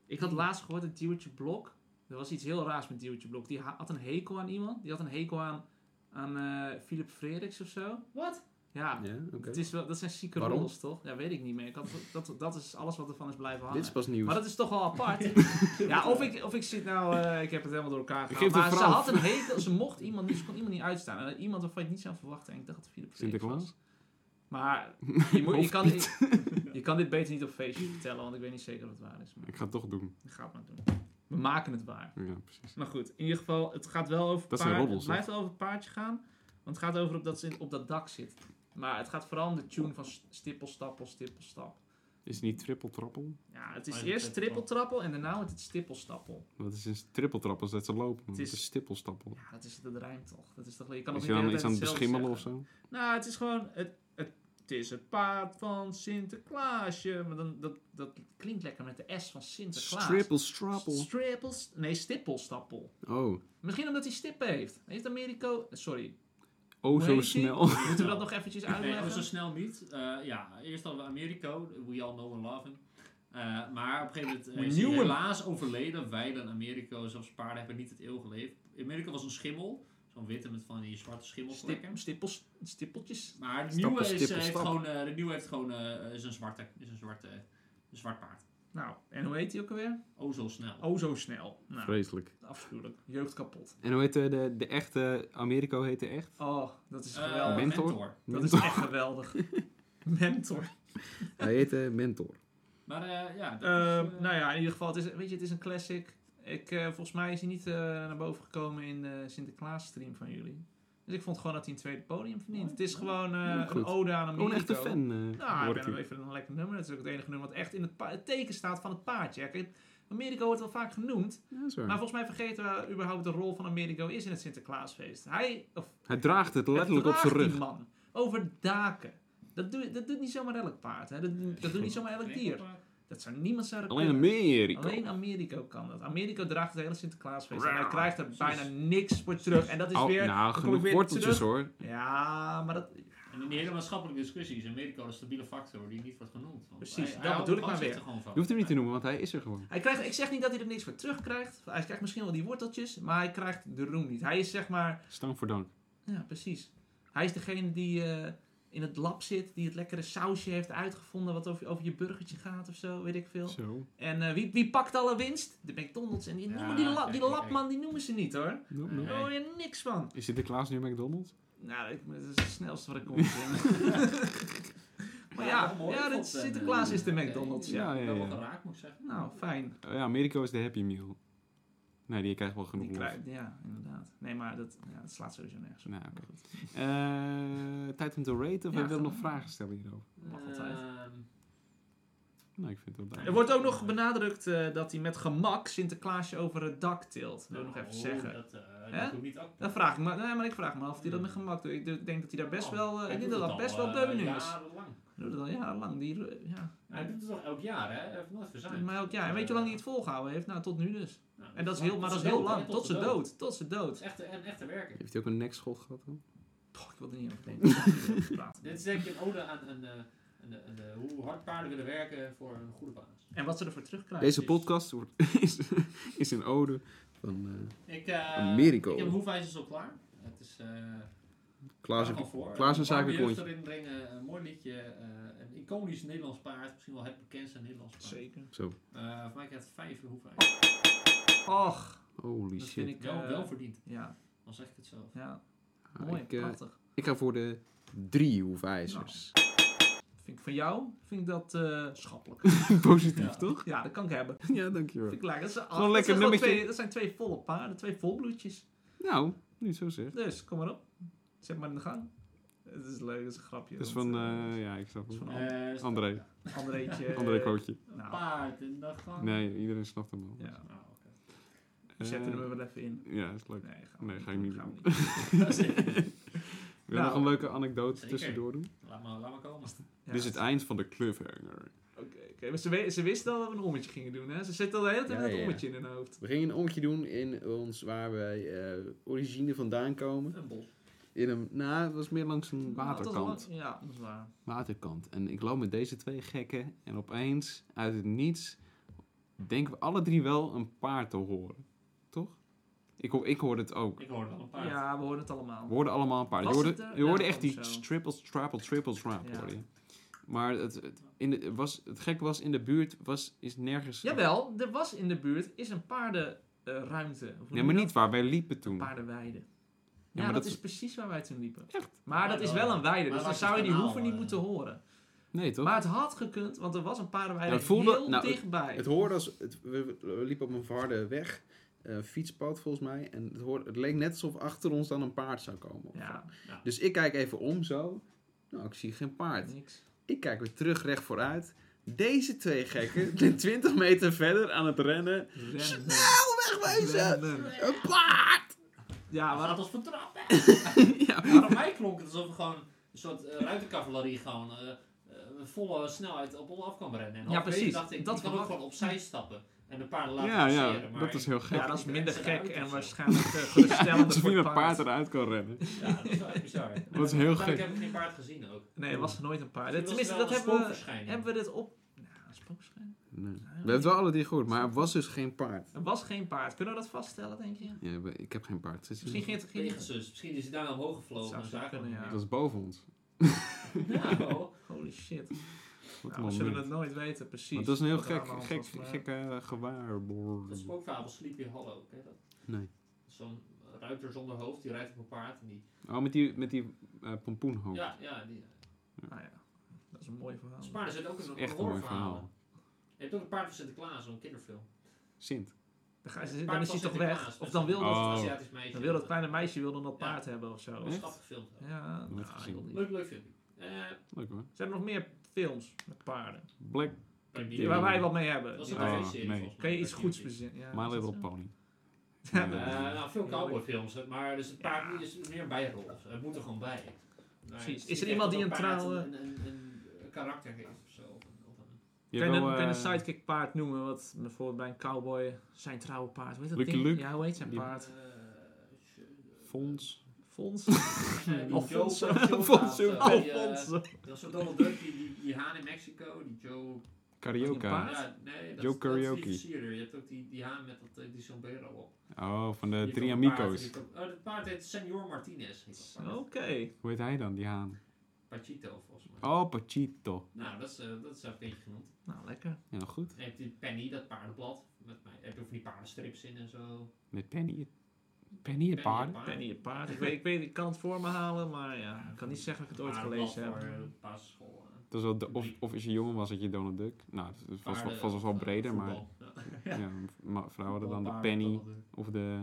Speaker 2: Ik had laatst gehoord dat Duwtje Blok... Er was iets heel raars met Duwtje Blok. Die ha- had een hekel aan iemand. Die had een hekel aan, aan eh, Philip Frederiks of zo.
Speaker 3: Wat?
Speaker 2: Ja,
Speaker 1: Ja, oké.
Speaker 2: Ah, het is wel, dat zijn zieke
Speaker 1: Waarom?
Speaker 2: roddels, toch? Ja, weet ik niet meer. Ik had, dat, dat is alles wat ervan is blijven hangen.
Speaker 1: Dit is pas nieuws.
Speaker 2: Maar dat is toch wel apart. ja, of ik, of ik zit nou, eh, ik heb het helemaal door elkaar
Speaker 1: Geef
Speaker 2: gehaald.
Speaker 1: het
Speaker 2: Maar ze
Speaker 1: vooraf.
Speaker 2: had een hekel, ze mocht iemand niet, ze kon iemand niet uitstaan. En iemand waarvan je het niet zou verwachten. En ik dacht dat Philip Frederiks
Speaker 1: Sinterklaas?
Speaker 2: was. Maar je, moet, je, kan, je kan dit beter niet op feestjes vertellen, want ik weet niet zeker of het waar is. Maar
Speaker 1: Ik ga het toch doen.
Speaker 2: ik ga het maar doen. We maken het waar.
Speaker 1: Ja, precies.
Speaker 2: Maar goed, in ieder geval, het gaat wel over
Speaker 1: Dat zijn
Speaker 2: paard.
Speaker 1: roddels,
Speaker 2: het blijft wel over het paardje gaan. Want het gaat over op dat ze in- op dat dak zit. Maar het gaat vooral om de tune van s- stippel, stappel, stippel, stap.
Speaker 1: Is het niet trippeltrappel?
Speaker 2: Ja, het is
Speaker 3: Maar
Speaker 2: eerst
Speaker 3: trippeltrappel.
Speaker 2: trippeltrappel en daarna wordt het stippelstappel.
Speaker 1: Wat is een trippeltrappel als dat ze lopen? Het
Speaker 2: is-
Speaker 1: is stippelstappel.
Speaker 2: Ja, dat is dat rijmt toch. Dat is toch je kan
Speaker 1: Is
Speaker 2: nog
Speaker 1: je
Speaker 2: niet de
Speaker 1: dan
Speaker 2: hele
Speaker 1: iets
Speaker 2: tijd
Speaker 1: aan het
Speaker 2: hetzelfde
Speaker 1: beschimmelen of
Speaker 2: zeggen.
Speaker 1: zo?
Speaker 2: Nou, het is gewoon het, het, het is het paard van Sinterklaasje, maar dan dat, dat klinkt lekker met de S van Sinterklaas.
Speaker 1: Trippelstrappel.
Speaker 2: Strippel, nee, stippelstappel.
Speaker 1: Oh,
Speaker 2: Misschien omdat hij stippen heeft. Heeft Americo, sorry,
Speaker 1: oh
Speaker 2: Hoe
Speaker 1: zo
Speaker 2: heet
Speaker 1: snel.
Speaker 2: moeten we dat nog eventjes
Speaker 3: Nee,
Speaker 2: uitleggen?
Speaker 3: oh, zo snel niet. Eh, ja, eerst hadden we Americo. We all know and love him. Eh, maar op een gegeven moment eh,
Speaker 2: We
Speaker 3: is hij
Speaker 2: knew him.
Speaker 3: helaas overleden. Wij dan Americo, zelfs paarden hebben niet het eeuw geleefd. Americo was een schimmel. Zo'n witte met van die zwarte schimmelvlekken.
Speaker 2: Stip, stippels, stippeltjes.
Speaker 3: Maar de
Speaker 1: Stappen,
Speaker 3: nieuwe, is, eh,
Speaker 1: stippen,
Speaker 3: heeft
Speaker 1: stappen.
Speaker 3: gewoon, eh, de nieuwe heeft gewoon eh, is een, zwarte, is een, zwarte, een zwart paard.
Speaker 2: Nou, en hoe heet hij ook alweer?
Speaker 3: Oh, zo snel.
Speaker 2: Oh, zo snel. Nou,
Speaker 1: Vreselijk.
Speaker 2: afschuwelijk. Jeugd kapot.
Speaker 1: En hoe heet eh, de, de echte... Americo heette echt?
Speaker 2: Oh, dat is
Speaker 3: Eh,
Speaker 2: geweldig.
Speaker 1: men- Mentor?
Speaker 2: dat is echt geweldig. Mentor.
Speaker 1: Hij
Speaker 2: eh,
Speaker 1: heette Mentor.
Speaker 3: Maar eh, ja, dat
Speaker 2: Ehm,
Speaker 3: is, eh,
Speaker 2: nou ja, in ieder geval, het is, weet je, het is een classic. Ik, eh, volgens mij is hij niet eh, naar boven gekomen in de Sinterklaas stream van jullie. Dus ik vond gewoon dat hij een tweede podium verdient. Het is gewoon eh,
Speaker 1: Heel goed.
Speaker 2: een ode aan Amerika.
Speaker 1: Gewoon echt een fan, eh
Speaker 2: Nou, ik
Speaker 1: hoor
Speaker 2: ben
Speaker 1: ik
Speaker 2: hem
Speaker 1: hier.
Speaker 2: even een lekker nummer. Dat is ook het enige nummer wat echt in het, pa- het teken staat van het paardje. Kijk, Amerika wordt wel vaak genoemd.
Speaker 1: Ja, dat is waar.
Speaker 2: Maar volgens mij vergeten we überhaupt de rol van Amerika is in het Sinterklaasfeest. Hij, of
Speaker 1: Hij draagt het letterlijk
Speaker 2: het
Speaker 1: op zijn
Speaker 2: draagt
Speaker 1: rug.
Speaker 2: Die man. Over daken. Dat, doe, dat doet niet zomaar elk paard. Hè. Dat, dat doet niet zomaar elk dier. Dat zou niemand zou dat
Speaker 1: Alleen
Speaker 2: kunnen.
Speaker 1: Americo.
Speaker 2: Alleen Amerika kan dat. Amerika draagt het hele Sinterklaasfeest. En
Speaker 1: Raar.
Speaker 2: hij krijgt er bijna niks voor terug. En dat is
Speaker 1: Oh,
Speaker 2: weer... dan
Speaker 1: nou,
Speaker 2: kom
Speaker 1: genoeg
Speaker 2: ik weer
Speaker 1: worteltjes
Speaker 2: terug.
Speaker 1: hoor.
Speaker 2: Ja, maar dat...
Speaker 3: En in die hele maatschappelijke discussie is Amerika een stabiele factor die niet wordt genoemd. Want
Speaker 2: Precies,
Speaker 3: hij-
Speaker 2: dat
Speaker 3: hij houdt
Speaker 2: bedoel ik
Speaker 3: de
Speaker 2: maar
Speaker 3: vangst
Speaker 2: weer.
Speaker 3: er gewoon van.
Speaker 1: Je hoeft hem niet te noemen, want hij is er gewoon.
Speaker 2: Hij krijgt, ik zeg niet dat hij er niks voor terugkrijgt. Hij krijgt misschien wel die worteltjes, maar hij krijgt de roem niet. Hij is zeg maar...
Speaker 1: Stank voor dank.
Speaker 2: Ja, precies. Hij is degene die eh, in het lab zit, die het lekkere sausje heeft uitgevonden wat over, over je burgertje gaat of zo, weet ik veel.
Speaker 1: Zo.
Speaker 2: En eh, wie, wie pakt alle winst? De McDonald's. En die,
Speaker 3: Ja,
Speaker 2: noemen die, la-
Speaker 3: kijk,
Speaker 2: die
Speaker 3: kijk,
Speaker 2: labman, die noemen ze niet hoor.
Speaker 1: Nope,
Speaker 3: Nee.
Speaker 1: nope.
Speaker 2: Daar hoor je niks van.
Speaker 1: Is Sinterklaas nu McDonald's?
Speaker 2: Nou, ik, dat is het snelste wat ik kon verzinnen. maar ja,
Speaker 3: wel mooi,
Speaker 2: ja dat
Speaker 3: God, eh,
Speaker 2: Sinterklaas is de
Speaker 3: oké.
Speaker 2: McDonald's. Ja.
Speaker 1: Ja,
Speaker 3: Ik ben
Speaker 1: ja,
Speaker 3: wel
Speaker 1: ja.
Speaker 3: geraakt, moet ik zeggen.
Speaker 2: Nou, fijn.
Speaker 1: Oh ja, Americo is de Happy Meal. Nee, die krijgt wel genoeg
Speaker 2: Die
Speaker 1: lof.
Speaker 2: kruid, ja, inderdaad. Nee, maar dat, ja, dat slaat sowieso nergens op.
Speaker 1: Nou, oké.
Speaker 2: Maar goed.
Speaker 1: Eh, tijd om te raten of
Speaker 2: Ja,
Speaker 1: we willen
Speaker 2: gaan
Speaker 1: nog
Speaker 2: we.
Speaker 1: vragen stellen hierover?
Speaker 2: Mag altijd.
Speaker 3: Ehm,
Speaker 1: Nou, ik vind het wel
Speaker 2: Er
Speaker 1: duidelijk.
Speaker 2: wordt ook nog benadrukt eh, dat hij met gemak Sinterklaasje over het dak tilt. Wil ik nog
Speaker 3: nou,
Speaker 2: even zeggen.
Speaker 3: Dat, eh,
Speaker 2: Hè?
Speaker 3: dat doet niet ook.
Speaker 2: Dan vraag ik me, nee, maar ik vraag me af of hij dat met gemak doet. Ik denk dat hij daar best wel, eh,
Speaker 3: Oh, Hij
Speaker 2: ik
Speaker 3: doet
Speaker 2: denk dat
Speaker 3: het
Speaker 2: dat
Speaker 3: al,
Speaker 2: best wel
Speaker 3: eh,
Speaker 2: beuning is.
Speaker 3: jarenlang.
Speaker 2: Hij doet het al jarenlang. Die, eh, ja.
Speaker 3: Hij doet het toch elk jaar, hè? Hij heeft nooit verzuimd.
Speaker 2: Maar ook, ja, en weet je hoe lang hij het volgehouden heeft? Nou, tot nu dus.
Speaker 3: Nou,
Speaker 2: En dat is
Speaker 3: lang.
Speaker 2: heel, maar dat
Speaker 3: Tot
Speaker 2: is
Speaker 3: zijn
Speaker 2: heel
Speaker 3: dood,
Speaker 2: lang.
Speaker 3: hè,
Speaker 2: Tot ze
Speaker 3: zijn
Speaker 2: dood. Tot ze dood.
Speaker 3: Dat is echt een echte werker.
Speaker 1: Heeft hij ook een nekschot gehad dan?
Speaker 2: Poh, ik wil er niet over denken. Ik wil er niet over praten.
Speaker 3: Dit is denk ik een ode aan, aan, eh, aan, de- aan de- hoe hard paarden willen werken voor een goede baas.
Speaker 2: En wat ze ervoor terugkrijgen.
Speaker 1: Deze
Speaker 2: is-
Speaker 1: podcast wordt, is, is een ode van eh
Speaker 3: Ik, eh,
Speaker 1: Americo.
Speaker 3: ik heb hoefijzers al klaar. Het is eh,
Speaker 1: Klaas
Speaker 3: ga
Speaker 1: en
Speaker 3: gewoon voor.
Speaker 1: Klaas
Speaker 3: een
Speaker 1: en
Speaker 3: zakenkontje.
Speaker 1: Zakenkontje.
Speaker 3: erin brengen, een mooi liedje. eh, een iconisch Nederlands paard. Misschien wel het bekendste Nederlands paard.
Speaker 2: Zeker.
Speaker 1: Zo.
Speaker 3: Eh voor mij krijgt het vijf hoefijzers.
Speaker 2: Och,
Speaker 1: Holy
Speaker 2: dat
Speaker 1: shit.
Speaker 2: vind ik...
Speaker 3: Wel,
Speaker 2: eh,
Speaker 3: wel verdiend,
Speaker 2: ja,
Speaker 3: al zeg ik het zelf.
Speaker 2: ja,
Speaker 1: Ah,
Speaker 2: mooi,
Speaker 1: ik, eh,
Speaker 2: prachtig.
Speaker 1: ik ga voor de drie hoefijzers.
Speaker 2: Vind Vind ik van jou vind ik dat eh, schappelijk.
Speaker 1: Positief,
Speaker 2: Ja.
Speaker 1: toch?
Speaker 2: Ja, dat kan ik hebben.
Speaker 1: Ja, dankjewel.
Speaker 2: Vind ik lekker. Dat, zijn-
Speaker 1: Gewoon een
Speaker 2: dat
Speaker 1: lekker
Speaker 2: zijn gewoon
Speaker 1: nummertje.
Speaker 2: twee- dat zijn twee volle paarden, twee volbloedjes.
Speaker 1: Nou, niet zo zeg.
Speaker 2: Dus kom maar op. Zet maar in de gang. Het is leuk, dat is een grapje.
Speaker 1: Dus
Speaker 2: want,
Speaker 1: van,
Speaker 2: eh,
Speaker 1: eh, ja, ik snap
Speaker 2: dat is
Speaker 1: het.
Speaker 2: van An-
Speaker 3: Eh, dus
Speaker 1: André.
Speaker 2: Andreetje.
Speaker 1: André Kootje.
Speaker 2: Nou,
Speaker 3: Paard in de gang.
Speaker 1: Nee, iedereen snapt hem wel.
Speaker 2: ja.
Speaker 3: Oh, oké.
Speaker 2: We zetten
Speaker 1: Eh,
Speaker 2: hem er wel even in.
Speaker 1: Ja, is leuk.
Speaker 2: Nee, gaan we
Speaker 1: Nee, ga ik niet
Speaker 2: Gaan we
Speaker 1: doen.
Speaker 2: niet doen.
Speaker 1: Wil je nog
Speaker 2: Nou,
Speaker 1: een leuke anekdote
Speaker 3: zeker.
Speaker 1: tussendoor doen?
Speaker 3: Laat maar, laat maar komen.
Speaker 2: Ja.
Speaker 1: Dit is het eind van de cliffhanger.
Speaker 2: Oké, oké, maar ze, we- ze wist al dat we een ommetje gingen doen, hè? Ze zit al de hele tijd
Speaker 5: Ja,
Speaker 2: met
Speaker 5: ja.
Speaker 2: een ommetje in hun hoofd.
Speaker 5: We gingen een ommetje doen in ons waar wij eh, origine vandaan komen.
Speaker 3: Een bos.
Speaker 5: In een, nou, het was meer langs een waterkant.
Speaker 2: Ja, dat is waar.
Speaker 1: Waterkant. En ik loop met deze twee gekken en opeens, uit het niets, denken we alle drie wel een paard te horen. Toch? Ik, ho- ik hoorde het ook.
Speaker 3: Ik hoor wel een paard.
Speaker 2: Ja, we horen het allemaal.
Speaker 1: We hoorden allemaal een paard. Je
Speaker 2: Was
Speaker 1: hoorde,
Speaker 2: het er?
Speaker 1: je hoorde
Speaker 2: Ja,
Speaker 1: echt
Speaker 2: of
Speaker 1: die
Speaker 2: zo.
Speaker 1: triple, triple, triple, triple.
Speaker 2: Ja.
Speaker 1: hoorde je. Maar het, het, in de, het was, het gek was, in de buurt was, is nergens...
Speaker 2: Jawel, er was in de buurt is een paardenruimte. Of hoe
Speaker 1: Nee,
Speaker 2: noem
Speaker 1: maar
Speaker 2: je
Speaker 1: niet waar wij liepen
Speaker 2: dat?
Speaker 1: toen.
Speaker 2: Paardenweide. Ja,
Speaker 1: maar
Speaker 2: dat,
Speaker 1: dat-
Speaker 2: is precies waar wij toen liepen.
Speaker 1: Echt?
Speaker 2: Maar dat is wel een weide, dus
Speaker 3: Maar
Speaker 2: dan
Speaker 3: laat je
Speaker 2: zou je die
Speaker 3: kanaal,
Speaker 2: hoeven niet
Speaker 3: eh,
Speaker 2: moeten horen.
Speaker 1: Nee, toch?
Speaker 2: Maar het had gekund, want er was een paardenweide
Speaker 1: Ja, het voelde-
Speaker 2: heel
Speaker 1: nou, het-
Speaker 2: dichtbij.
Speaker 5: Het hoorde als, het, we, we liepen op een verharde weg, een fietspad volgens mij. En het, hoorde, het leek net alsof achter ons dan een paard zou komen.
Speaker 2: ja,
Speaker 5: Dus ik kijk even om zo. Nou, ik zie geen paard.
Speaker 2: niks.
Speaker 5: Ik kijk weer terug recht vooruit. Deze twee gekken zijn 20 meter verder aan het rennen.
Speaker 2: Rennen.
Speaker 5: Snel wegwezen!
Speaker 2: Rennen.
Speaker 5: Een paard!
Speaker 2: Ja,
Speaker 3: Hij
Speaker 2: maar
Speaker 3: gaat ons vertrappen. Waarom mij klonk het alsof we gewoon een soort eh, ruitercavalerie gewoon eh, eh, volle snelheid op ons af kan rennen. En
Speaker 2: Ja,
Speaker 3: halverwege
Speaker 2: precies.
Speaker 3: dacht ik,
Speaker 2: Dat
Speaker 3: dat kan
Speaker 2: verwacht-
Speaker 3: ook gewoon opzij stappen. En de paarden laten
Speaker 1: Ja, ja,
Speaker 3: passeren, maar
Speaker 1: dat is heel gek.
Speaker 2: ja, dat is
Speaker 3: Ik
Speaker 2: minder
Speaker 3: denk ze
Speaker 2: gek
Speaker 3: eruit
Speaker 2: en
Speaker 3: of zo.
Speaker 2: waarschijnlijk eh, geruststellender
Speaker 1: Alsof
Speaker 2: voor
Speaker 1: je
Speaker 2: het
Speaker 1: met
Speaker 2: paard.
Speaker 1: paard eruit kan rennen.
Speaker 3: Ja, dat is wel echt bizar.
Speaker 1: Dat is heel
Speaker 3: Ik
Speaker 1: gek.
Speaker 3: heb ik geen paard gezien ook.
Speaker 2: Nee, er was er nooit een paard.
Speaker 3: Misschien was
Speaker 2: Tenminste, dat
Speaker 3: het wel een
Speaker 2: hebben we,
Speaker 3: spookverschijning.
Speaker 2: hebben we dit op... Nou, een spookverschijning?
Speaker 5: Nee. We hebben het wel alle drie gehoord, maar er was dus geen paard.
Speaker 2: Er was geen paard. Kunnen we dat vaststellen, denk je?
Speaker 1: Ja, we- ik heb geen paard. Het is-
Speaker 2: Misschien ging het... Ging
Speaker 3: Pegasus. Misschien is hij daar nou omhoog gevlogen.
Speaker 2: Zou
Speaker 3: en
Speaker 2: zo
Speaker 3: zagen we
Speaker 2: kunnen,
Speaker 3: hem
Speaker 1: Dat is boven ons.
Speaker 3: niet. Ja, wel.
Speaker 2: Holy shit.
Speaker 1: Wat
Speaker 2: Nou, we
Speaker 1: een
Speaker 2: zullen
Speaker 1: moment.
Speaker 2: het nooit weten, precies.
Speaker 1: Want dat is een heel
Speaker 2: Wat er
Speaker 1: gek,
Speaker 2: aan de hand
Speaker 1: gek,
Speaker 2: was, maar-
Speaker 1: gek eh, gewaar.
Speaker 3: Dat spookverhaal van Sleepy Hollow. Ken je dat?
Speaker 5: Nee.
Speaker 3: Zo'n ruiter zonder hoofd, die rijdt op een paard. En die,
Speaker 1: Oh, met die, met die eh pompoenhoofd.
Speaker 3: ja, ja, die,
Speaker 2: Nou ja, dat is een mooi verhaal.
Speaker 3: Spaarden zit ook in
Speaker 1: Dat is
Speaker 3: een
Speaker 1: echt een mooi
Speaker 3: horrorverhaal.
Speaker 1: verhaal.
Speaker 3: Je hebt ook een paard van Sinterklaas, zo'n kinderfilm.
Speaker 1: Sint.
Speaker 2: Dan, ga je-
Speaker 3: Het
Speaker 2: dan
Speaker 3: paard
Speaker 2: is hij
Speaker 3: van
Speaker 2: toch weg.
Speaker 3: Sinterklaas,
Speaker 2: Of dan wil,
Speaker 1: Oh.
Speaker 2: dat,
Speaker 3: Aziatisch meisje.
Speaker 2: dan wil dat kleine meisje wil dan dat
Speaker 3: Ja.
Speaker 2: paard hebben of zo.
Speaker 3: Dat is
Speaker 1: Echt?
Speaker 3: grappig gefilmd.
Speaker 2: Ja,
Speaker 1: Nooit
Speaker 2: nou,
Speaker 1: gezien.
Speaker 2: ik wil niet.
Speaker 3: Leuk, leuk filmpje. Eh,
Speaker 1: Leuk hoor.
Speaker 2: Zijn er nog meer films met paarden?
Speaker 1: Black
Speaker 3: Black
Speaker 1: Ja.
Speaker 2: Waar
Speaker 3: Mirror.
Speaker 2: wij wat mee hebben.
Speaker 3: Dat was
Speaker 2: Ja.
Speaker 3: een
Speaker 1: Ah,
Speaker 3: tv-serie
Speaker 1: nee.
Speaker 3: volgens mij.
Speaker 2: Kan je iets
Speaker 3: Black
Speaker 2: goeds
Speaker 3: Mirror.
Speaker 2: verzinnen? Ja,
Speaker 1: My
Speaker 2: dat is
Speaker 1: Little
Speaker 2: het.
Speaker 1: Pony.
Speaker 3: Eh, nou, veel
Speaker 2: Ja.
Speaker 3: cowboyfilms, maar dus het paard is meer een bijrol. Het moet er gewoon bij. Maar
Speaker 2: Precies.
Speaker 3: het
Speaker 2: Is
Speaker 3: niet
Speaker 2: er
Speaker 3: echt
Speaker 2: iemand
Speaker 3: dat
Speaker 2: die een eh,
Speaker 3: paard
Speaker 2: trouwe-
Speaker 3: Een, een, een, een karakter heeft of zo. Of een- of een-
Speaker 1: Je
Speaker 2: Kan je,
Speaker 1: hebt
Speaker 2: een,
Speaker 1: wel,
Speaker 2: kan je een
Speaker 1: eh,
Speaker 2: sidekick paard noemen, wat bijvoorbeeld bij een cowboy zijn trouwe paard. Hoe heet dat
Speaker 1: Lucky
Speaker 2: ding?
Speaker 1: Luke.
Speaker 2: Ja, hoe heet zijn
Speaker 1: Die-
Speaker 2: paard?
Speaker 3: eh,
Speaker 1: Fons.
Speaker 2: Fons?
Speaker 3: eh, die
Speaker 2: Of
Speaker 3: Joe-
Speaker 2: Fons.
Speaker 3: Joe paard,
Speaker 2: Alfonso.
Speaker 3: eh, die, eh,
Speaker 2: Alfonso.
Speaker 3: Dat is zo'n Donald Duck, die, die, die haan in Mexico, die Joe...
Speaker 2: Wat
Speaker 1: Carioca.
Speaker 2: Paard?
Speaker 3: Ja, nee, dat,
Speaker 1: Joe
Speaker 3: dat is
Speaker 1: Karaoke.
Speaker 3: die versierder. Je hebt ook die, die haan met dat, eh, die sombrero op.
Speaker 1: Oh, van de
Speaker 3: Die
Speaker 1: Drie
Speaker 3: heeft ook een paard,
Speaker 1: Amigos.
Speaker 3: die heeft ook- Oh, dat paard heet Senor Martinez. heet dat paard.
Speaker 2: Oké.
Speaker 1: Hoe heet hij dan, die haan?
Speaker 3: Pachito, volgens mij.
Speaker 1: Oh, Pachito.
Speaker 3: Nou, dat is, eh, dat is een beetje genoemd.
Speaker 2: Nou, lekker.
Speaker 1: Ja, goed.
Speaker 3: Je hebt die Penny, dat paardenblad. Met mij. Heb je ook van die paardenstrips in en zo.
Speaker 1: Met Penny. Penny het
Speaker 3: Penny
Speaker 1: paard.
Speaker 3: paard.
Speaker 2: Penny het paard. Ik, weet, ik, weet, ik kan het voor me halen, maar ja, ik kan niet zeggen dat ik het ooit gelezen heb.
Speaker 3: Paardenblad voor eh, basisschool. eh,
Speaker 1: Dat is wel de, of, of als je jongen was, dat je Donald Duck. Nou, het was, was,
Speaker 3: paarden,
Speaker 1: was, wel
Speaker 3: eh,
Speaker 1: breder, maar
Speaker 3: voetbal. Ja.
Speaker 1: ja, ma- vrouwen hadden dan de
Speaker 3: Voetbal,
Speaker 1: Penny
Speaker 3: paarden,
Speaker 1: of de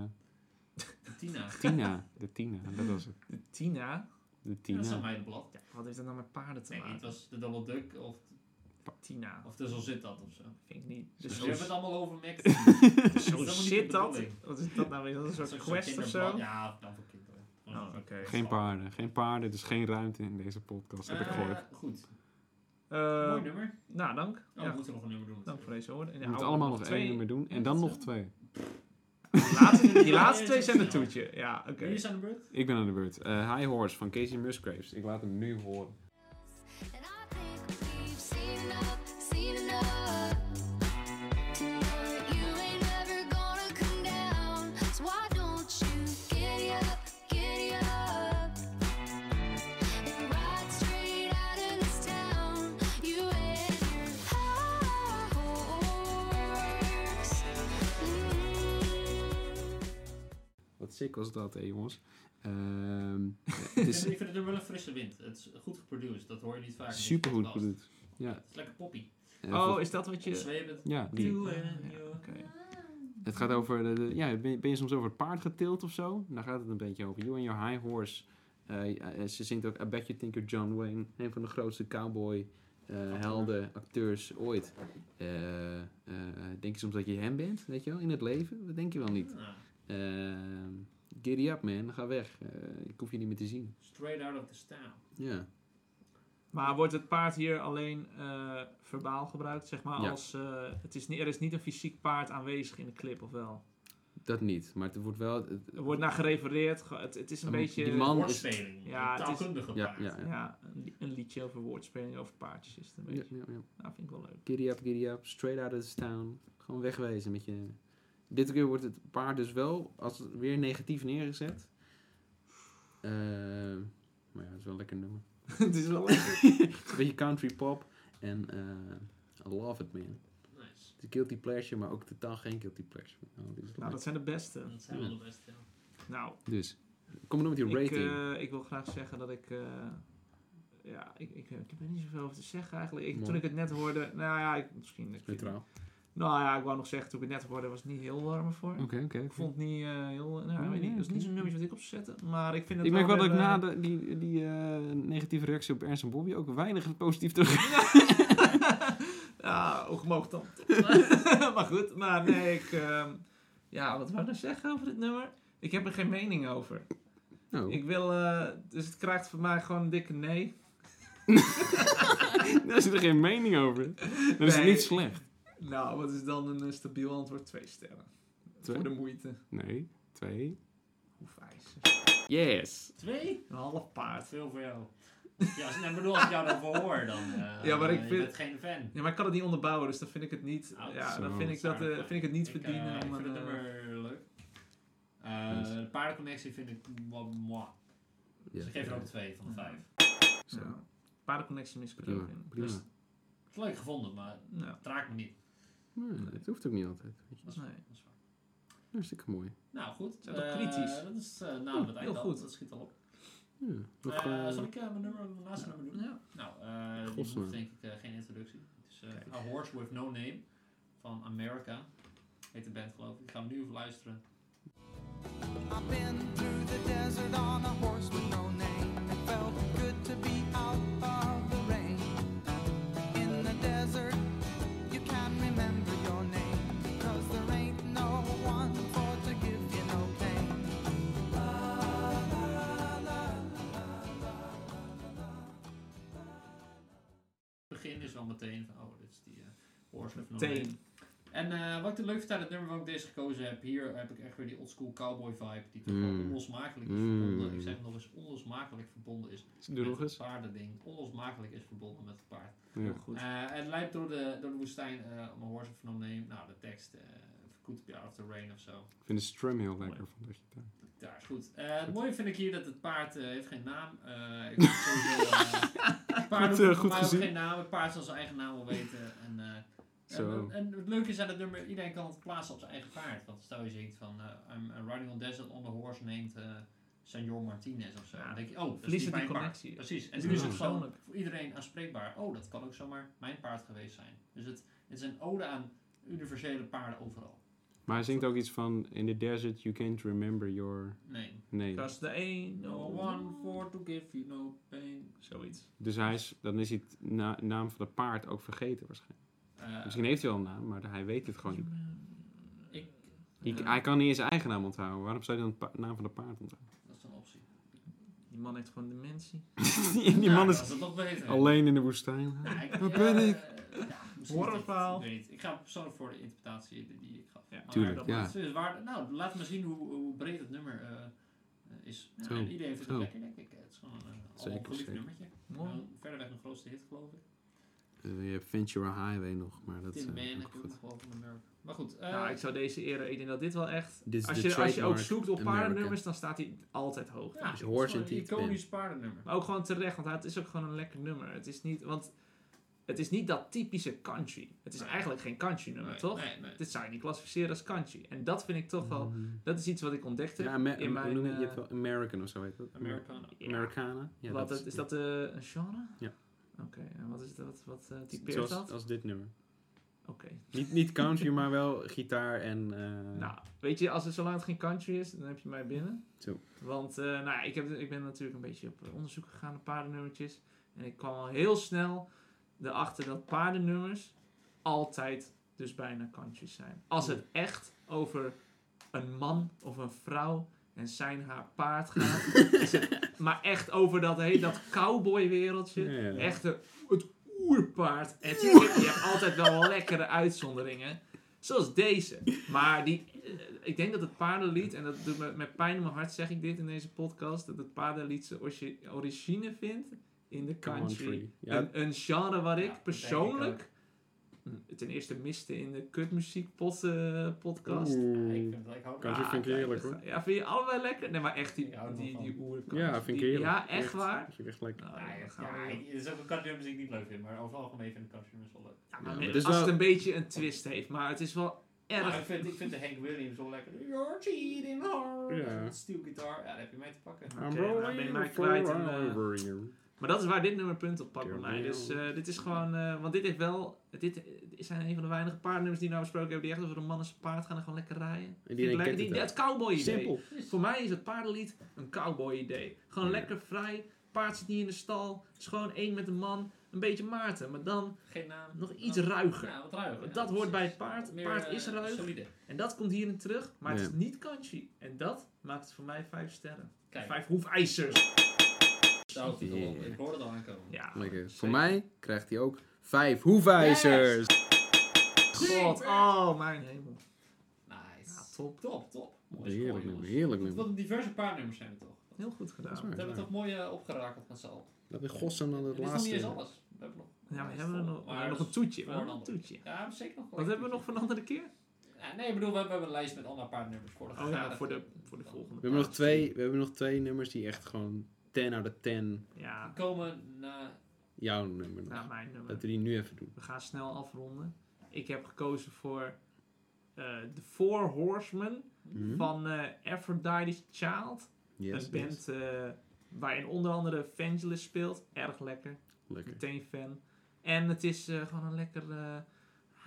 Speaker 3: de Tina.
Speaker 1: Tina. De Tina, dat was het.
Speaker 2: De Tina?
Speaker 1: De
Speaker 3: Ja, Dat is
Speaker 1: Tina.
Speaker 3: dan mijn blad.
Speaker 2: Ja, wat heeft dat nou met paarden te
Speaker 3: Nee, het
Speaker 2: maken?
Speaker 3: was de Donald Duck of,
Speaker 2: Tina,
Speaker 3: of de Zo Zit Dat of zo. We
Speaker 2: vind ik niet. Dus
Speaker 1: Zo
Speaker 2: zo,
Speaker 3: hebben het allemaal over Mac.
Speaker 2: zo
Speaker 3: helemaal niet
Speaker 2: zit
Speaker 3: de
Speaker 2: dat.
Speaker 3: bedoeling.
Speaker 2: Wat is dat nou weer? Is dat een
Speaker 3: Zo'n
Speaker 2: soort quest of
Speaker 3: kinderblad.
Speaker 2: zo?
Speaker 3: Ja, dan voor kinderen. Gewoon
Speaker 2: Oh,
Speaker 3: zo'n
Speaker 2: oké.
Speaker 3: soort-
Speaker 1: Geen paarden, geen paarden, dus geen ruimte in deze podcast, heb ik
Speaker 3: Eh,
Speaker 1: gehoord.
Speaker 3: Goed.
Speaker 2: Eh,
Speaker 3: Mooi nummer.
Speaker 2: nou, dank.
Speaker 3: Oh,
Speaker 2: ja,
Speaker 3: we moeten nog een nummer doen.
Speaker 2: dank voor deze hoor.
Speaker 1: We
Speaker 2: En ja, oh,
Speaker 1: moeten
Speaker 3: oh,
Speaker 2: hou
Speaker 1: allemaal
Speaker 2: er
Speaker 1: nog één nummer doen en dan nog twee.
Speaker 2: Die laatste, die
Speaker 3: Ja,
Speaker 2: laatste
Speaker 3: ja,
Speaker 2: twee
Speaker 3: ja,
Speaker 2: zijn een
Speaker 3: ja.
Speaker 2: toetje. Ja, oké.
Speaker 3: Wie is aan de beurt?
Speaker 1: Ik ben aan de beurt. Eh, High Horse van Casey Musgraves. Ik laat hem nu horen.
Speaker 6: And I think we've seen enough, seen enough. To know that you ain't never gonna come down. So why don't you giddy up, giddy up? And ride straight out of this town. You and your high horse. Mm.
Speaker 1: Wat sick was dat, hè, jongens. Eh, Ehm, ja, het is
Speaker 3: ik vind het wel een frisse wind. Het is goed geproduced, dat hoor je niet vaak. in deze
Speaker 1: supergoed
Speaker 3: podcast.
Speaker 1: goed. Ja.
Speaker 3: Het is lekker poppy.
Speaker 1: eh,
Speaker 2: Oh,
Speaker 1: voor-
Speaker 2: is dat wat je...
Speaker 3: Zwevend.
Speaker 1: ja, die.
Speaker 2: Oké.
Speaker 1: Het gaat over, de, de- ja, ben je, ben je soms over het paard getild of zo? Daar gaat het een beetje over. You and your high horse. Eh, eh, ze zingt ook I bet you think you're John Wayne. Een van de grootste cowboy eh, helden, acteurs ooit. Eh, eh, denk je soms dat je hem bent, weet je wel, in het leven? Dat denk je wel niet.
Speaker 3: Ah,
Speaker 1: Ehm giddy up man, ga weg. Eh, ik hoef je niet meer te zien.
Speaker 3: straight out of the town.
Speaker 1: Ja,
Speaker 2: Maar wordt het paard hier alleen eh, verbaal gebruikt, zeg maar?
Speaker 1: Ja.
Speaker 2: Als, eh, het is niet, er is niet een fysiek paard aanwezig in de clip, of wel?
Speaker 1: dat niet. Maar het wordt wel... het- het-
Speaker 2: Er wordt naar gerefereerd. ge- Het, het is een
Speaker 1: Eh, Maar
Speaker 2: beetje...
Speaker 1: die man- is-
Speaker 3: Woordspeling.
Speaker 2: Ja,
Speaker 3: Ja,
Speaker 2: het is-
Speaker 3: taalkundige
Speaker 1: Ja,
Speaker 3: paard.
Speaker 1: ja, ja.
Speaker 2: Ja, een, li- een liedje over woordspeling, over paardjes is het een
Speaker 1: ja,
Speaker 2: beetje.
Speaker 1: ja, ja.
Speaker 2: Nou, vind ik wel leuk.
Speaker 1: Giddy up, giddy up, straight out of this town. Gewoon wegwezen met je... Dit keer wordt het paard dus wel als weer negatief neergezet. Eh, maar ja, het is wel een lekker nummer.
Speaker 2: het is wel leuk.
Speaker 1: Het is een beetje country pop. En eh, I love it, man.
Speaker 3: Nice.
Speaker 1: Het is guilty pleasure, maar ook totaal geen guilty pleasure. Nou, dit is
Speaker 2: Nou, dat zijn de beste.
Speaker 3: Dat zijn wel de beste. ja.
Speaker 2: Nou,
Speaker 1: Dus, kom maar door met je
Speaker 2: ik,
Speaker 1: rating.
Speaker 2: eh, ik wil graag zeggen dat ik... eh, ja, ik, ik, ik heb er niet zoveel over te zeggen eigenlijk. Ik,
Speaker 1: Mooi.
Speaker 2: toen ik het net hoorde... Nou ja, ik, misschien... dat je-
Speaker 1: Neutraal.
Speaker 2: Nou ja, ik wou nog zeggen, toen ik het net hoorde, was het niet heel warm voor.
Speaker 1: Oké, oké.
Speaker 2: Ik vond het niet eh, heel... Nou,
Speaker 1: Ja,
Speaker 2: weet niet,
Speaker 1: Oh, ja,
Speaker 2: dat is
Speaker 1: oké.
Speaker 2: niet zo'n nummertje wat ik op zou zetten. Maar ik vind het
Speaker 1: Ik merk wel dat
Speaker 2: weer,
Speaker 1: ik na
Speaker 2: eh,
Speaker 1: de, die, die eh, negatieve reactie op Ernst en Bobby ook weinig positief terug...
Speaker 2: eh, ja, ook omhoog dan. maar goed, maar nee, ik... ehm, ja, wat wou ik nou zeggen over dit nummer? Ik heb er geen mening over.
Speaker 1: Oh.
Speaker 2: Ik wil... eh, dus het krijgt voor mij gewoon een dikke nee.
Speaker 1: Daar zit er geen mening over. Dan is het
Speaker 2: Nee.
Speaker 1: niet slecht.
Speaker 2: Nou, wat is dan een eh, stabiel antwoord? Twee sterren.
Speaker 1: Twee?
Speaker 2: Voor de moeite.
Speaker 1: Nee, twee.
Speaker 2: Hoe vijs.
Speaker 1: Yes.
Speaker 3: Twee?
Speaker 2: Een half paard.
Speaker 3: Veel voor jou. Ja, als, nou, ik bedoel, als ik jou daarvoor hoor, dan eh,
Speaker 2: Ja, maar ik
Speaker 3: je
Speaker 2: vind-
Speaker 3: bent geen fan.
Speaker 2: Ja, maar ik kan het niet onderbouwen, dus dan vind ik het niet...
Speaker 3: Oh,
Speaker 2: ja,
Speaker 1: zo.
Speaker 2: dan vind ik, dat, eh, vind ik het niet
Speaker 3: Ik, eh,
Speaker 2: verdienen om
Speaker 3: ik vind
Speaker 2: een,
Speaker 3: het
Speaker 2: eh,
Speaker 3: nummer leuk. Eh,
Speaker 1: Nice.
Speaker 3: De paardenconnectie vind ik wat moi. Dus ik geef er ook twee van de
Speaker 2: Ja.
Speaker 3: vijf.
Speaker 2: Zo. Paardenconnectie mis ik er
Speaker 1: Prima,
Speaker 2: ook in.
Speaker 1: prima.
Speaker 2: Dus,
Speaker 3: Het is leuk gevonden, maar
Speaker 2: nou,
Speaker 3: het raakt me niet.
Speaker 1: Nee, het hoeft ook niet altijd. weet je.
Speaker 3: Dat is,
Speaker 2: Nee.
Speaker 3: dat is waar.
Speaker 1: Hartstikke mooi.
Speaker 3: Nou goed.
Speaker 2: Zijn toch
Speaker 3: Eh,
Speaker 2: kritisch?
Speaker 3: Dat is eh nou, het
Speaker 2: heel
Speaker 3: eind al.
Speaker 2: goed.
Speaker 3: Dat schiet al op.
Speaker 1: Ja. Nog,
Speaker 3: Eh,
Speaker 1: eh,
Speaker 3: zal ik eh, mijn, nummer, mijn laatste nummer doen?
Speaker 2: ja.
Speaker 3: Nou, eh die
Speaker 1: Godsnaam.
Speaker 3: hoeft denk ik eh, geen introductie. Het is eh, A Horse With No Name van America. Heet de band geloof ik. Ik ga hem nu even luisteren.
Speaker 4: I've been through the desert on a horse with no name. It felt good to be out of the rain. In the desert, you can remember your name. Cause there ain't no one for to give you no pain.
Speaker 3: Het begin is al meteen van, oh, dit is die eh, Horse With No Name.
Speaker 2: Teen.
Speaker 3: En eh, wat ik er leuk vind aan het nummer waarom ik deze gekozen heb, hier heb ik echt weer die oldschool cowboy vibe, die toch wel
Speaker 1: Mm.
Speaker 3: onlosmakelijk is
Speaker 1: Mm.
Speaker 3: verbonden. Ik zeg het nog eens, onlosmakelijk verbonden is
Speaker 1: Doe
Speaker 3: met
Speaker 1: nog
Speaker 3: het
Speaker 1: eens.
Speaker 3: paardending. Onlosmakelijk is verbonden met het paard.
Speaker 1: Ja.
Speaker 2: Goed.
Speaker 3: Eh, het leidt door de, door de woestijn eh, om een horse of no name. Nou, de tekst, eh Good to be out of the rain of zo.
Speaker 1: Ik vind de strum heel lekker van dat gitaar.
Speaker 3: Daar is goed. Eh, het mooie vind ik hier dat het paard eh, heeft geen naam. Eh, ik vind het sowieso, eh, het paard
Speaker 1: Goed,
Speaker 3: hoeft
Speaker 1: eh,
Speaker 3: voor
Speaker 1: goed
Speaker 3: mij ook
Speaker 1: gezien.
Speaker 3: geen naam. Het paard zal zijn eigen naam wel weten. En, eh,
Speaker 1: Zo.
Speaker 3: en, en het leuke is aan het nummer, iedereen kan het plaatsen op zijn eigen paard. Want stel je zingt van eh, I'm I'm riding on desert on the horse named eh Senor Martinez of zo.
Speaker 2: Ja.
Speaker 3: Dan denk je, oh, dat is
Speaker 2: Verliezen
Speaker 3: niet mijn
Speaker 2: die
Speaker 3: paard.
Speaker 2: connectie.
Speaker 3: Precies. En
Speaker 2: Het
Speaker 3: nu
Speaker 2: is
Speaker 3: is het gewoon
Speaker 2: persoonlijk.
Speaker 3: voor iedereen aanspreekbaar. Oh, dat kan ook zomaar mijn paard geweest zijn. Dus het, het is een ode aan universele paarden overal.
Speaker 1: Maar hij zingt ook iets van... In the desert you can't remember your
Speaker 3: Nee.
Speaker 1: name.
Speaker 2: Because there ain't
Speaker 3: No
Speaker 2: no
Speaker 3: one
Speaker 2: one.
Speaker 3: for to give you no pain.
Speaker 2: Zoiets.
Speaker 1: Dus hij is, dan is hij de naam van de paard ook vergeten waarschijnlijk.
Speaker 3: Eh,
Speaker 1: Misschien heeft hij wel een naam, maar hij weet het gewoon niet.
Speaker 3: Ik,
Speaker 1: Hij-
Speaker 3: eh,
Speaker 1: hij kan niet eens zijn eigen naam onthouden. Waarom zou hij dan de pa- naam van de paard onthouden?
Speaker 3: dat is een optie.
Speaker 2: Die man heeft gewoon dementie.
Speaker 1: Die man
Speaker 3: Dat
Speaker 1: is
Speaker 3: is nog beter.
Speaker 1: alleen in de woestijn.
Speaker 3: Ja, ik,
Speaker 1: Waar
Speaker 3: eh,
Speaker 1: ben ik?
Speaker 3: ja, misschien
Speaker 2: Hoor
Speaker 3: is
Speaker 2: een
Speaker 3: dit-
Speaker 2: verhaal.
Speaker 3: Ik weet niet. Ik ga persoonlijk voor de interpretatie die, die ik gaf.
Speaker 2: Ja,
Speaker 3: Maar
Speaker 1: Tuurlijk,
Speaker 3: dat-
Speaker 1: ja.
Speaker 3: het is waar, nou, laat maar zien hoe, hoe breed het nummer eh, eh, is. Ja,
Speaker 1: Zo,
Speaker 3: en iedereen vindt het
Speaker 1: zo.
Speaker 3: lekker, denk ik. Het is gewoon een uh,
Speaker 1: Zeker,
Speaker 3: geliefd
Speaker 1: zeker.
Speaker 3: nummertje.
Speaker 2: Mooi.
Speaker 3: Nou, verder weg mijn grootste hit, geloof ik.
Speaker 1: Eh, je hebt Ventura Highway nog, maar dat is
Speaker 3: Tin Man
Speaker 1: eh,
Speaker 3: heb
Speaker 1: ook
Speaker 3: ik ook
Speaker 1: goed.
Speaker 3: nog wel van Amerika. Maar goed, eh,
Speaker 2: Nou, ik zou deze eren. Ik denk dat dit wel echt.
Speaker 1: Dit is
Speaker 2: Als
Speaker 1: de
Speaker 2: je, als je ook
Speaker 1: trademark
Speaker 2: zoekt op
Speaker 1: America.
Speaker 2: paardennummers, dan staat hij altijd hoog.
Speaker 3: ja,
Speaker 1: is
Speaker 3: het
Speaker 1: Horse
Speaker 3: gewoon
Speaker 1: and
Speaker 3: een
Speaker 1: Teeth Man.
Speaker 3: iconisch paardennummer.
Speaker 2: Maar ook gewoon terecht, want het is ook gewoon een lekker nummer. Het is niet. Want Het is niet dat typische country. Het is
Speaker 3: Nee.
Speaker 2: eigenlijk geen country nummer,
Speaker 3: Nee,
Speaker 2: toch?
Speaker 3: Nee, nee.
Speaker 2: Dit zou je niet klassificeren als country. En dat vind ik toch
Speaker 1: Mm.
Speaker 2: wel...
Speaker 1: Mm-hmm.
Speaker 2: Dat is iets wat ik ontdekte
Speaker 5: Ja, Amer-
Speaker 2: in mijn...
Speaker 5: hoe noem je, je hebt
Speaker 2: eh,
Speaker 5: wel American of zo heet dat.
Speaker 3: Americana.
Speaker 2: ja,
Speaker 5: Americana. Ja,
Speaker 2: wat, is, dat eh, een genre?
Speaker 5: Ja.
Speaker 2: Oké, en wat, is dat, wat, wat eh, typeert
Speaker 5: Zoals oh.
Speaker 2: dat?
Speaker 5: als dit nummer.
Speaker 2: Oké.
Speaker 5: Niet, niet country, maar wel gitaar en... eh,
Speaker 2: Nou, weet je, als het zolang het geen country is, dan heb je mij binnen.
Speaker 5: Zo.
Speaker 2: Want eh, nou, ja, ik, heb, ik ben natuurlijk een beetje op eh, onderzoek gegaan naar paardennummertjes. En ik kwam al heel snel erachter dat paardennummers altijd dus bijna countries zijn. Als het echt over een man of een vrouw en zijn haar paard gaat. is het- maar echt over dat, hey, dat cowboy wereldje.
Speaker 5: Ja, ja.
Speaker 2: Echt de- het oerpaard. En tuurlijk, je hebt altijd wel lekkere uitzonderingen. Zoals deze. Maar die, eh, ik denk dat het paardenlied, en dat doet me met pijn in mijn hart, zeg ik dit in deze podcast, dat het paardenlied zijn orgi- origine vindt in de country.
Speaker 5: Country, ja.
Speaker 2: Een, een genre waar ik
Speaker 3: Ja, dat denk
Speaker 2: persoonlijk hm, ten eerste miste in de kutmuziek pot, eh, podcast.
Speaker 5: Oeh.
Speaker 3: Ik vind het lekker ook.
Speaker 5: Country
Speaker 2: Ah,
Speaker 5: vind ik
Speaker 2: kijk,
Speaker 5: heerlijk
Speaker 2: dat
Speaker 5: hoor.
Speaker 2: ga- Ja, vind je allebei lekker? Nee, maar echt die,
Speaker 3: Ik hou er wel
Speaker 2: die,
Speaker 3: van.
Speaker 2: die oerkant.
Speaker 5: Ja, vind ik
Speaker 2: Die-
Speaker 5: heerlijk.
Speaker 2: Ja, echt waar?
Speaker 5: Vind ik echt lekker.
Speaker 2: Nou,
Speaker 3: Ja,
Speaker 2: dan
Speaker 3: ja,
Speaker 2: gaan we-
Speaker 3: ja, er is ook een country nummers die ik niet leuk vind, maar over het algemeen vind ik country nummers wel leuk.
Speaker 2: Ja,
Speaker 5: Ja,
Speaker 2: maar
Speaker 5: maar
Speaker 2: met-
Speaker 5: het is
Speaker 2: als het
Speaker 5: wel-
Speaker 2: een beetje een twist heeft, maar het is wel
Speaker 3: Maar
Speaker 2: erg.
Speaker 3: ik vind, ik vind de Hank Williams wel lekker. You're cheating hard.
Speaker 5: Ja.
Speaker 3: Steel guitar. Ja, daar heb je mee te pakken.
Speaker 2: Oké, nou, ben je mij kwijt en, eh, Maar dat is waar dit nummer punt op pakt bij mij. Dus eh, dit is gewoon, eh, want dit heeft wel, dit zijn een van de weinige paardnummers die we nou besproken hebben die echt over een man en zijn paard gaan en gewoon lekker rijden. Vind ik
Speaker 5: iedereen
Speaker 2: lekker.
Speaker 5: kent het
Speaker 2: die,
Speaker 5: ook.
Speaker 2: het cowboy idee.
Speaker 5: Simpel.
Speaker 2: Voor mij is het paardenlied een cowboy idee. Gewoon
Speaker 5: Ja.
Speaker 2: lekker vrij, paard zit niet in de stal, het is gewoon één met een man, een beetje Maarten, maar dan
Speaker 3: Geen naam.
Speaker 2: nog iets ruiger.
Speaker 3: Ja, wat ruiger.
Speaker 2: Want
Speaker 3: ja,
Speaker 2: dat hoort bij
Speaker 3: precies.
Speaker 2: het paard.
Speaker 3: Meer,
Speaker 2: Paard
Speaker 3: eh,
Speaker 2: is ruig.
Speaker 3: Solide.
Speaker 2: En dat komt hierin terug, maar het
Speaker 5: Ja.
Speaker 2: is niet kanji. En dat maakt het voor mij vijf sterren.
Speaker 3: Kijk,
Speaker 2: Vijf hoefijzers.
Speaker 3: daar houdt hij toch op.
Speaker 5: Yeah.
Speaker 3: Ik hoorde het al aankomen.
Speaker 2: Ja.
Speaker 5: Lekker.
Speaker 2: zeker.
Speaker 5: Voor mij krijgt hij ook vijf hoefijzers.
Speaker 2: God, oh mijn hemel.
Speaker 3: Nice.
Speaker 2: Ja, top.
Speaker 3: Top, top. Mooi score,
Speaker 5: Heerlijk
Speaker 3: jongens.
Speaker 5: nummer, heerlijk
Speaker 3: Wat-
Speaker 5: nummer.
Speaker 3: Wat een diverse paarnummers zijn er toch? Dat
Speaker 2: Heel goed
Speaker 5: Dat is
Speaker 2: gedaan.
Speaker 5: waar.
Speaker 3: hebben we toch mooi eh, opgerakeld met z'n allen.
Speaker 5: Dat we gossen dan
Speaker 3: En
Speaker 5: het
Speaker 3: Dit is nog niet eens
Speaker 5: laatste.
Speaker 3: alles. We hebben nog.
Speaker 2: Ja, we hebben er nog, we
Speaker 3: Maar
Speaker 2: hebben nog
Speaker 3: dat
Speaker 2: een toetje. We
Speaker 3: voor
Speaker 2: hebben nog
Speaker 3: een
Speaker 2: een toetje.
Speaker 3: Ja, we hebben zeker nog.
Speaker 2: Wat hebben we nog van een andere keer?
Speaker 3: Ja, nee, ik bedoel, we hebben we hebben een lijst met andere paarnummers voor de
Speaker 2: Oh ja,
Speaker 3: garen.
Speaker 2: voor de, voor de volgende.
Speaker 5: We hebben, nog
Speaker 2: paard.
Speaker 5: twee, we hebben nog twee nummers die echt gewoon 10 out of 10
Speaker 2: Ja,
Speaker 3: Komen na.
Speaker 5: jouw nummer
Speaker 2: naar
Speaker 5: nog.
Speaker 2: mijn nummer.
Speaker 5: Dat we die nu even doen.
Speaker 2: We gaan snel afronden. Ik heb gekozen voor eh The Four Horsemen
Speaker 5: Hm?
Speaker 2: van eh Aphrodite's Child.
Speaker 5: Yes, yes.
Speaker 2: een band eh, waarin onder andere Vangelis speelt. Erg lekker.
Speaker 5: Lekker.
Speaker 2: Meteen fan. En het is eh, gewoon een lekker, eh,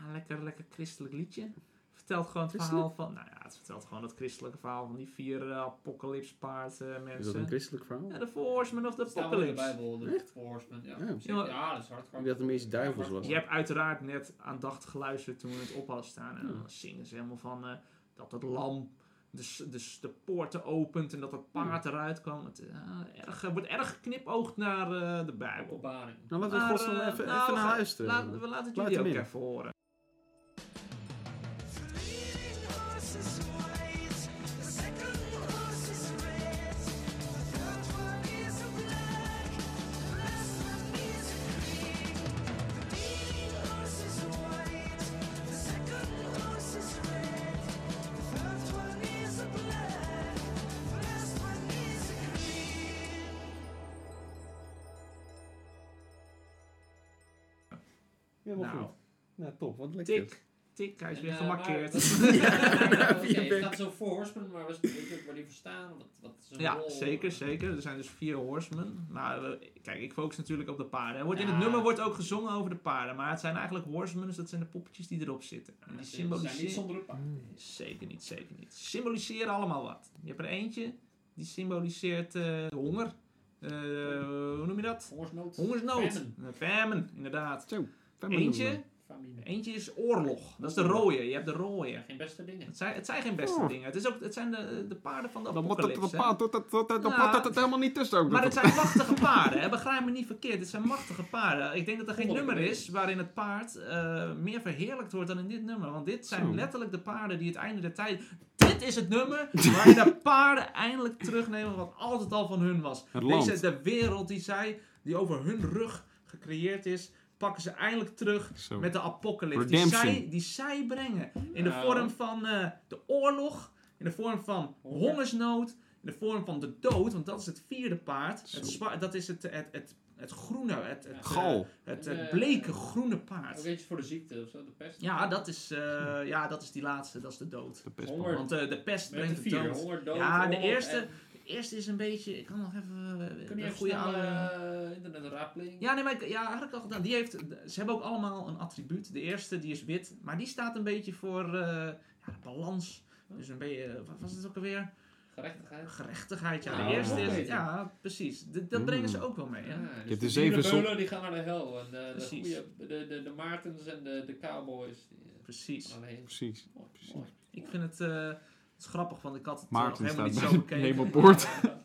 Speaker 2: een lekker, lekker christelijk liedje. Vertelt gewoon het verhaal van... Nou ja, het vertelt gewoon het christelijke verhaal van die vier eh, apocalypse-paard eh,
Speaker 5: Is dat een
Speaker 2: mensen.
Speaker 5: christelijk verhaal?
Speaker 2: Ja, de Four Horsemen of the
Speaker 3: Staan we in de
Speaker 2: Apocalypse.
Speaker 3: Bijbel, de Four Horsemen. Ja,
Speaker 5: Ja.
Speaker 3: zeker. ja, dat is hardcore.
Speaker 5: Ik dacht dat het meest duivels was.
Speaker 2: Je hebt uiteraard net aandachtig geluisterd toen we het op hadden staan. En dan zingen ze helemaal van eh, dat het lam de, s- de, s- de poorten opent en dat het paard eruit kwam. Het eh, erg, eh, wordt erg geknipoogd naar eh, de Bijbel.
Speaker 3: Openbaring.
Speaker 5: Nou, laten we
Speaker 2: Maar,
Speaker 5: gossen
Speaker 2: eh,
Speaker 5: even, even
Speaker 2: nou, we
Speaker 5: naar
Speaker 2: gaan-
Speaker 5: luisteren.
Speaker 2: Laten we laten het
Speaker 5: Laat
Speaker 2: jullie
Speaker 5: hem
Speaker 2: ook
Speaker 5: in.
Speaker 2: even horen.
Speaker 5: Helemaal
Speaker 2: Nou.
Speaker 5: goed. Nou, top. Wat lekker.
Speaker 2: Tik, tik, hij is
Speaker 3: En,
Speaker 2: weer
Speaker 3: eh,
Speaker 2: gemarkeerd.
Speaker 3: maar- Ja, Oké,
Speaker 5: via
Speaker 3: het
Speaker 5: Beck.
Speaker 3: gaat zo voor Horsemen, maar was- weet je ook waar die voor staan? Wat, wat is hun
Speaker 2: Ja,
Speaker 3: rol? eh,
Speaker 2: zeker, zeker. Er zijn dus vier horsemen. Maar we- kijk, ik focus natuurlijk op de paarden. Er wordt In
Speaker 3: Ja.
Speaker 2: het nummer wordt ook gezongen over de paarden. Maar het zijn eigenlijk horsemen, dus dat zijn de poppetjes die erop zitten. En die Mm.
Speaker 3: Ze zijn niet
Speaker 2: symboliseren...
Speaker 3: zonder een paard.
Speaker 2: Zeker niet, zeker niet. Ze symboliseren allemaal wat. Je hebt er eentje, die symboliseert eh, honger. Eh, hoe noem je dat?
Speaker 3: Hongersnood.
Speaker 2: Hongersnood.
Speaker 3: Famine.
Speaker 2: Eh, Famine, inderdaad.
Speaker 5: Fijn met
Speaker 2: Eentje,
Speaker 5: nummer.
Speaker 3: Famine.
Speaker 2: eentje is oorlog. Dat is de rode. Je hebt de
Speaker 3: Ja,
Speaker 2: rode.
Speaker 3: geen beste dingen.
Speaker 2: Het zijn, het zijn geen beste
Speaker 5: Oh.
Speaker 2: dingen. Het, is ook, het zijn de, de paarden van de
Speaker 5: Dan moet dat
Speaker 2: apocalypse. hè.
Speaker 5: bepaald dat dat- dat- dat- dat-
Speaker 2: Nou.
Speaker 5: dat het helemaal niet tussen ook.
Speaker 2: Maar het zijn machtige paarden, hè? begrijp me niet verkeerd. Het zijn machtige paarden. Ik denk dat er geen
Speaker 3: Honderd
Speaker 2: nummer is
Speaker 3: procent.
Speaker 2: waarin het paard eh, meer verheerlijkt wordt dan in dit nummer. Want dit zijn
Speaker 5: Zo.
Speaker 2: letterlijk de paarden die het einde der tijd... Dit is het nummer waarin de paarden eindelijk terugnemen wat altijd al van hun was.
Speaker 5: Het land.
Speaker 2: Deze, de wereld die zij, die over hun rug gecreëerd is, pakken ze eindelijk terug
Speaker 5: Zo.
Speaker 2: met de apocalypse. Die
Speaker 5: Redemption.
Speaker 2: zij, die zij brengen. In de
Speaker 3: Nou.
Speaker 2: vorm van eh, de oorlog, in de vorm van
Speaker 3: Honger.
Speaker 2: hongersnood, in de vorm van de dood, want dat is het vierde paard. Het zwa- dat is het, het, het, het groene, het, het,
Speaker 3: Ja.
Speaker 2: eh,
Speaker 1: Gal.
Speaker 2: het,
Speaker 3: En,
Speaker 2: het
Speaker 3: eh,
Speaker 2: bleke groene
Speaker 3: Ook
Speaker 2: paard.
Speaker 3: eentje voor de ziekte of zo, de pest.
Speaker 2: Ja, dat is, eh, ja, dat is die laatste, dat is de dood.
Speaker 1: De pest-
Speaker 3: Honger.
Speaker 2: Want eh, de pest
Speaker 3: Met de
Speaker 2: brengt de
Speaker 3: vier,
Speaker 2: dood.
Speaker 3: honger, dood,
Speaker 2: Ja, de
Speaker 3: honger
Speaker 2: eerste,
Speaker 3: en-
Speaker 2: de eerste is een beetje, ik kan nog even eh,
Speaker 3: Kun je
Speaker 2: een
Speaker 3: even
Speaker 2: goede
Speaker 3: snel
Speaker 2: oude...
Speaker 3: eh, internet rapeling?
Speaker 2: Ja, nee, maar ik, ja, had ik al gedaan. Die heeft, ze hebben ook allemaal een attribuut. De eerste, die is wit. Maar die staat een beetje voor eh, ja, balans. Dus een beetje, wat was het ook alweer?
Speaker 3: Gerechtigheid.
Speaker 2: Gerechtigheid,
Speaker 1: Oh,
Speaker 2: ja.
Speaker 3: Nou,
Speaker 2: De eerste
Speaker 3: nog
Speaker 2: is,
Speaker 3: beter.
Speaker 2: ja, precies. D- dat brengen
Speaker 1: Mm.
Speaker 2: ze ook wel mee, hè?
Speaker 3: Ja,
Speaker 1: hebt
Speaker 3: de
Speaker 1: dus even
Speaker 3: dierenbeulen,
Speaker 1: zon-
Speaker 3: die gaan naar de hel. En eh, de,
Speaker 2: Precies.
Speaker 3: goeie- de, de, de Maartens en de, de Cowboys die, eh,
Speaker 2: Precies.
Speaker 3: gaan heen.
Speaker 1: Precies.
Speaker 3: Mooi,
Speaker 1: Precies.
Speaker 3: mooi.
Speaker 2: Ik vind het, eh, het is grappig, want ik had het eh, nog
Speaker 1: Maarten
Speaker 2: helemaal
Speaker 1: staat
Speaker 2: niet
Speaker 1: bij
Speaker 2: zo
Speaker 1: de
Speaker 2: bekeken.
Speaker 1: hemelpoort.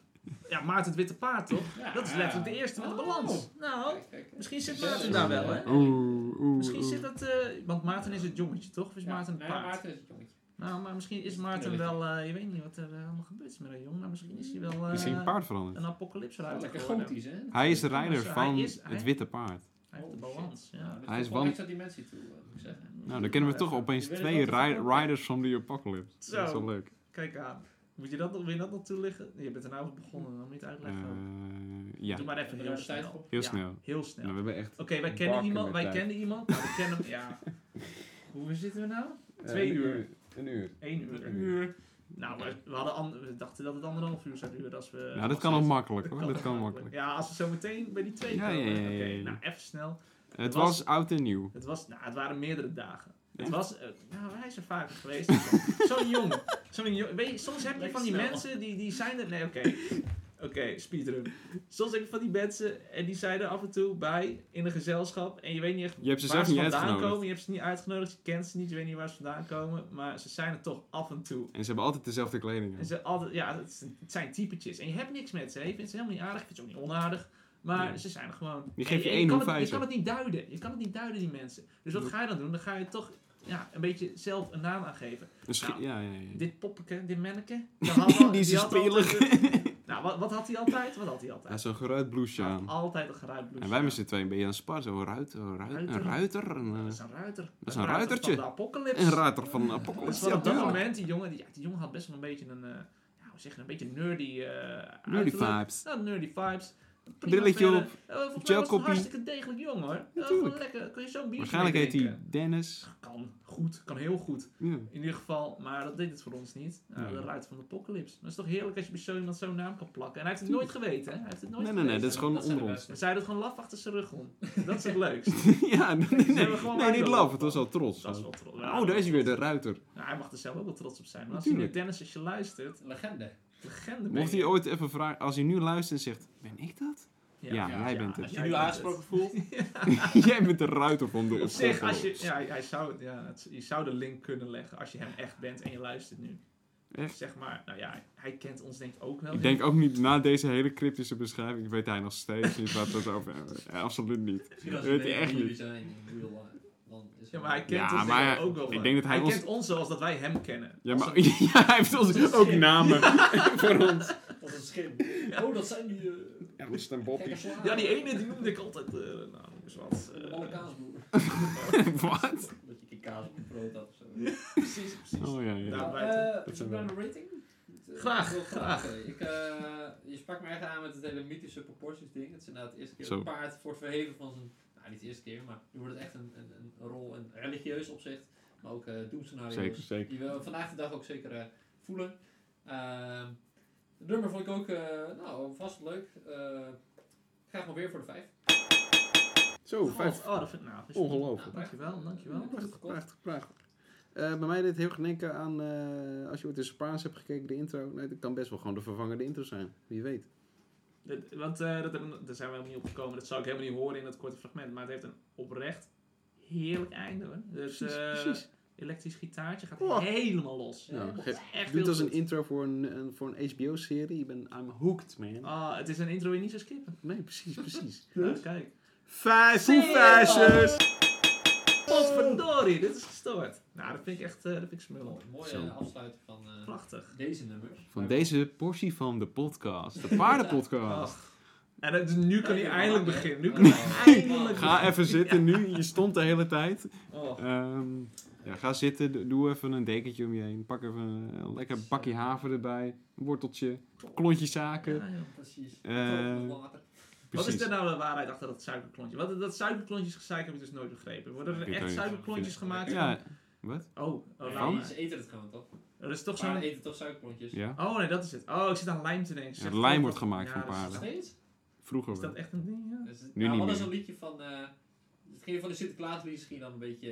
Speaker 2: Ja, Maarten het witte paard, toch?
Speaker 3: Ja. Oh.
Speaker 2: Dat is letterlijk de eerste met de balans. Nou,
Speaker 3: Kijk, kijk, kijk.
Speaker 2: misschien zit Maarten daar wel, hè?
Speaker 1: Oeh, oeh,
Speaker 2: Misschien
Speaker 1: oeh.
Speaker 2: zit dat... eh, want Maarten is het jongetje, toch? Of is
Speaker 3: Ja,
Speaker 2: Dus Maarten het
Speaker 3: nee,
Speaker 2: paard?
Speaker 3: Maarten is het jongetje.
Speaker 2: Nou, maar misschien is Maarten wel, eh, je weet niet wat er eh, allemaal gebeurd is met dat jong, maar misschien is hij wel eh,
Speaker 1: Is hij een paard veranderd?
Speaker 2: een apocalypse
Speaker 3: Ja,
Speaker 2: ruiter
Speaker 3: lekker
Speaker 2: geworden.
Speaker 3: gotisch, hè?
Speaker 1: Hij is de
Speaker 2: maar
Speaker 1: rijder
Speaker 2: zo,
Speaker 1: van
Speaker 2: hij is- hij-
Speaker 1: het witte paard.
Speaker 2: Hij heeft de
Speaker 3: Oh, shit.
Speaker 2: balans,
Speaker 3: Nou,
Speaker 2: ja.
Speaker 3: dat
Speaker 1: Hij
Speaker 3: is
Speaker 1: is
Speaker 3: wel
Speaker 1: wan-
Speaker 3: extra dimensie toe, eh, moet ik zeggen.
Speaker 1: Nou, dan kennen we toch opeens
Speaker 3: Je weet
Speaker 1: twee
Speaker 3: wel dat het
Speaker 1: ri-
Speaker 3: ook wel-
Speaker 1: riders van de apocalypse.
Speaker 2: Zo.
Speaker 1: Dat is wel leuk.
Speaker 2: Kijk aan. Moet je dat nog, wil je dat nog toelichten? Je bent er nou over begonnen, dan moet je het uitleggen. ook.
Speaker 1: Eh, ja,
Speaker 2: Doe maar even heel
Speaker 3: Hebben we daar tijd
Speaker 2: snel.
Speaker 3: voor?
Speaker 1: heel
Speaker 2: Ja,
Speaker 1: snel.
Speaker 2: heel snel.
Speaker 1: Nou, we hebben echt
Speaker 2: Oké, wij kennen
Speaker 1: bakken
Speaker 2: iemand,
Speaker 1: met
Speaker 2: wij
Speaker 1: tijd.
Speaker 2: kennen iemand, nou, we kennen hem, ja. Hoe zitten we nou? Twee
Speaker 5: Eh, een
Speaker 2: uur.
Speaker 5: Een uur.
Speaker 2: Eén uur.
Speaker 1: Een
Speaker 2: Nou, we, we hadden an- we dachten dat het anderhalf uur zou duren als we...
Speaker 1: Nou, dat kan
Speaker 2: als
Speaker 1: ook
Speaker 2: we-
Speaker 1: makkelijk hoor.
Speaker 2: Dat
Speaker 1: Dat kan
Speaker 2: ook
Speaker 1: makkelijk.
Speaker 2: Ja, als we zo meteen bij die twee
Speaker 1: Ja,
Speaker 2: komen.
Speaker 1: ja, ja, ja,
Speaker 2: Oké,
Speaker 1: ja.
Speaker 2: nou even snel.
Speaker 1: Het was oud en nieuw.
Speaker 2: Het, was, nou, het waren meerdere dagen. Het
Speaker 1: Ja.
Speaker 2: was, eh, nou, hij is er vaker geweest. Zo'n- Zo'n jong. Zo'n jong. Weet je, soms heb je
Speaker 3: Lekker
Speaker 2: van die
Speaker 3: snel.
Speaker 2: mensen die, die zijn er. Nee, oké. Oké, speedrun. Soms heb je van die mensen en die zijn er af en toe bij in een gezelschap. En je weet niet echt
Speaker 1: Je hebt ze
Speaker 2: waar
Speaker 1: zelf
Speaker 2: ze
Speaker 1: niet
Speaker 2: vandaan
Speaker 1: uitgenodigd.
Speaker 2: komen. Je hebt ze niet uitgenodigd. Je kent ze niet. Je weet niet waar ze vandaan komen. Maar ze zijn er toch af en toe.
Speaker 1: En ze hebben altijd dezelfde kleding. aan.
Speaker 2: En ze altijd, ja, het, het zijn typetjes. En je hebt niks met ze. Je vindt ze helemaal niet aardig. Je vindt ze ook niet onaardig. Maar
Speaker 1: Nee.
Speaker 2: ze zijn er gewoon.
Speaker 1: Die
Speaker 2: En
Speaker 1: geef je
Speaker 2: en
Speaker 1: één
Speaker 2: kan
Speaker 1: hoe
Speaker 2: het- Je
Speaker 1: vijf.
Speaker 2: kan het niet duiden. Je kan het niet duiden, die mensen. Dus wat ga je dan doen? Dan ga je toch ja, een beetje zelf een naam aangeven.
Speaker 1: Een schi-
Speaker 2: Nou.
Speaker 1: ja, ja, ja.
Speaker 2: Dit poppeke, dit menneke. dat had al-
Speaker 1: Die is
Speaker 2: had
Speaker 1: spelig.
Speaker 2: altijd een- Nou, wat, wat had hij altijd? Wat had hij
Speaker 1: Hij
Speaker 2: altijd?
Speaker 1: is zo'n geruit blouseje
Speaker 2: Hij had
Speaker 1: aan.
Speaker 2: altijd een geruit blouse
Speaker 1: En wij
Speaker 2: aan.
Speaker 1: met z'n tweeën ben je aan het sparren. Zo'n ruiter, een ruiter, een ruiter. Een,
Speaker 2: Dat
Speaker 1: eh,
Speaker 2: is een ruiter. Dat
Speaker 1: is een ruitertje.
Speaker 2: Van de apocalypse.
Speaker 1: een ruiter van de
Speaker 2: Dus
Speaker 1: apocalypse.
Speaker 2: wat
Speaker 1: Ja,
Speaker 2: op dat
Speaker 1: tuurlijk.
Speaker 2: moment, die jongen, die, ja, die jongen had best wel een beetje een, eh, ja, hoe zeg je, een beetje nerdy eh
Speaker 1: Nerdy
Speaker 2: uiterlijk.
Speaker 1: vibes.
Speaker 2: Nou, nerdy vibes.
Speaker 1: Brilletje
Speaker 2: verder.
Speaker 1: op,
Speaker 2: Eh, volgens mij was het een
Speaker 1: gelkoppie.
Speaker 2: hartstikke degelijk jong hoor. Ja,
Speaker 1: tuurlijk.
Speaker 2: lekker, kun je zo'n biertje
Speaker 1: Waarschijnlijk
Speaker 2: mee
Speaker 1: heet hij
Speaker 2: drinken.
Speaker 1: Dennis.
Speaker 2: Kan goed, kan heel goed.
Speaker 1: Ja.
Speaker 2: In ieder geval, maar dat deed het voor ons niet. Nou,
Speaker 1: Nee.
Speaker 2: De ruiter van de apocalypse. Dat is toch heerlijk als je bij zo iemand zo'n naam kan plakken. En hij heeft het nooit geweten, hè? Hij heeft het nooit
Speaker 1: Nee, nee, nee,
Speaker 2: geweten.
Speaker 1: dat is gewoon
Speaker 3: Dat zijn
Speaker 1: onder
Speaker 3: de
Speaker 1: ons.
Speaker 2: We zeiden het gewoon laf achter zijn rug om. Dat is het leukst.
Speaker 1: ja, nee, nee,
Speaker 2: hebben
Speaker 1: nee,
Speaker 2: gewoon
Speaker 1: nee, niet
Speaker 2: Michael.
Speaker 1: laf, het was al trots.
Speaker 2: Dat is wel trots.
Speaker 1: Oh, daar is hij weer, de ruiter.
Speaker 2: Nou, hij mag er zelf ook wel trots op zijn. Maar als hij nu
Speaker 1: Natuurlijk.
Speaker 2: Dennis, als je luistert,
Speaker 3: Legende.
Speaker 2: legende ben
Speaker 1: Mocht
Speaker 2: je.
Speaker 1: hij ooit even vragen, als hij nu luistert en zegt, ben ik dat? Ja, jij bent het.
Speaker 2: als
Speaker 1: Als
Speaker 2: jij bent
Speaker 5: voelt.
Speaker 1: Jij bent de ruiter van de
Speaker 2: Op zich, als je,
Speaker 1: apocalypse.
Speaker 2: ja, hij zou, ja, het- je zou de link kunnen leggen als je hem echt bent en je luistert nu.
Speaker 1: Echt?
Speaker 2: Zeg maar, nou ja, hij kent ons denk ik ook
Speaker 5: Oh,
Speaker 2: wel.
Speaker 1: Ik denk ook niet, na deze hele cryptische beschrijving, weet hij nog steeds niet waar we het over hebben. Ja, absoluut niet.
Speaker 3: Misschien als
Speaker 1: Weet
Speaker 3: we
Speaker 1: hij echt
Speaker 3: echt jullie
Speaker 1: niet.
Speaker 3: zijn in real life. Dan is
Speaker 2: Ja, maar hij kent
Speaker 1: Ja,
Speaker 2: ons
Speaker 1: maar
Speaker 2: denk ik
Speaker 1: hij-
Speaker 2: ook wel.
Speaker 1: ik
Speaker 2: van.
Speaker 1: denk dat hij ons-
Speaker 2: kent ons zoals dat wij hem kennen.
Speaker 1: Ja,
Speaker 2: Als
Speaker 1: maar
Speaker 2: een-
Speaker 1: ja, hij heeft ons ook namen voor ons.
Speaker 3: Dat is een schim. Oh, dat zijn die... eh,
Speaker 5: Ja, dat is een
Speaker 3: gekke
Speaker 5: boppie.
Speaker 3: slaven.
Speaker 2: ja, die ene die noemde ik altijd, eh nou, noem eens wat. eh,
Speaker 3: De malle kaasboer.
Speaker 1: Wat?
Speaker 3: Dat je geen kaas op je brood had of zo.
Speaker 2: precies, precies.
Speaker 1: Oh ja, ja.
Speaker 2: Ja.
Speaker 3: Nou,
Speaker 2: buiten.
Speaker 3: eh,
Speaker 1: Dat
Speaker 3: is
Speaker 1: zijn
Speaker 3: er een rating?
Speaker 2: Graag,
Speaker 3: Ik wil
Speaker 2: graag.
Speaker 3: oké. Ik, eh, je sprak me echt aan met het hele mythische proporties ding. Het is inderdaad de eerste keer
Speaker 1: Zo.
Speaker 3: een paard voor het verheven van zijn... Nou, niet de eerste keer, maar nu wordt het echt een, een, een rol in religieus opzicht. Maar ook eh doemscenario's.
Speaker 1: Zeker, zeker.
Speaker 3: Die we vandaag de dag ook zeker eh, voelen. Ehm het nummer vond ik ook eh, nou, vast leuk. Eh, ik ga gewoon weer voor de vijf.
Speaker 5: Zo,
Speaker 2: Oh,
Speaker 5: vijf.
Speaker 2: oh, dat vind ik nou, dat is-
Speaker 5: Ongelooflijk.
Speaker 2: Nou, dankjewel, dankjewel.
Speaker 5: Prachtig, prachtig, prachtig. Eh, bij mij deed het heel erg denken aan, eh, als je ooit in Spaans hebt gekeken, de intro. Nee, dat kan best wel gewoon de vervangende intro zijn. Wie weet.
Speaker 2: Dat- Want eh, dat hebben we- daar zijn we helemaal niet op gekomen. Dat zou ik helemaal niet horen in dat korte fragment. Maar het heeft een oprecht heerlijk einde hoor. Dus,
Speaker 5: Precies,
Speaker 2: eh,
Speaker 5: precies.
Speaker 2: elektrisch gitaartje gaat
Speaker 5: Oh.
Speaker 2: helemaal los.
Speaker 3: Ja,
Speaker 5: Nou,
Speaker 3: dat
Speaker 5: geef-
Speaker 2: Echt heel
Speaker 5: doe het als
Speaker 2: goed.
Speaker 5: een intro voor een, een- voor een HBO-serie. Ik ben I'm hooked, man.
Speaker 2: Ah, het is een intro die niet zo skippen.
Speaker 5: Nee, precies, precies.
Speaker 2: Nou, kijk.
Speaker 5: Vijf hoefijzers!
Speaker 2: Potverdorie, dit is gestoord. Nou, dat vind ik echt eh, dat vind ik smullen.
Speaker 3: Mooi, mooie
Speaker 1: Zo.
Speaker 3: eh, afsluiting van eh,
Speaker 2: Prachtig.
Speaker 3: deze nummers.
Speaker 1: Van deze portie van de podcast, de paardenpodcast.
Speaker 2: Ach. En dat- dus nu kan hij
Speaker 3: Ja,
Speaker 2: eindelijk
Speaker 3: ja.
Speaker 2: beginnen. Nu
Speaker 3: Oh.
Speaker 2: kan hij eindelijk
Speaker 1: Ga even zitten nu, je stond de hele tijd.
Speaker 2: Oh.
Speaker 1: Ehm, ja, ga zitten, do- doe even een dekentje om je heen. Pak even een, een lekker bakje haver erbij, een worteltje, klontje zaken.
Speaker 2: Ja, joh.
Speaker 3: Precies.
Speaker 1: Eh,
Speaker 3: Tropen water.
Speaker 2: Wat is
Speaker 9: Precies.
Speaker 2: er nou de waarheid achter dat suikerklontje? Wat, dat suikerklontjes gezeik heb ik dus nooit begrepen. Worden
Speaker 9: Ik
Speaker 2: er
Speaker 9: weet
Speaker 2: echt
Speaker 9: niet.
Speaker 2: suikerklontjes gemaakt?
Speaker 9: Ja, wat?
Speaker 2: Oh, oh, nou,
Speaker 9: Van?
Speaker 3: Ze eten het gewoon toch?
Speaker 2: dat is toch
Speaker 3: Paarden
Speaker 2: zo'n...
Speaker 3: eten toch suikerklontjes?
Speaker 9: Ja.
Speaker 2: Oh nee, dat is het. Oh, ik zit aan lijm te denken.
Speaker 9: Ja,
Speaker 2: Zeg, oh,
Speaker 9: lijm
Speaker 2: dat-
Speaker 9: wordt gemaakt van
Speaker 2: dat is-
Speaker 3: Nog
Speaker 9: paarden.
Speaker 3: Steeds?
Speaker 9: Vroeger
Speaker 2: Is dat
Speaker 9: wel.
Speaker 2: echt een ding? Ja.
Speaker 3: Dus, het-
Speaker 9: Nu niet
Speaker 3: nou, hadden
Speaker 9: meer.
Speaker 3: ze een liedje van. eh het ging van de Sinterklaaslied misschien dan een beetje.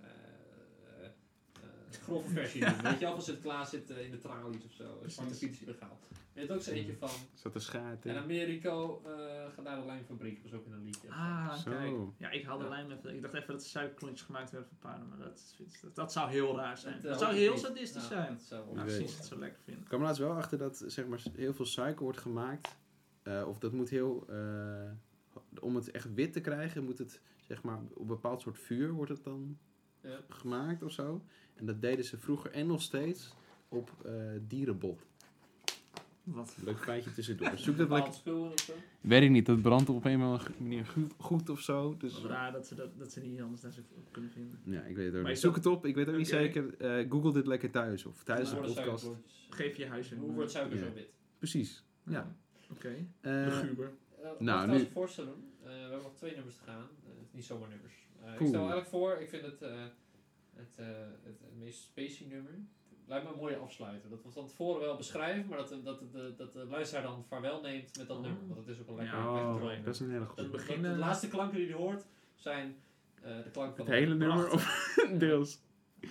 Speaker 3: eh eh, eh, grove versie. doen. Weet je al, van Sinterklaas zit eh, in de tralies of zo. Zwarte fiets illegaal. Je hebt ook zo eentje van.
Speaker 9: Is dat de schaart
Speaker 3: En
Speaker 9: in?
Speaker 3: Americo eh gaat naar de lijmfabriek. was ook in een liedje.
Speaker 2: Ah,
Speaker 9: Zo.
Speaker 2: kijk. Ja, ik haalde
Speaker 3: Ja.
Speaker 2: lijm even. Ik dacht even dat suikerklontjes gemaakt werden van paarden, maar dat, is- dat, dat zou heel raar zijn.
Speaker 3: eh,
Speaker 2: Dat, zou
Speaker 3: hoop ik
Speaker 2: heel
Speaker 3: niet.
Speaker 2: sadistisch
Speaker 3: Ja,
Speaker 2: zijn.
Speaker 3: Dat zou
Speaker 2: Nou,
Speaker 1: weet
Speaker 2: precies,
Speaker 1: ik.
Speaker 2: dat zou ik lekker vinden.
Speaker 1: Ik kwam er laatst wel achter dat zeg maar, heel veel suiker wordt gemaakt. Eh, of dat moet heel. eh, om het echt wit te krijgen, moet het zeg maar, op een bepaald soort vuur wordt het dan
Speaker 3: Ja.
Speaker 1: gemaakt of zo. En dat deden ze vroeger en nog steeds op eh dierenbot.
Speaker 2: Wat?
Speaker 1: Leuk feitje tussendoor. Zoek dat
Speaker 3: Bepaald
Speaker 1: lekker.
Speaker 3: spul en zo.
Speaker 9: Weet ik niet, dat brandt op een of andere manier goed, goed of zo. Dus
Speaker 2: Wat raar dat ze, dat, dat ze niet anders daar zo op kunnen vinden.
Speaker 1: Ja, ik weet het ook
Speaker 2: Maar
Speaker 1: niet.
Speaker 2: is
Speaker 1: Zoek
Speaker 2: dat-
Speaker 1: het op, ik weet ook niet
Speaker 2: Oké.
Speaker 1: zeker. Eh, Google dit lekker thuis of
Speaker 3: Hoe
Speaker 1: tijdens de
Speaker 3: worden
Speaker 1: podcast.
Speaker 3: suikerklontjes?
Speaker 2: Geef je huis een.
Speaker 3: Hoe wordt suiker
Speaker 1: Ja.
Speaker 3: zo wit?
Speaker 1: Precies. Ja.
Speaker 2: Oké.
Speaker 1: Eh,
Speaker 2: De guber.
Speaker 3: nou,
Speaker 1: Nou,
Speaker 3: ik
Speaker 1: nu-
Speaker 3: stel het voorstel doen. Eh, we hebben nog twee nummers te gaan. Eh, het is niet zomaar nummers. Eh, ik
Speaker 1: Cool.
Speaker 3: stel eigenlijk voor, ik vind het, eh, het, eh, het, het meest spacey nummer. Lijkt me een mooie afsluiter. Dat we van tevoren wel beschrijven, maar dat, eh, dat, dat, dat, dat de luisteraar dan vaarwel neemt met dat
Speaker 2: Oh.
Speaker 3: nummer. Want dat is ook een lekker
Speaker 2: Ja,
Speaker 3: lekker
Speaker 1: oh,
Speaker 3: draai.
Speaker 1: dat is een hele goede.
Speaker 2: Het
Speaker 3: Dat-
Speaker 2: begin,
Speaker 3: dat- De
Speaker 2: eh,
Speaker 3: laatste klanken die je hoort zijn eh, de klank van
Speaker 9: het hele nummer
Speaker 2: prachtig.
Speaker 9: of deels.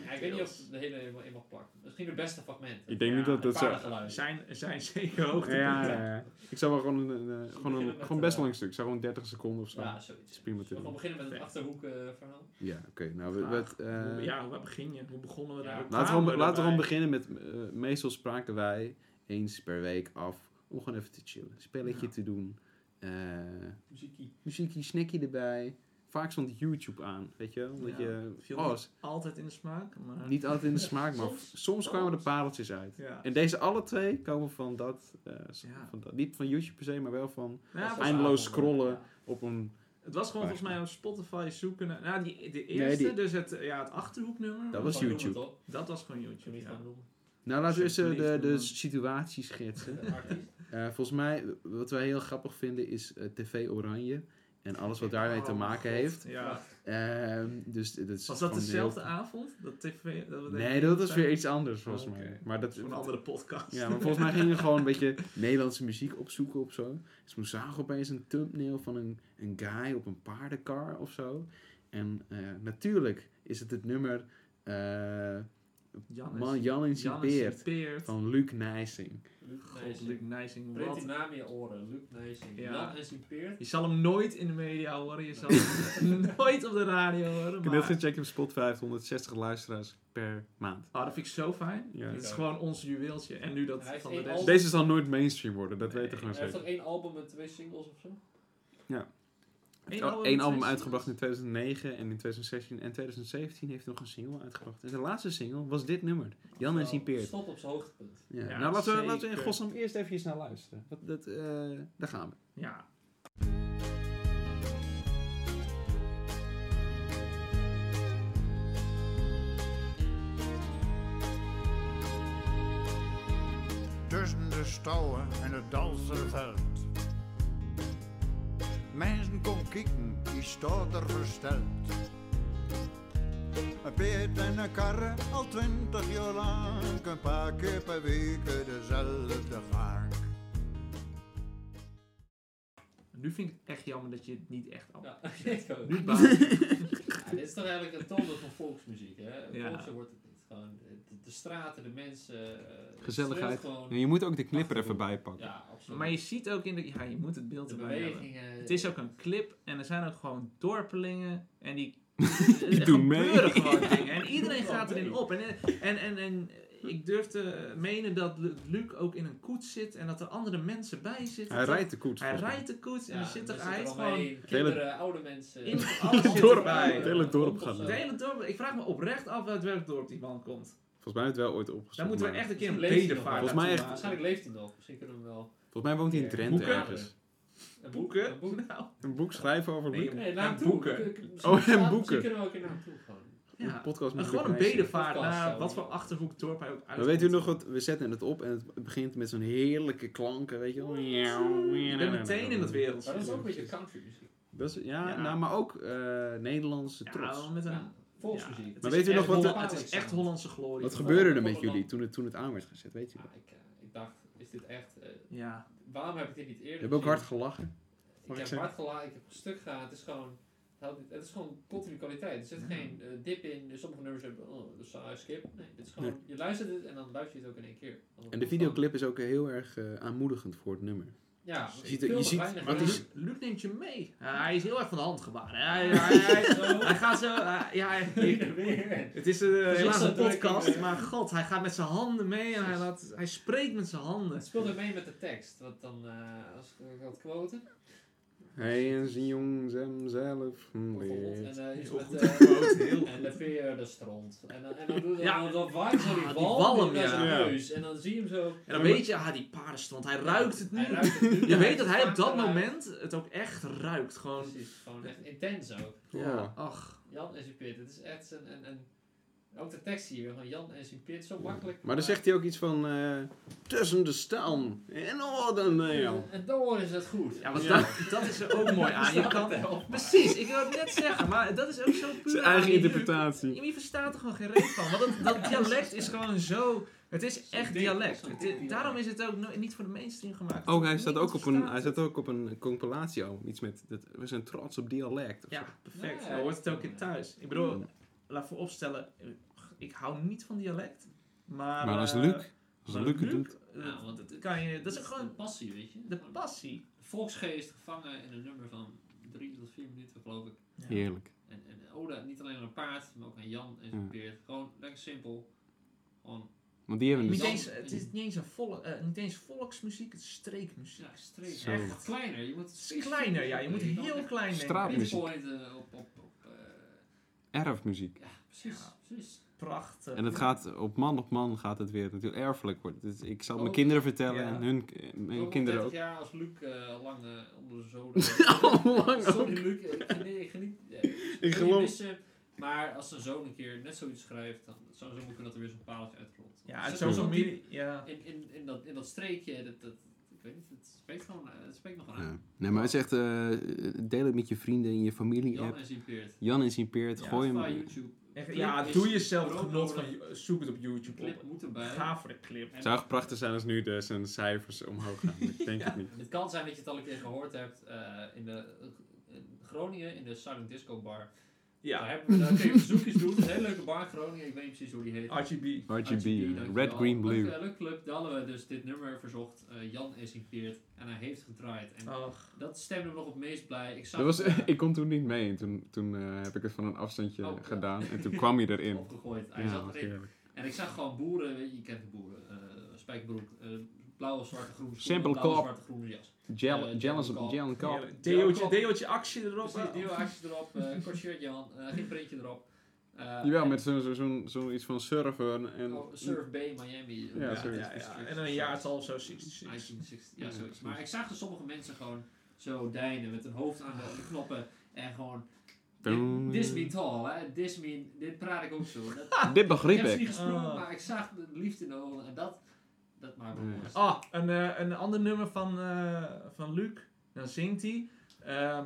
Speaker 3: Ja, ik weet niet of het de hele helemaal in mag plakken. Misschien het beste fragment.
Speaker 9: Ik denk niet
Speaker 2: Ja,
Speaker 9: dat dat zo...
Speaker 2: Er zijn, er zijn zeker hoogte.
Speaker 9: Ja, ja, ja. Ik zou wel gewoon een, eh,
Speaker 3: We
Speaker 9: gewoon
Speaker 3: beginnen
Speaker 9: een
Speaker 3: met,
Speaker 9: gewoon best
Speaker 3: eh,
Speaker 9: lang stuk. Ik zou gewoon 30 seconden of zo.
Speaker 3: Ja, zoiets.
Speaker 9: is prima te
Speaker 3: Zullen we
Speaker 9: doen.
Speaker 3: gewoon beginnen met het
Speaker 2: Vet.
Speaker 3: achterhoek eh, verhaal?
Speaker 1: Ja, oké. Nou,
Speaker 9: Ah,
Speaker 1: we, we, het, eh,
Speaker 2: Hoe- ja, waar begin je? Hoe begonnen we
Speaker 3: Ja.
Speaker 2: daar? Hoe
Speaker 1: Laten we,
Speaker 2: kwamen
Speaker 1: gewoon- laten we gewoon
Speaker 2: erbij?
Speaker 1: beginnen met... eh, meestal spraken wij eens per week af om gewoon even te chillen. Spelletje
Speaker 2: Ja.
Speaker 1: te doen. eh,
Speaker 3: Muziekie.
Speaker 1: muziekje, snackje erbij. Vaak stond YouTube aan, weet je wel? Omdat
Speaker 2: Ja.
Speaker 1: je...
Speaker 2: Viel
Speaker 1: Oh,
Speaker 2: niet
Speaker 1: is
Speaker 2: Altijd in de smaak, maar...
Speaker 1: niet altijd in de smaak, maar
Speaker 3: Soms.
Speaker 1: soms kwamen er pareltjes uit.
Speaker 2: Ja.
Speaker 1: En deze alle twee komen van dat, eh, s-
Speaker 2: Ja.
Speaker 1: van dat- Niet van YouTube per se, maar wel van
Speaker 2: Ja, volgens-
Speaker 1: eindeloos
Speaker 3: avond,
Speaker 1: scrollen
Speaker 3: ja.
Speaker 1: op een...
Speaker 2: het was gewoon volgens mij op Spotify zoeken naar... Nou, die, de eerste,
Speaker 1: die-
Speaker 2: dus het, ja, het Achterhoeknummer.
Speaker 1: Dat was
Speaker 3: Gewoon
Speaker 1: YouTube.
Speaker 3: noemen, toch?
Speaker 2: Dat was gewoon
Speaker 3: Zullen
Speaker 2: YouTube,
Speaker 3: we niet
Speaker 2: ja.
Speaker 3: gaan noemen?
Speaker 1: Nou, laten we eens eh, de,
Speaker 2: Alsjeblieft,
Speaker 1: de
Speaker 2: man.
Speaker 1: situatie schetsen.
Speaker 3: De artiest.
Speaker 1: Eh, volgens mij, wat wij heel grappig vinden, is eh, TV Oranje. En alles wat daarmee te
Speaker 2: Oh,
Speaker 1: maken
Speaker 2: God.
Speaker 1: heeft.
Speaker 2: Ja.
Speaker 1: Ehm, dus dat is
Speaker 2: Was dat
Speaker 1: gewoon
Speaker 2: dezelfde
Speaker 1: heel-
Speaker 2: avond? Dat tv... Dat we
Speaker 1: Nee, dat was weer
Speaker 2: Dat
Speaker 1: iets anders volgens
Speaker 2: Oh, oké.
Speaker 1: mij. Maar dat,
Speaker 2: is Een andere podcast.
Speaker 1: ja, maar volgens mij gingen we gewoon een beetje Nederlandse muziek opzoeken of zo. Dus we zagen opeens een thumbnail van een, een guy op een paardenkar of zo. En eh, natuurlijk is het het nummer eh,
Speaker 2: Jannes.
Speaker 1: Man Jan in zijn
Speaker 2: Jannes
Speaker 1: beert
Speaker 2: Peert.
Speaker 1: van Luc Nijsing.
Speaker 3: Luc
Speaker 2: God,
Speaker 3: Nijssen.
Speaker 2: Luc Nijsing,
Speaker 3: Breed die
Speaker 2: wat...
Speaker 3: naam in je oren. Luc Nijsing.
Speaker 2: Ja.
Speaker 3: Jan en zijn peert.
Speaker 2: Je zal hem nooit in de media horen. Je zal hem nooit op de radio horen.
Speaker 1: Ik heb net
Speaker 2: Maar...
Speaker 1: gecheckt op Spot 560 luisteraars per maand.
Speaker 2: Oh, dat vind ik zo fijn.
Speaker 1: Ja.
Speaker 2: Het is gewoon ons juweeltje. En nu dat
Speaker 3: Hij heeft
Speaker 2: van de
Speaker 3: één
Speaker 2: rest.
Speaker 3: album.
Speaker 1: Deze zal nooit mainstream worden, dat
Speaker 2: Nee,
Speaker 1: weet ik gewoon
Speaker 3: Hij heeft
Speaker 1: zeker.
Speaker 3: toch één album met twee singles of zo?
Speaker 2: Eén
Speaker 1: Eén
Speaker 2: met
Speaker 1: oh, album,
Speaker 2: zes
Speaker 1: uitgebracht in
Speaker 2: singles?
Speaker 1: 2009 en in 2016 en 2017 heeft hij nog een single uitgebracht. En de laatste single was dit nummer, Jan en
Speaker 3: Nou,
Speaker 1: zijn peert.
Speaker 3: Stop op zijn hoogtepunt.
Speaker 1: Ja.
Speaker 2: Ja,
Speaker 1: nou, laten we, laten we in
Speaker 2: zeker.
Speaker 1: godsnaam eerst even naar luisteren. Dat, dat, eh, daar gaan we.
Speaker 2: Ja.
Speaker 7: tussen de stouwen en het danserveld. Mensen kom kieken, die staat er versteld. Een peet en een karre, al twintig jaar lang. Een paar keer per week dezelfde gaar.
Speaker 2: Nu vind ik het echt jammer dat je het niet echt allemaal...
Speaker 3: Ja, ik ook.
Speaker 2: Nu baas-
Speaker 3: Ja, dit is toch eigenlijk een toonbeeld van volksmuziek, hè?
Speaker 2: Ja.
Speaker 3: Volkse wordt het niet. Gewoon de, de straten, de mensen... eh,
Speaker 9: Gezelligheid.
Speaker 3: het streelt gewoon-
Speaker 9: Ja, je moet ook de knipper even bijpakken.
Speaker 3: Ja, absoluut.
Speaker 2: Maar je ziet ook in de... Ja, je moet het beeld
Speaker 3: de
Speaker 2: erbij hebben.
Speaker 3: bewegingen...
Speaker 2: Het is ook een clip en er zijn ook gewoon dorpelingen en die,
Speaker 9: Die doen mee.
Speaker 2: gebeuren gewoon dingen. En iedereen
Speaker 3: Ja,
Speaker 2: gaat erin
Speaker 3: mee.
Speaker 2: op. En, en, en, en ik durf te menen dat Lu- Luc ook in een koets zit en dat er andere mensen bij zitten.
Speaker 1: Hij
Speaker 2: toch?
Speaker 1: rijdt de koets.
Speaker 2: Hij
Speaker 1: volgens mij.
Speaker 2: rijdt de koets en
Speaker 3: Ja,
Speaker 2: er zit er,
Speaker 3: mensen
Speaker 2: hij heeft
Speaker 3: zitten
Speaker 2: gewoon
Speaker 3: eromheen, Kinderen, oude mensen...
Speaker 2: in
Speaker 3: eh,
Speaker 2: alles zit
Speaker 1: Het dorp,
Speaker 2: erbij.
Speaker 1: het hele dorp gaat
Speaker 2: Het hele dorp. Ik vraag me oprecht af uit welk dorp die man komt.
Speaker 1: Volgens mij heeft hij het wel ooit opgezocht.
Speaker 2: Daar moeten we
Speaker 1: maar-
Speaker 2: echt een keer een
Speaker 3: Misschien leeft hij
Speaker 2: bedevaart
Speaker 3: nog.
Speaker 1: Volgens mij
Speaker 2: naartoe maken.
Speaker 3: Waarschijnlijk leeft hij nog. Misschien kunnen we hem wel...
Speaker 1: Volgens mij woont hij in
Speaker 3: Ja.
Speaker 1: Drenthe
Speaker 2: Boeken?
Speaker 1: ergens.
Speaker 3: Een
Speaker 2: Boeken?
Speaker 3: Een boek.
Speaker 2: Nou,
Speaker 1: Een boek schrijven over
Speaker 2: Nee,
Speaker 1: Luc.
Speaker 3: Nee,
Speaker 2: En
Speaker 3: naam toe.
Speaker 2: boeken.
Speaker 3: K- k-
Speaker 1: Oh, en
Speaker 3: ja,
Speaker 1: boeken.
Speaker 3: Misschien kunnen we ook een naam toe gaan.
Speaker 2: Ja.
Speaker 5: Een podcast
Speaker 2: Maar
Speaker 5: moet
Speaker 2: gewoon een
Speaker 5: leuk wijzen.
Speaker 2: bedevaart
Speaker 3: Podcast,
Speaker 2: naar
Speaker 3: zo.
Speaker 2: wat voor achterhoek dorp hij ook uit.
Speaker 5: Maar weet u nog wat? We zetten het op en het begint met zo'n heerlijke klanken, weet je wel.
Speaker 2: Ik ben meteen in dat wereld.
Speaker 3: Maar dat is ook een beetje country muziek.
Speaker 5: Dat is- ja,
Speaker 2: Ja.
Speaker 5: nou, maar ook eh, Nederlandse trots.
Speaker 2: Ja, met een...
Speaker 3: Ja. Volksmuziek.
Speaker 2: Ja, het
Speaker 5: Maar
Speaker 2: is
Speaker 5: weet u
Speaker 2: echt
Speaker 5: nog wat de-
Speaker 2: Holland- Het is echt Hollandse glorie.
Speaker 5: Wat
Speaker 2: Gewoon.
Speaker 5: gebeurde er
Speaker 3: Van-
Speaker 5: met
Speaker 3: van-
Speaker 5: jullie toen het, toen het aan werd gezet, weet je
Speaker 3: Ja,
Speaker 5: dat?
Speaker 3: ik, eh, ik dacht, is dit echt... eh,
Speaker 2: Ja.
Speaker 3: waarom heb ik dit niet eerder
Speaker 5: We hebben ook
Speaker 3: gezien?
Speaker 5: hard gelachen.
Speaker 3: Ik
Speaker 5: Mag ik
Speaker 3: heb
Speaker 5: zeggen?
Speaker 3: hard gelaten, ik heb stuk gehaald. Het is gewoon, het houdt niet- het is gewoon continu kwaliteit. Er zit geen eh, dip in. Dus Sommige nummers hebben, oh, dat is saai, skip. Nee, dit is gewoon, je luistert het en dan luister je het ook in één keer.
Speaker 5: En de videoclip is ook heel erg eh, aanmoedigend voor het nummer.
Speaker 3: Ja,
Speaker 5: Je ziet- je ziet-
Speaker 3: maar
Speaker 5: maar
Speaker 3: het
Speaker 5: het
Speaker 3: is...
Speaker 5: is-
Speaker 2: Luc neemt je mee. Ja, hij is heel erg van de hand gebaren. Hij, hij, hij, hij gaat zo... hij- ja, hij- het is een,
Speaker 3: is
Speaker 2: helaas
Speaker 3: zo
Speaker 2: een
Speaker 3: druk in
Speaker 2: podcast,
Speaker 3: de-
Speaker 2: maar god, hij gaat met zijn handen mee en hij, laat, hij spreekt met zijn handen.
Speaker 3: Het speelt ook mee met de tekst. Wat dan, eh, als ik had quoten,
Speaker 5: Hij en zijn jongens hemzelf
Speaker 2: Oh,
Speaker 3: bijvoorbeeld. En,
Speaker 5: leert.
Speaker 3: eh, iets
Speaker 2: Heel
Speaker 3: met,
Speaker 2: goed
Speaker 3: eh,
Speaker 2: gequote, heel
Speaker 3: en de veer, de stront. En, dan- en dan doet
Speaker 2: Ja.
Speaker 3: ja. dan, dan waait zo die
Speaker 2: Ah, die
Speaker 3: bal
Speaker 2: walm,
Speaker 3: naar zijn
Speaker 5: ja.
Speaker 3: neus. En dan zie je hem zo...
Speaker 2: En dan weet je, ah, die paardenstrand, hij ruikt het nu.
Speaker 3: Hij ruikt het nu.
Speaker 2: Je weet dat hij op dat
Speaker 3: Achteruit.
Speaker 2: moment het ook echt ruikt. Gewoon,
Speaker 3: Precies, gewoon echt intens ook.
Speaker 5: Oh.
Speaker 2: ja, ach.
Speaker 3: Jan en zijn pit, het is echt een, een, een... Ook de tekst hier, gewoon Jan en zijn pit, zo makkelijk.
Speaker 5: Maar dan zegt hij ook iets van eh, tussen de staan en oordeel.
Speaker 3: En dan is het goed.
Speaker 2: Ja, want Dat, dat is er ook mooi aan. Je kan, precies, ik wil het net zeggen, maar dat is ook zo puur
Speaker 5: Zijn
Speaker 2: aan.
Speaker 5: eigen
Speaker 2: Je-
Speaker 5: interpretatie.
Speaker 2: Je verstaat er gewoon geen reet van. Want dat, dat dialect is gewoon zo. Het is echt
Speaker 3: dik,
Speaker 2: dialect.
Speaker 3: zo'n
Speaker 2: Het-
Speaker 3: dik dialect.
Speaker 2: daarom is het ook no- niet voor de mainstream gemaakt.
Speaker 1: Oh, hij staat ook op een, hij
Speaker 2: Niemand
Speaker 1: staat ook op een compilatiealbum. Iets met, dat, we zijn trots op dialect. of
Speaker 2: verstaat-
Speaker 1: zo.
Speaker 2: Ja, perfect.
Speaker 3: Nee.
Speaker 2: Daar hoort het ook in thuis. Ik bedoel, laat voor opstellen, eh, ik hou niet van dialect. Maar,
Speaker 1: Maar als
Speaker 2: eh,
Speaker 1: Luc, als
Speaker 2: maar
Speaker 1: Luc het doet.
Speaker 2: eh,
Speaker 3: Ja, want het-
Speaker 2: kan je, dat is ook
Speaker 3: de
Speaker 2: gewoon
Speaker 3: passie, weet je.
Speaker 2: de
Speaker 3: Gewoon
Speaker 2: passie.
Speaker 3: de volksgeest gevangen in een nummer van drie tot vier minuten, geloof ik.
Speaker 1: Heerlijk.
Speaker 3: En, en Oda, niet alleen aan een paard, maar ook aan Jan en zijn
Speaker 1: Ja.
Speaker 3: pit. Gewoon lekker simpel. Gewoon,
Speaker 1: Want die hebben
Speaker 2: Niet
Speaker 1: dus...
Speaker 3: Muziek.
Speaker 2: eens, het is niet eens, een volk, eh, niet eens volksmuziek, het is streekmuziek.
Speaker 3: ja, streep.
Speaker 1: Zo.
Speaker 3: Echt kleiner, je moet...
Speaker 2: Het is kleiner, ja. Je moet heel klein denken.
Speaker 1: Straat-
Speaker 3: Pinpoint eh, op, op, op... eh,
Speaker 1: erfmuziek.
Speaker 3: ja, precies,
Speaker 2: Ja.
Speaker 3: precies.
Speaker 2: Prachtig.
Speaker 1: En het gaat op man op man gaat het weer natuurlijk erfelijk worden. Dus ik zal het mijn
Speaker 3: Oh,
Speaker 1: kinderen vertellen
Speaker 2: ja.
Speaker 1: en hun eh, mijn
Speaker 3: Ook al
Speaker 1: kinderen
Speaker 3: 30
Speaker 1: ook.
Speaker 3: jaar als Luc eh, lang eh, onder de zoden.
Speaker 5: lang
Speaker 3: Sorry Luc, ik geniet... Ik, geniet, eh,
Speaker 5: Ik
Speaker 3: wil je
Speaker 2: dus-
Speaker 5: geloof.
Speaker 3: missen, maar als zijn zoon een keer net zoiets schrijft, dan zou het zo kunnen dat er weer zo'n paaltje uitrolt.
Speaker 2: Ja,
Speaker 3: Het
Speaker 2: het
Speaker 3: zit
Speaker 2: social
Speaker 3: zo diep
Speaker 2: media. Ja.
Speaker 3: In, in, in, dat, in dat streekje, dat, dat, ik weet niet, het spreekt gewoon, eh, het spreekt nog wel aan.
Speaker 1: Ja. Nee, maar het is echt, eh, deel het met je vrienden en je familie.
Speaker 3: Jan
Speaker 1: app.
Speaker 3: en zijn peert.
Speaker 1: Jan is in Peert,
Speaker 2: Ja,
Speaker 1: gooi
Speaker 3: Spotify,
Speaker 1: hem.
Speaker 3: YouTube.
Speaker 2: Echt,
Speaker 3: Clip
Speaker 2: ja,
Speaker 3: is
Speaker 2: doe jezelf het
Speaker 3: brood
Speaker 2: genot
Speaker 3: nodig.
Speaker 2: van, eh, zoek het op YouTube
Speaker 3: Clip
Speaker 2: op.
Speaker 3: moet erbij.
Speaker 2: Ga voor de clip.
Speaker 1: Het zou echt prachtig zijn als nu de, zijn cijfers omhoog gaan. maar Ik denk het niet.
Speaker 3: Het kan zijn dat je het al een keer gehoord hebt eh, in, de, in Groningen, in de Silent Disco Bar. Daar,
Speaker 2: Ja,
Speaker 3: hebben we, daar kun je verzoekjes doen. Het is een hele leuke bar in Groningen, ik weet niet precies hoe die heet.
Speaker 2: RGB.
Speaker 1: RGB,
Speaker 3: RGB,
Speaker 1: eh,
Speaker 3: dankjewel.
Speaker 1: red, green, blue.
Speaker 3: Leuk, eh, leuk club, daar hadden we dus dit nummer verzocht. Eh, Jan is in Peert en hij heeft gedraaid. En
Speaker 2: Och,
Speaker 3: dat stemde me nog het meest blij. Ik zag
Speaker 1: Dat was,
Speaker 3: het, eh,
Speaker 1: ik kon toen niet mee en toen, toen eh, heb ik het van een afstandje
Speaker 3: Oh, ja.
Speaker 1: gedaan en toen kwam hij erin.
Speaker 3: eh, opgegooid. Hij
Speaker 1: Ja,
Speaker 3: zat
Speaker 1: wat
Speaker 3: erin.
Speaker 1: heerlijk.
Speaker 3: En ik zag gewoon boeren, weet je, je kent de boeren. eh spijkerbroek, eh, blauwe, zwarte, groene schoenen,
Speaker 1: Simple
Speaker 3: blauwe,
Speaker 1: cop.
Speaker 3: zwarte, groene jas.
Speaker 1: Jell-
Speaker 3: Eh,
Speaker 1: Jealous
Speaker 3: Jell-
Speaker 1: of Jell Cop.
Speaker 2: heerlijk. deeltje, deeltje actie erop.
Speaker 3: Precies,
Speaker 2: eh.
Speaker 3: nieuwe acties erop, eh kort shirt Jan, eh, geen printje erop. Eh,
Speaker 1: Jawel,
Speaker 3: en-
Speaker 1: met zo'n zo, zo, iets van surfen en...
Speaker 3: oh, Surf Bay Miami. eh,
Speaker 1: Ja,
Speaker 2: Ja,
Speaker 1: sorry.
Speaker 2: ja, ja. En dan een jaartal zo. zie- zie- zie.
Speaker 3: 1960, ja,
Speaker 1: Ja,
Speaker 3: zoiets.
Speaker 1: precies.
Speaker 3: Maar ik zag er sommige mensen gewoon zo deinen met hun hoofd aan de knoppen en gewoon. Dit this mean tall, hè? This mean, dit praat ik ook zo. Dat,
Speaker 1: Dit
Speaker 3: ik
Speaker 1: begreep
Speaker 3: heb ze niet
Speaker 1: ik.
Speaker 3: gesproken,
Speaker 2: Ah.
Speaker 3: maar ik zag de liefde in de ogen en dat, dat maakt me
Speaker 1: Nee.
Speaker 3: mooi.
Speaker 2: Ah, een, eh, een ander nummer van, eh, van Luc. Dan zingt hij. eh,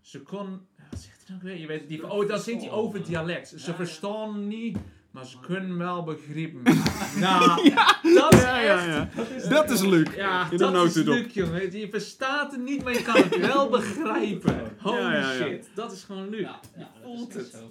Speaker 2: ze kon. Wat zegt hij nou weer? Je weet het niet. Oh, dan zingt hij over dialect. Ze
Speaker 3: Ja, ja.
Speaker 2: verstaan niet, maar ze kunnen wel begrijpen. nou, dat is
Speaker 1: Ja, ja,
Speaker 2: echt.
Speaker 1: ja. Dat is Luc.
Speaker 2: Ja,
Speaker 1: In de
Speaker 2: dat is
Speaker 1: notendop.
Speaker 2: Luc, jongen. Je verstaat het niet, maar je kan het wel begrijpen. Holy
Speaker 1: Ja, ja, ja.
Speaker 2: shit, dat is gewoon Luc.
Speaker 3: Ja, ja, dat
Speaker 2: voelt
Speaker 3: is
Speaker 2: het.
Speaker 3: echt zo.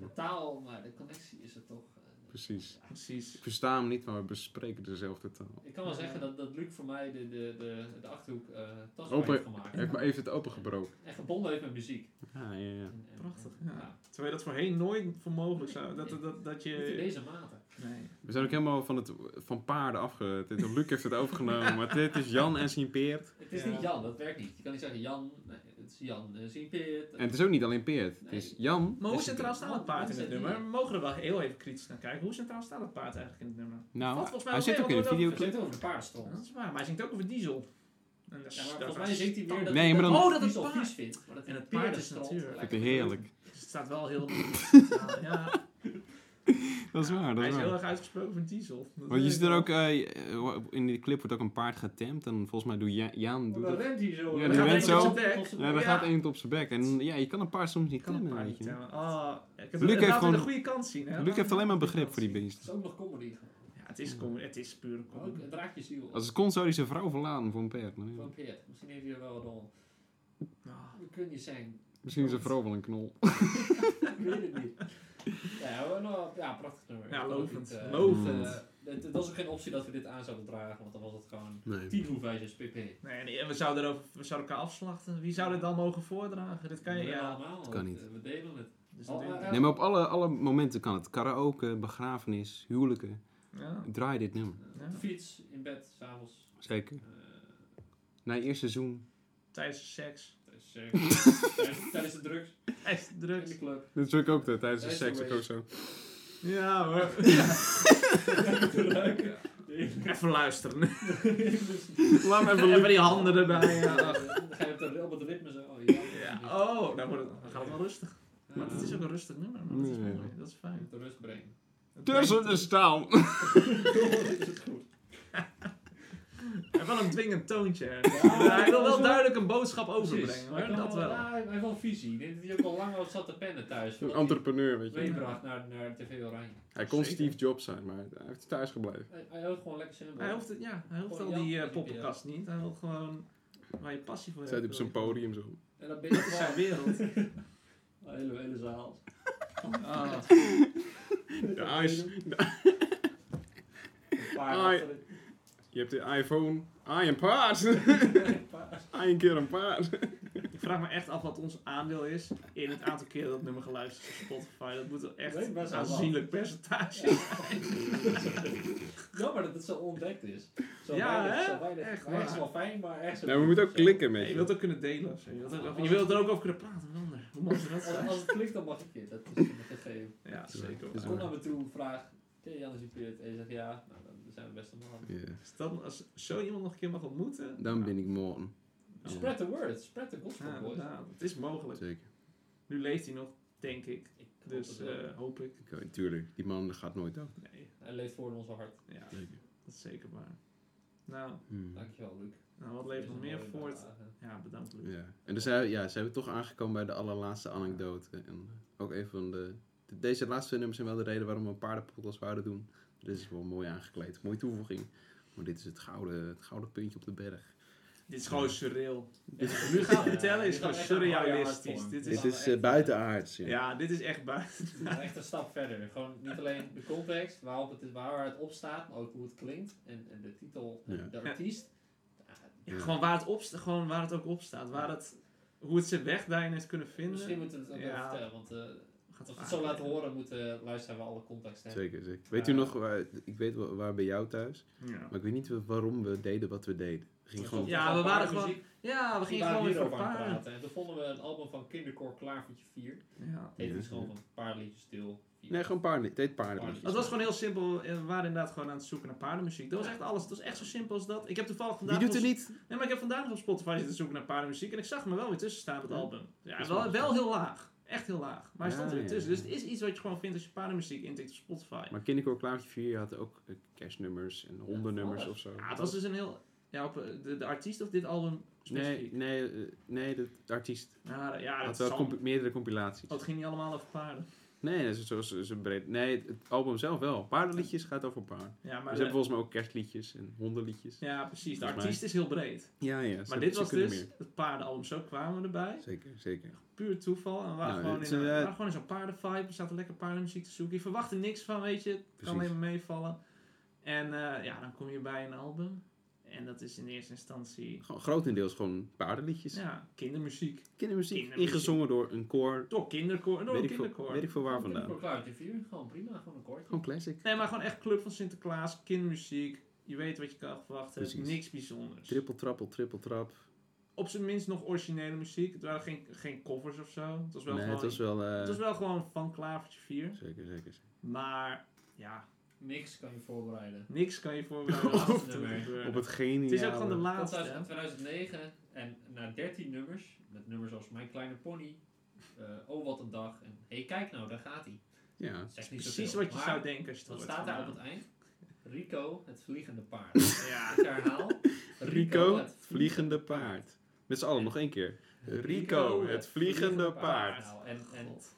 Speaker 3: De taal, maar de connectie is er toch. eh,
Speaker 1: Precies.
Speaker 2: Precies.
Speaker 1: Ik versta hem niet, maar we bespreken dezelfde taal.
Speaker 3: Ik kan wel zeggen dat, dat Luc voor mij de, de, de, de achterhoek eh tastbaar
Speaker 1: Open-
Speaker 3: heeft gemaakt.
Speaker 1: Hij heeft maar even het opengebroken.
Speaker 3: En gebonden heeft met muziek.
Speaker 1: Ja, ja, ja.
Speaker 3: En- en-
Speaker 2: Prachtig,
Speaker 3: en-
Speaker 2: ja. Terwijl je dat voorheen nooit voor mogelijk zou. Dat, dat, dat, dat
Speaker 1: Eh,
Speaker 3: Niet in
Speaker 2: je.
Speaker 3: deze mate.
Speaker 2: Nee.
Speaker 1: We zijn ook helemaal van, het, van paarden afge... dit- Luc heeft het overgenomen, maar dit is Jan en zijn peert.
Speaker 3: Het is
Speaker 2: Ja.
Speaker 3: niet Jan, dat werkt niet. Je kan niet zeggen Jan, nee, het is Jan, eh, zie je Peert.
Speaker 1: En het is ook niet alleen peert. Het is Jan...
Speaker 2: Maar hoe
Speaker 1: en zijn
Speaker 2: centraal staat het paard in het
Speaker 3: Hoe zit
Speaker 2: nummer?
Speaker 3: die?
Speaker 2: We mogen er wel heel even kritisch naar kijken. Hoe centraal staat het paard eigenlijk in het nummer?
Speaker 1: peert. Nou,
Speaker 2: Valt volgens mij
Speaker 1: hij
Speaker 2: wel
Speaker 1: zit
Speaker 2: mee,
Speaker 1: ook in de
Speaker 2: want we
Speaker 3: Het
Speaker 1: videoclip.
Speaker 3: zit over de
Speaker 2: Dat
Speaker 3: paardenstrand.
Speaker 2: is waar, maar hij zingt ook over diesel. En dat is-
Speaker 3: Ja, maar
Speaker 2: dat
Speaker 3: volgens mij
Speaker 2: is-
Speaker 3: zingt hij meer dat
Speaker 1: Nee, maar dan-
Speaker 3: dat
Speaker 2: Oh, dat het
Speaker 3: diesel
Speaker 2: paard-
Speaker 3: vies vindt. Maar dat
Speaker 2: En
Speaker 3: in
Speaker 2: het paard is
Speaker 3: perenstrand
Speaker 2: natuurlijk.
Speaker 1: Vind
Speaker 3: lijkt
Speaker 1: ik heerlijk.
Speaker 2: dat is staat wel heel... ja,
Speaker 1: Dat is waar, dat
Speaker 2: hij
Speaker 1: is
Speaker 2: is heel
Speaker 1: waar.
Speaker 2: erg uitgesproken voor diesel. Dat
Speaker 1: Want je
Speaker 2: weet
Speaker 1: ziet
Speaker 2: ik
Speaker 1: er
Speaker 2: wel.
Speaker 1: ook, eh, in die clip wordt ook een paard getemd. En volgens mij doet Ja-
Speaker 2: Oh,
Speaker 1: Jaan... Doet
Speaker 3: Dan
Speaker 1: dat.
Speaker 3: Oh, rent hij zo.
Speaker 1: Ja,
Speaker 3: Dan
Speaker 1: die
Speaker 3: gaat
Speaker 1: rent
Speaker 3: hij
Speaker 1: zo.
Speaker 3: op zijn bek.
Speaker 1: Ja, daar
Speaker 2: Ja.
Speaker 1: gaat één op zijn bek. En ja, je kan een paard soms niet
Speaker 2: Ik kan een
Speaker 1: temmen,
Speaker 2: paar
Speaker 1: weet
Speaker 2: niet
Speaker 1: je.
Speaker 2: tellen. Ah, ik heb
Speaker 1: Luc heeft
Speaker 2: Luc heeft
Speaker 1: gewoon-
Speaker 2: de goede kant zien. hè.
Speaker 1: Luc heeft alleen maar begrip voor die
Speaker 3: Dat
Speaker 1: beesten.
Speaker 3: is ook nog comedy.
Speaker 2: Ja, het is, kom, het is puur
Speaker 3: Ook een draakje ziel.
Speaker 1: Als het kon, zou hij zijn vrouw verlaten voor een paard. maar ja.
Speaker 3: Van Peert. Misschien heeft hij er wel dan.
Speaker 2: Ah.
Speaker 3: Dat kun je zijn.
Speaker 1: Misschien is zijn vrouw wel een knol.
Speaker 3: Ik weet het niet. Ja, we- nou, ja prachtig nummer.
Speaker 2: Ja,
Speaker 3: Ik geloof
Speaker 2: lovend.
Speaker 3: het, eh,
Speaker 2: Lovend.
Speaker 3: eh, Het het was ook geen optie dat we dit aan zouden dragen, want dan was het gewoon
Speaker 5: Nee.
Speaker 3: 10 hoefijzers pp.
Speaker 2: Nee, nee, en we zouden, erover, we zouden elkaar afslachten. Wie zou dit dan mogen voordragen? Dit kan je, ja.
Speaker 3: allemaal.
Speaker 1: kan
Speaker 3: want,
Speaker 1: niet.
Speaker 3: eh, We delen het.
Speaker 2: Dus
Speaker 3: Al-
Speaker 2: dat denk ik.
Speaker 3: eh,
Speaker 1: Nee, maar op alle, alle momenten kan het. Karaoke, begrafenis, huwelijken.
Speaker 2: ja.
Speaker 1: Draai dit nummer.
Speaker 3: eh, op de Fiets, in bed, s'avonds.
Speaker 1: Zeker.
Speaker 3: eh,
Speaker 1: Na je eerste seizoen.
Speaker 2: Tijdens de seks.
Speaker 3: tijdens eh, tijdens- tijdens de drugs.
Speaker 2: Echt
Speaker 3: In
Speaker 2: drugs.
Speaker 3: de club.
Speaker 1: Dat is natuurlijk ook dat, tijdens de
Speaker 3: Tijdens de
Speaker 1: seks ook
Speaker 3: race.
Speaker 1: zo.
Speaker 2: Ja hoor.
Speaker 3: Te ruiken.
Speaker 2: Even luisteren.
Speaker 1: Laat me even
Speaker 2: Even die handen erbij.
Speaker 3: Ja,
Speaker 2: Ja.
Speaker 3: dan ga je op, de, op het ritme zo. Oh, ja,
Speaker 2: Ja, Oh, dan, wordt het, dan gaat het wel rustig. Maar het is ook een rustig nummer. Maar dat is
Speaker 1: Nee.
Speaker 2: mooi. Dat is fijn.
Speaker 3: De rust brengen. Dus
Speaker 1: tussen de staal.
Speaker 2: En wel een dwingend toontje. ergens.
Speaker 3: Ja,
Speaker 2: Ja, hij wil
Speaker 3: dat is
Speaker 2: wel
Speaker 3: wel-
Speaker 2: duidelijk een boodschap
Speaker 3: Precies.
Speaker 2: overbrengen.
Speaker 3: Maar
Speaker 2: Hoor.
Speaker 3: hij
Speaker 2: Dat
Speaker 3: kan wel-
Speaker 2: wel.
Speaker 3: ja, hij heeft wel visie. Ik denk dat hij ook al lang al zat te pennen thuis.
Speaker 1: Een
Speaker 3: voordat hij
Speaker 1: entrepreneur, weet je.
Speaker 3: Meebracht naar, naar TV Oranje.
Speaker 1: Hij kon
Speaker 2: Zeker.
Speaker 1: Steve Jobs zijn, maar hij heeft thuis gebleven.
Speaker 3: Hij, hij houdt gewoon lekker simpel.
Speaker 2: Hij hoeft, het- ja, hij hoeft al
Speaker 3: Gewoon
Speaker 2: die
Speaker 3: Jan,
Speaker 2: eh, poppenkast niet. Hij wil gewoon waar je passie voor hebt.
Speaker 1: Zet hij op zijn podium zo.
Speaker 3: En dan ben je
Speaker 2: Dat is zijn
Speaker 3: gewoon
Speaker 2: wereld.
Speaker 3: een hele, hele zaal.
Speaker 2: Ah.
Speaker 1: De ice.
Speaker 3: Een paar
Speaker 1: Hoi.
Speaker 3: achter-
Speaker 1: Je hebt de iPhone. Ah, een paard. Ah, een keer een paard.
Speaker 2: ik vraag me echt af wat ons aandeel is in het aantal keer dat nummer geluisterd is op Spotify. Dat moet wel echt
Speaker 3: Nee, best
Speaker 2: een
Speaker 3: wel
Speaker 2: aanzienlijk percentage
Speaker 3: Ja.
Speaker 2: zijn.
Speaker 3: Jammer dat het zo ontdekt is. Zo
Speaker 2: Ja,
Speaker 3: weinig,
Speaker 2: hè?
Speaker 3: Zo weinig.
Speaker 2: Echt
Speaker 3: maar echt
Speaker 2: waar.
Speaker 3: wel fijn, maar echt zo
Speaker 1: Nou, we moeten ook
Speaker 3: Zo.
Speaker 1: klikken
Speaker 2: je
Speaker 1: met je.
Speaker 2: wilt ook kunnen delen. of zo. Je, wilt ook- of je wilt er ook over kunnen praten met anderen. Hoe mag dat
Speaker 3: Als,
Speaker 2: zijn?
Speaker 3: als het klikt, dan mag ik dit. Dat is een gegeven.
Speaker 2: Ja, zeker.
Speaker 1: Dat is
Speaker 3: Kom
Speaker 1: waar.
Speaker 3: naar me toe, vraag. Ken je Janus Peert? En je zegt ja, nou, dan zijn we best allemaal.
Speaker 1: Ja.
Speaker 2: Als, Dus dan, als zo iemand nog een keer mag ontmoeten. nou,
Speaker 1: Dan ben ik Morten.
Speaker 3: Spread the word, spread the gospel,
Speaker 2: Ja,
Speaker 3: boys.
Speaker 2: inderdaad. nou, Het is mogelijk.
Speaker 1: Zeker.
Speaker 2: Nu leeft hij nog, denk ik.
Speaker 3: Ik hoop
Speaker 2: Dus
Speaker 3: het wel.
Speaker 2: eh, hoop ik.
Speaker 1: Oké, tuurlijk. Die man gaat nooit dood.
Speaker 2: Nee,
Speaker 3: Hij leeft voor in ons hart.
Speaker 2: ja,
Speaker 1: Zeker.
Speaker 2: dat is zeker waar. Nou,
Speaker 1: Hmm.
Speaker 3: Dankjewel, Luc.
Speaker 2: nou wat
Speaker 3: Deze
Speaker 2: leeft nog meer
Speaker 3: mooie
Speaker 2: voort?
Speaker 3: bijdrage.
Speaker 2: Ja, bedankt Luc.
Speaker 1: Ja. En dus zijn we- ja, zijn we toch aangekomen bij de allerlaatste anekdote. En ook een van de... de- Deze laatste twee nummers zijn wel de reden waarom we een paardenpodcast wouden doen. Dit is wel mooi aangekleed. Mooie toevoeging. Maar dit is het gouden, het gouden puntje op de berg.
Speaker 2: Dit is gewoon surreal.
Speaker 1: Dit-
Speaker 2: Wat ik nu gaan
Speaker 3: Ja,
Speaker 2: vertellen is
Speaker 3: dit
Speaker 2: gewoon
Speaker 3: gaat echt een harde
Speaker 2: surrealistisch.
Speaker 3: hardcore.
Speaker 2: Dit is,
Speaker 1: Dit is eh, buitenaards. Ja.
Speaker 2: ja, dit is echt buiten.
Speaker 3: We gaan echt een stap verder. Gewoon niet alleen de context waarop het, waar het op staat, maar ook hoe het klinkt en, en de titel en
Speaker 1: Ja.
Speaker 3: de artiest. Ja,
Speaker 2: Ja, gewoon, waar het op, gewoon waar het ook op staat. Waar het, hoe het zijn weg daarin heeft kunnen vinden.
Speaker 3: misschien moeten we het ook even
Speaker 2: Ja.
Speaker 3: vertellen, want eh,
Speaker 2: Gaat
Speaker 3: als we
Speaker 2: vaak.
Speaker 3: het zo laten horen, moeten eh, luisteren we alle context hebben.
Speaker 1: Zeker, zeker. Weet u
Speaker 3: Ja.
Speaker 1: nog, waar, ik weet wel waar bij jou thuis,
Speaker 2: Ja.
Speaker 1: maar ik weet niet wa- waarom we deden wat we deden. We gingen gewoon...
Speaker 2: Ja, we waren gewoon-
Speaker 3: muziek,
Speaker 2: ja, we
Speaker 3: we
Speaker 2: gingen
Speaker 3: waren
Speaker 2: gewoon weer voor
Speaker 3: hierover aan het
Speaker 2: paarden.
Speaker 3: praten. En toen vonden we een album van Kinderkoor Klavertje 4. Het
Speaker 2: Ja.
Speaker 3: heet
Speaker 1: Ja.
Speaker 3: dus gewoon van paar liedjes stil. Vier.
Speaker 1: Nee, gewoon paarden. Het deed paarden.
Speaker 3: Paarden.
Speaker 2: Het was gewoon heel simpel. eh, We waren inderdaad gewoon aan het zoeken naar paardenmuziek. Dat was echt alles. Het was echt zo simpel als dat. Ik heb toevallig vandaag...
Speaker 1: Wie doet er
Speaker 2: nog-
Speaker 1: niet?
Speaker 2: Nee, maar ik heb vandaag nog op Spotify zitten zoeken naar paardenmuziek. En ik zag me wel weer tussen staan op het
Speaker 1: Ja.
Speaker 2: album. Ja,
Speaker 1: is
Speaker 2: wel,
Speaker 1: wel
Speaker 2: wel heel laag. Echt heel laag. Maar hij
Speaker 1: Ja,
Speaker 2: stond er weer
Speaker 1: ja,
Speaker 2: tussen.
Speaker 1: ja.
Speaker 2: Dus het is iets wat je gewoon vindt als je paardenmuziek intikt op Spotify.
Speaker 1: Maar Kinderkoor Klavertje 4 had ook eh, kerstnummers en hondennummers
Speaker 3: alles.
Speaker 1: of zo.
Speaker 2: Ja, het was dus een heel... Ja, op, eh, de, de artiest of dit album
Speaker 1: Nee,
Speaker 2: specifiek?
Speaker 1: nee, eh, nee, de artiest
Speaker 2: Ja, de- ja,
Speaker 1: had
Speaker 2: het,
Speaker 1: wel
Speaker 2: zal-
Speaker 1: compi- meerdere compilaties.
Speaker 2: Oh, het ging niet allemaal over paarden.
Speaker 1: Nee, dat is, zo, zo, zo breed. nee, het album zelf wel. Paardenliedjes gaat over paarden.
Speaker 2: Ja,
Speaker 1: Maar
Speaker 2: maar
Speaker 1: ze
Speaker 2: de-
Speaker 1: hebben volgens mij ook kerstliedjes en hondenliedjes.
Speaker 2: ja precies. De
Speaker 1: Dus Volgens mij.
Speaker 2: artiest is heel breed.
Speaker 1: Ja, ja. ze-
Speaker 2: Maar dit
Speaker 1: ze
Speaker 2: was
Speaker 1: kunnen
Speaker 2: dus
Speaker 1: meer.
Speaker 2: het paardenalbum. Zo kwamen we erbij.
Speaker 1: Zeker, zeker.
Speaker 2: Puur toeval. En we waren,
Speaker 1: Nou,
Speaker 2: gewoon,
Speaker 1: dit
Speaker 2: in,
Speaker 1: is,
Speaker 2: een- we
Speaker 1: eh,
Speaker 2: waren gewoon in zo'n paardenvibe. We zaten lekker paardenmuziek te zoeken. Je verwacht er niks van, weet je. Het kan
Speaker 1: Precies.
Speaker 2: alleen maar meevallen. En eh, ja, dan kom je bij een album. En dat is in eerste instantie...
Speaker 1: Gewoon, grotendeels gewoon paardenliedjes.
Speaker 2: Ja, kindermuziek.
Speaker 1: Kindermuziek,
Speaker 2: Kindermuziek.
Speaker 1: ingezongen door een koor.
Speaker 2: Door kinderkoor. Door
Speaker 1: Weet
Speaker 2: een
Speaker 1: ik, veel,
Speaker 2: kinderkoor.
Speaker 1: weet ik veel waar vandaan.
Speaker 3: Kinderkoor Klavertje 4, gewoon prima, gewoon een koortje.
Speaker 1: Gewoon classic.
Speaker 2: Nee, maar gewoon echt Club van Sinterklaas. Kindermuziek. Je weet wat je kan verwachten.
Speaker 1: Precies.
Speaker 2: Niks bijzonders.
Speaker 1: Trippel, trappel, trippel, trap.
Speaker 2: op zijn minst nog originele muziek. Het waren geen, geen covers of zo. Het was wel,
Speaker 1: Nee,
Speaker 2: gewoon,
Speaker 1: het was wel... eh,
Speaker 2: gewoon van Klavertje 4.
Speaker 1: Zeker, zeker. zeker.
Speaker 2: Maar ja,
Speaker 3: Niks kan je voorbereiden.
Speaker 2: niks kan je voorbereiden.
Speaker 3: Laatste
Speaker 2: als het
Speaker 3: nummer.
Speaker 2: gebeurt.
Speaker 1: Op het geniale...
Speaker 2: het is ook gewoon de
Speaker 3: Dat
Speaker 2: laatste.
Speaker 3: was
Speaker 2: hè?
Speaker 3: in 2009 en na 13 nummers, met nummers als Mijn Kleine Pony, eh, oh wat een dag. En hé, hey, kijk nou, daar gaat hij.
Speaker 5: Ja.
Speaker 3: Zegt niet
Speaker 2: Precies
Speaker 3: zoveel,
Speaker 2: wat je
Speaker 3: maar
Speaker 2: zou denken. als je het
Speaker 3: Wat
Speaker 2: hoort.
Speaker 3: staat daar
Speaker 2: Ja.
Speaker 3: op het eind? Rico, het vliegende paard. Ja. Ik herhaal.
Speaker 5: Rico, het vliegende paard. Met z'n allen nog één keer. Rico, het vliegende paard.
Speaker 3: Nou, en, en het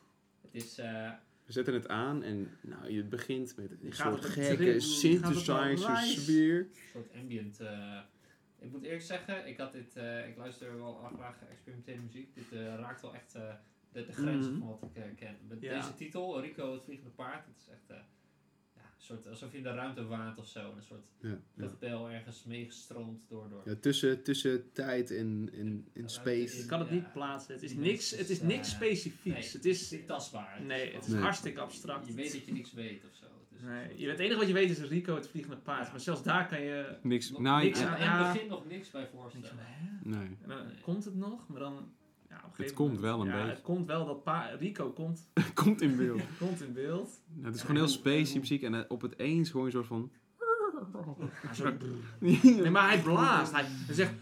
Speaker 3: is... eh,
Speaker 5: We zetten het aan en nou, je begint met een
Speaker 2: Gaat
Speaker 5: soort
Speaker 2: op een trip,
Speaker 5: gekke
Speaker 2: gaat op een
Speaker 5: synthesizer
Speaker 2: reis.
Speaker 5: sfeer.
Speaker 3: Een soort ambient. eh, ik moet eerlijk zeggen, ik, had dit, eh, ik luister wel af- graag experimentele muziek. Dit eh, raakt wel echt eh, de, de grenzen
Speaker 2: Mhm.
Speaker 3: van wat ik eh, ken. Met
Speaker 2: Ja.
Speaker 3: deze titel, Rico het vliegende paard, het is echt eh, ja, een soort, alsof je in de ruimte waant of zo. Een soort
Speaker 5: Ja, ja.
Speaker 3: luchtbel ergens meegestroomd door. door.
Speaker 5: Ja, tussen, tussen tijd en, en, en
Speaker 2: Je
Speaker 5: space.
Speaker 2: kan het
Speaker 3: Ja.
Speaker 2: niet plaatsen. Het is
Speaker 3: Nee,
Speaker 2: niks,
Speaker 3: het
Speaker 2: het
Speaker 3: is,
Speaker 2: is niks
Speaker 3: eh,
Speaker 2: specifieks.
Speaker 3: nee,
Speaker 2: het
Speaker 3: Het
Speaker 2: is,
Speaker 3: is niet tastbaar. Het
Speaker 2: nee,
Speaker 3: is
Speaker 2: het is
Speaker 3: gewoon-
Speaker 5: Nee.
Speaker 2: hartstikke abstract.
Speaker 3: Je weet dat je niks weet of zo. Het is een
Speaker 2: Nee,
Speaker 3: soort-
Speaker 2: je weet, het enige wat je weet is Rico, het vliegende paard.
Speaker 3: Ja.
Speaker 2: Maar zelfs daar kan je...
Speaker 1: Niks.
Speaker 3: Nog
Speaker 1: Nou,
Speaker 2: niks
Speaker 1: ja,
Speaker 3: aan
Speaker 2: ja.
Speaker 3: het begin nog niks bij
Speaker 2: denk je van,
Speaker 3: voorstellen.
Speaker 2: hè?
Speaker 1: nee.
Speaker 2: En dan
Speaker 3: Nee.
Speaker 2: komt het nog, maar dan... Ja, op een gegeven
Speaker 1: komt
Speaker 2: moment-
Speaker 1: wel een
Speaker 2: ja,
Speaker 1: beetje.
Speaker 2: Het komt wel dat pa Rico komt,
Speaker 1: Komt in beeld.
Speaker 2: komt in beeld.
Speaker 1: Nou, het is gewoon heel spacey muziek en eh, op het eens hoor je een soort van...
Speaker 2: Ja, zo- nee, maar hij blaast. Hij, hij zegt...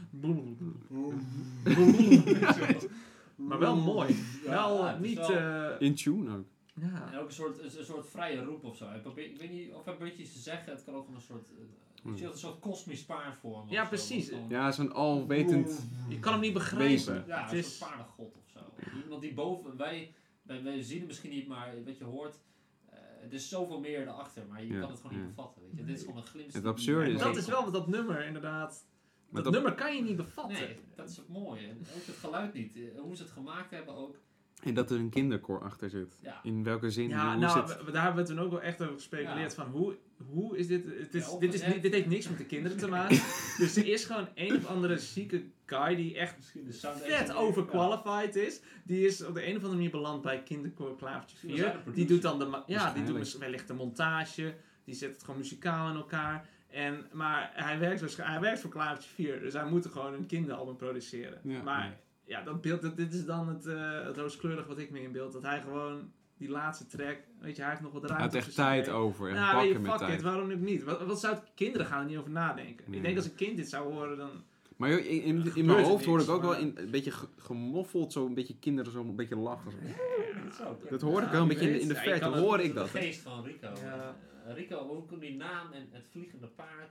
Speaker 2: Maar wel mooi.
Speaker 3: Ja,
Speaker 2: wel
Speaker 3: het is
Speaker 2: niet...
Speaker 3: wel-
Speaker 2: eh,
Speaker 1: In tune ook.
Speaker 2: ja.
Speaker 3: En ook een soort, een, een soort vrije roep of zo. Hij probeert, ik weet niet of hij probeert iets te zeggen. Het kan ook van een soort, eh,
Speaker 1: Hmm.
Speaker 3: ik zie dat een soort kosmisch paarvorm. of
Speaker 2: Ja,
Speaker 3: zo,
Speaker 2: precies.
Speaker 3: wat dan-
Speaker 1: Ja, zo'n alwetend...
Speaker 2: Je kan hem niet begrijpen.
Speaker 1: Wezen.
Speaker 3: Ja,
Speaker 2: het
Speaker 3: een
Speaker 2: is...
Speaker 3: soort paardengod of zo. Iemand die boven, wij, wij, wij zien hem misschien niet, maar wat je hoort, eh, er is zoveel meer erachter. Maar je
Speaker 1: Ja,
Speaker 3: kan het gewoon
Speaker 1: ja.
Speaker 3: niet bevatten. Weet je. Dit is gewoon een glimp.
Speaker 1: Het absurde
Speaker 2: En
Speaker 1: is-
Speaker 2: dat is wel wat dat nummer inderdaad...
Speaker 1: Maar
Speaker 2: Dat,
Speaker 1: dat-
Speaker 2: nummer kan je niet bevatten.
Speaker 3: Nee, dat is het mooie. En ook het geluid niet. Eh, Hoe ze het gemaakt hebben ook.
Speaker 1: En dat er een kinderkoor achter zit.
Speaker 3: Ja,
Speaker 1: In welke zin?
Speaker 2: Ja,
Speaker 1: hoe
Speaker 2: nou,
Speaker 1: zit...
Speaker 2: we- daar hebben we toen ook wel echt over gespeculeerd. Van hoe, hoe is dit? Het is,
Speaker 3: Ja,
Speaker 2: dit, is,
Speaker 3: opgezet.
Speaker 2: dit heeft niks met de kinderen te maken. dus er is gewoon een of andere zieke guy die echt
Speaker 3: misschien de sound
Speaker 2: vet
Speaker 3: engineer.
Speaker 2: overqualified is. Die is op de een of andere manier beland bij Kinderkoor Klavertje
Speaker 3: Misschien was hij
Speaker 2: 4.
Speaker 3: de
Speaker 2: Die
Speaker 3: producer.
Speaker 2: doet dan de, ma- ja, die
Speaker 1: Waarschijnlijk.
Speaker 2: doet mis- wellicht de montage. Die zet het gewoon muzikaal aan elkaar. En, maar hij werkt, waarsch- hij werkt voor Klavertje 4. Dus hij moet er gewoon een kinderalbum produceren.
Speaker 1: Ja.
Speaker 2: maar ja, dat beeld, dat, dit is dan het, eh het rooskleurig wat ik me in beeld. Dat hij gewoon die laatste track, weet je, hij heeft nog wat
Speaker 1: Hij
Speaker 2: ruimte.
Speaker 1: had echt
Speaker 2: tussen
Speaker 1: tijd
Speaker 2: twee.
Speaker 1: over. En
Speaker 2: Nou, weet
Speaker 1: bakken
Speaker 2: je,
Speaker 1: met
Speaker 2: fuck
Speaker 1: tijd.
Speaker 2: it, waarom ook niet? Wat, wat zou het- kinderen gaan er niet over nadenken?
Speaker 1: Nee.
Speaker 2: Ik denk als een kind dit zou horen, dan...
Speaker 1: Maar joh, in, in, in mijn
Speaker 2: gebeurt
Speaker 1: hoofd hoor ik
Speaker 2: niks,
Speaker 1: ook wel
Speaker 2: maar-
Speaker 1: in, een beetje ge- gemoffeld, zo een beetje kinderen zo een beetje lachen. Zo.
Speaker 3: Dat zou kunnen.
Speaker 1: Dat hoor ik wel een
Speaker 2: je
Speaker 1: beetje in de,
Speaker 2: weet.
Speaker 1: in de
Speaker 2: Ja, je
Speaker 1: verte,
Speaker 2: kan het-
Speaker 1: hoor ik
Speaker 3: De
Speaker 1: dat. hè.
Speaker 3: geest van Rico.
Speaker 2: Ja.
Speaker 3: Eh, Rico, hoe komt die naam en het vliegende paard?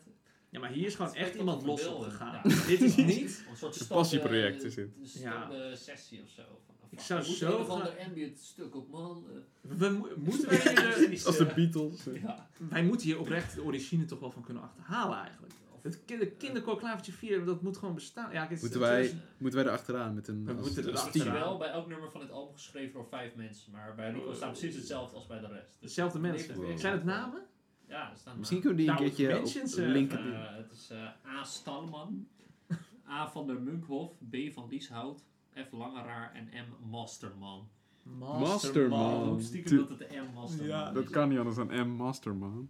Speaker 2: Ja, maar hier is gewoon
Speaker 3: Het
Speaker 2: echt
Speaker 3: spreekt
Speaker 2: iemand
Speaker 3: tot de
Speaker 2: los op
Speaker 3: beelden.
Speaker 2: gegaan.
Speaker 3: Ja.
Speaker 2: Dit is niet...
Speaker 3: Een soort
Speaker 1: passieproject is dit.
Speaker 3: Een stande sessie of zo. Van,
Speaker 2: Ik
Speaker 3: fuck,
Speaker 2: zou
Speaker 3: we moeten
Speaker 2: zo
Speaker 3: een of
Speaker 2: graag-
Speaker 3: ander ambient stuk op, man. Eh,
Speaker 2: We mo- moeten wij, hier de,
Speaker 3: is,
Speaker 5: Als de
Speaker 3: eh,
Speaker 5: Beatles.
Speaker 3: ja.
Speaker 2: wij moeten hier oprecht de origine toch wel van kunnen achterhalen eigenlijk.
Speaker 3: Of-
Speaker 2: Het kinder, kinderkoor Klavertje 4, dat moet gewoon bestaan. Ja, het,
Speaker 5: Moeten
Speaker 2: het
Speaker 5: wij-
Speaker 2: is-
Speaker 5: Moeten wij erachteraan met een
Speaker 2: We
Speaker 5: als,
Speaker 2: moeten
Speaker 5: als
Speaker 3: Het
Speaker 2: erachteraan.
Speaker 5: team.
Speaker 3: is
Speaker 2: Steve.
Speaker 3: wel bij elk nummer van het album geschreven door vijf mensen. Maar bij
Speaker 2: Oh.
Speaker 3: Rico staat precies hetzelfde als bij de rest. Dus
Speaker 2: dezelfde
Speaker 3: Nee,
Speaker 2: mensen.
Speaker 3: nee.
Speaker 2: Zijn het namen?
Speaker 3: ja, er staan
Speaker 5: Misschien kunnen we die een
Speaker 2: Nou,
Speaker 5: keertje
Speaker 2: mentions,
Speaker 5: op
Speaker 2: eh,
Speaker 5: linken.
Speaker 3: namen. Eh, Het is eh, A. Stalman. A. van der Munkhof. B. van Lieshout. F. Langeraar en M. Masterman.
Speaker 5: Masterman.
Speaker 3: Oh,
Speaker 5: Oh,
Speaker 3: stiekem
Speaker 1: tu-
Speaker 3: dat het de M was. dan.
Speaker 2: Ja,
Speaker 1: Dat kan niet anders dan M Masterman.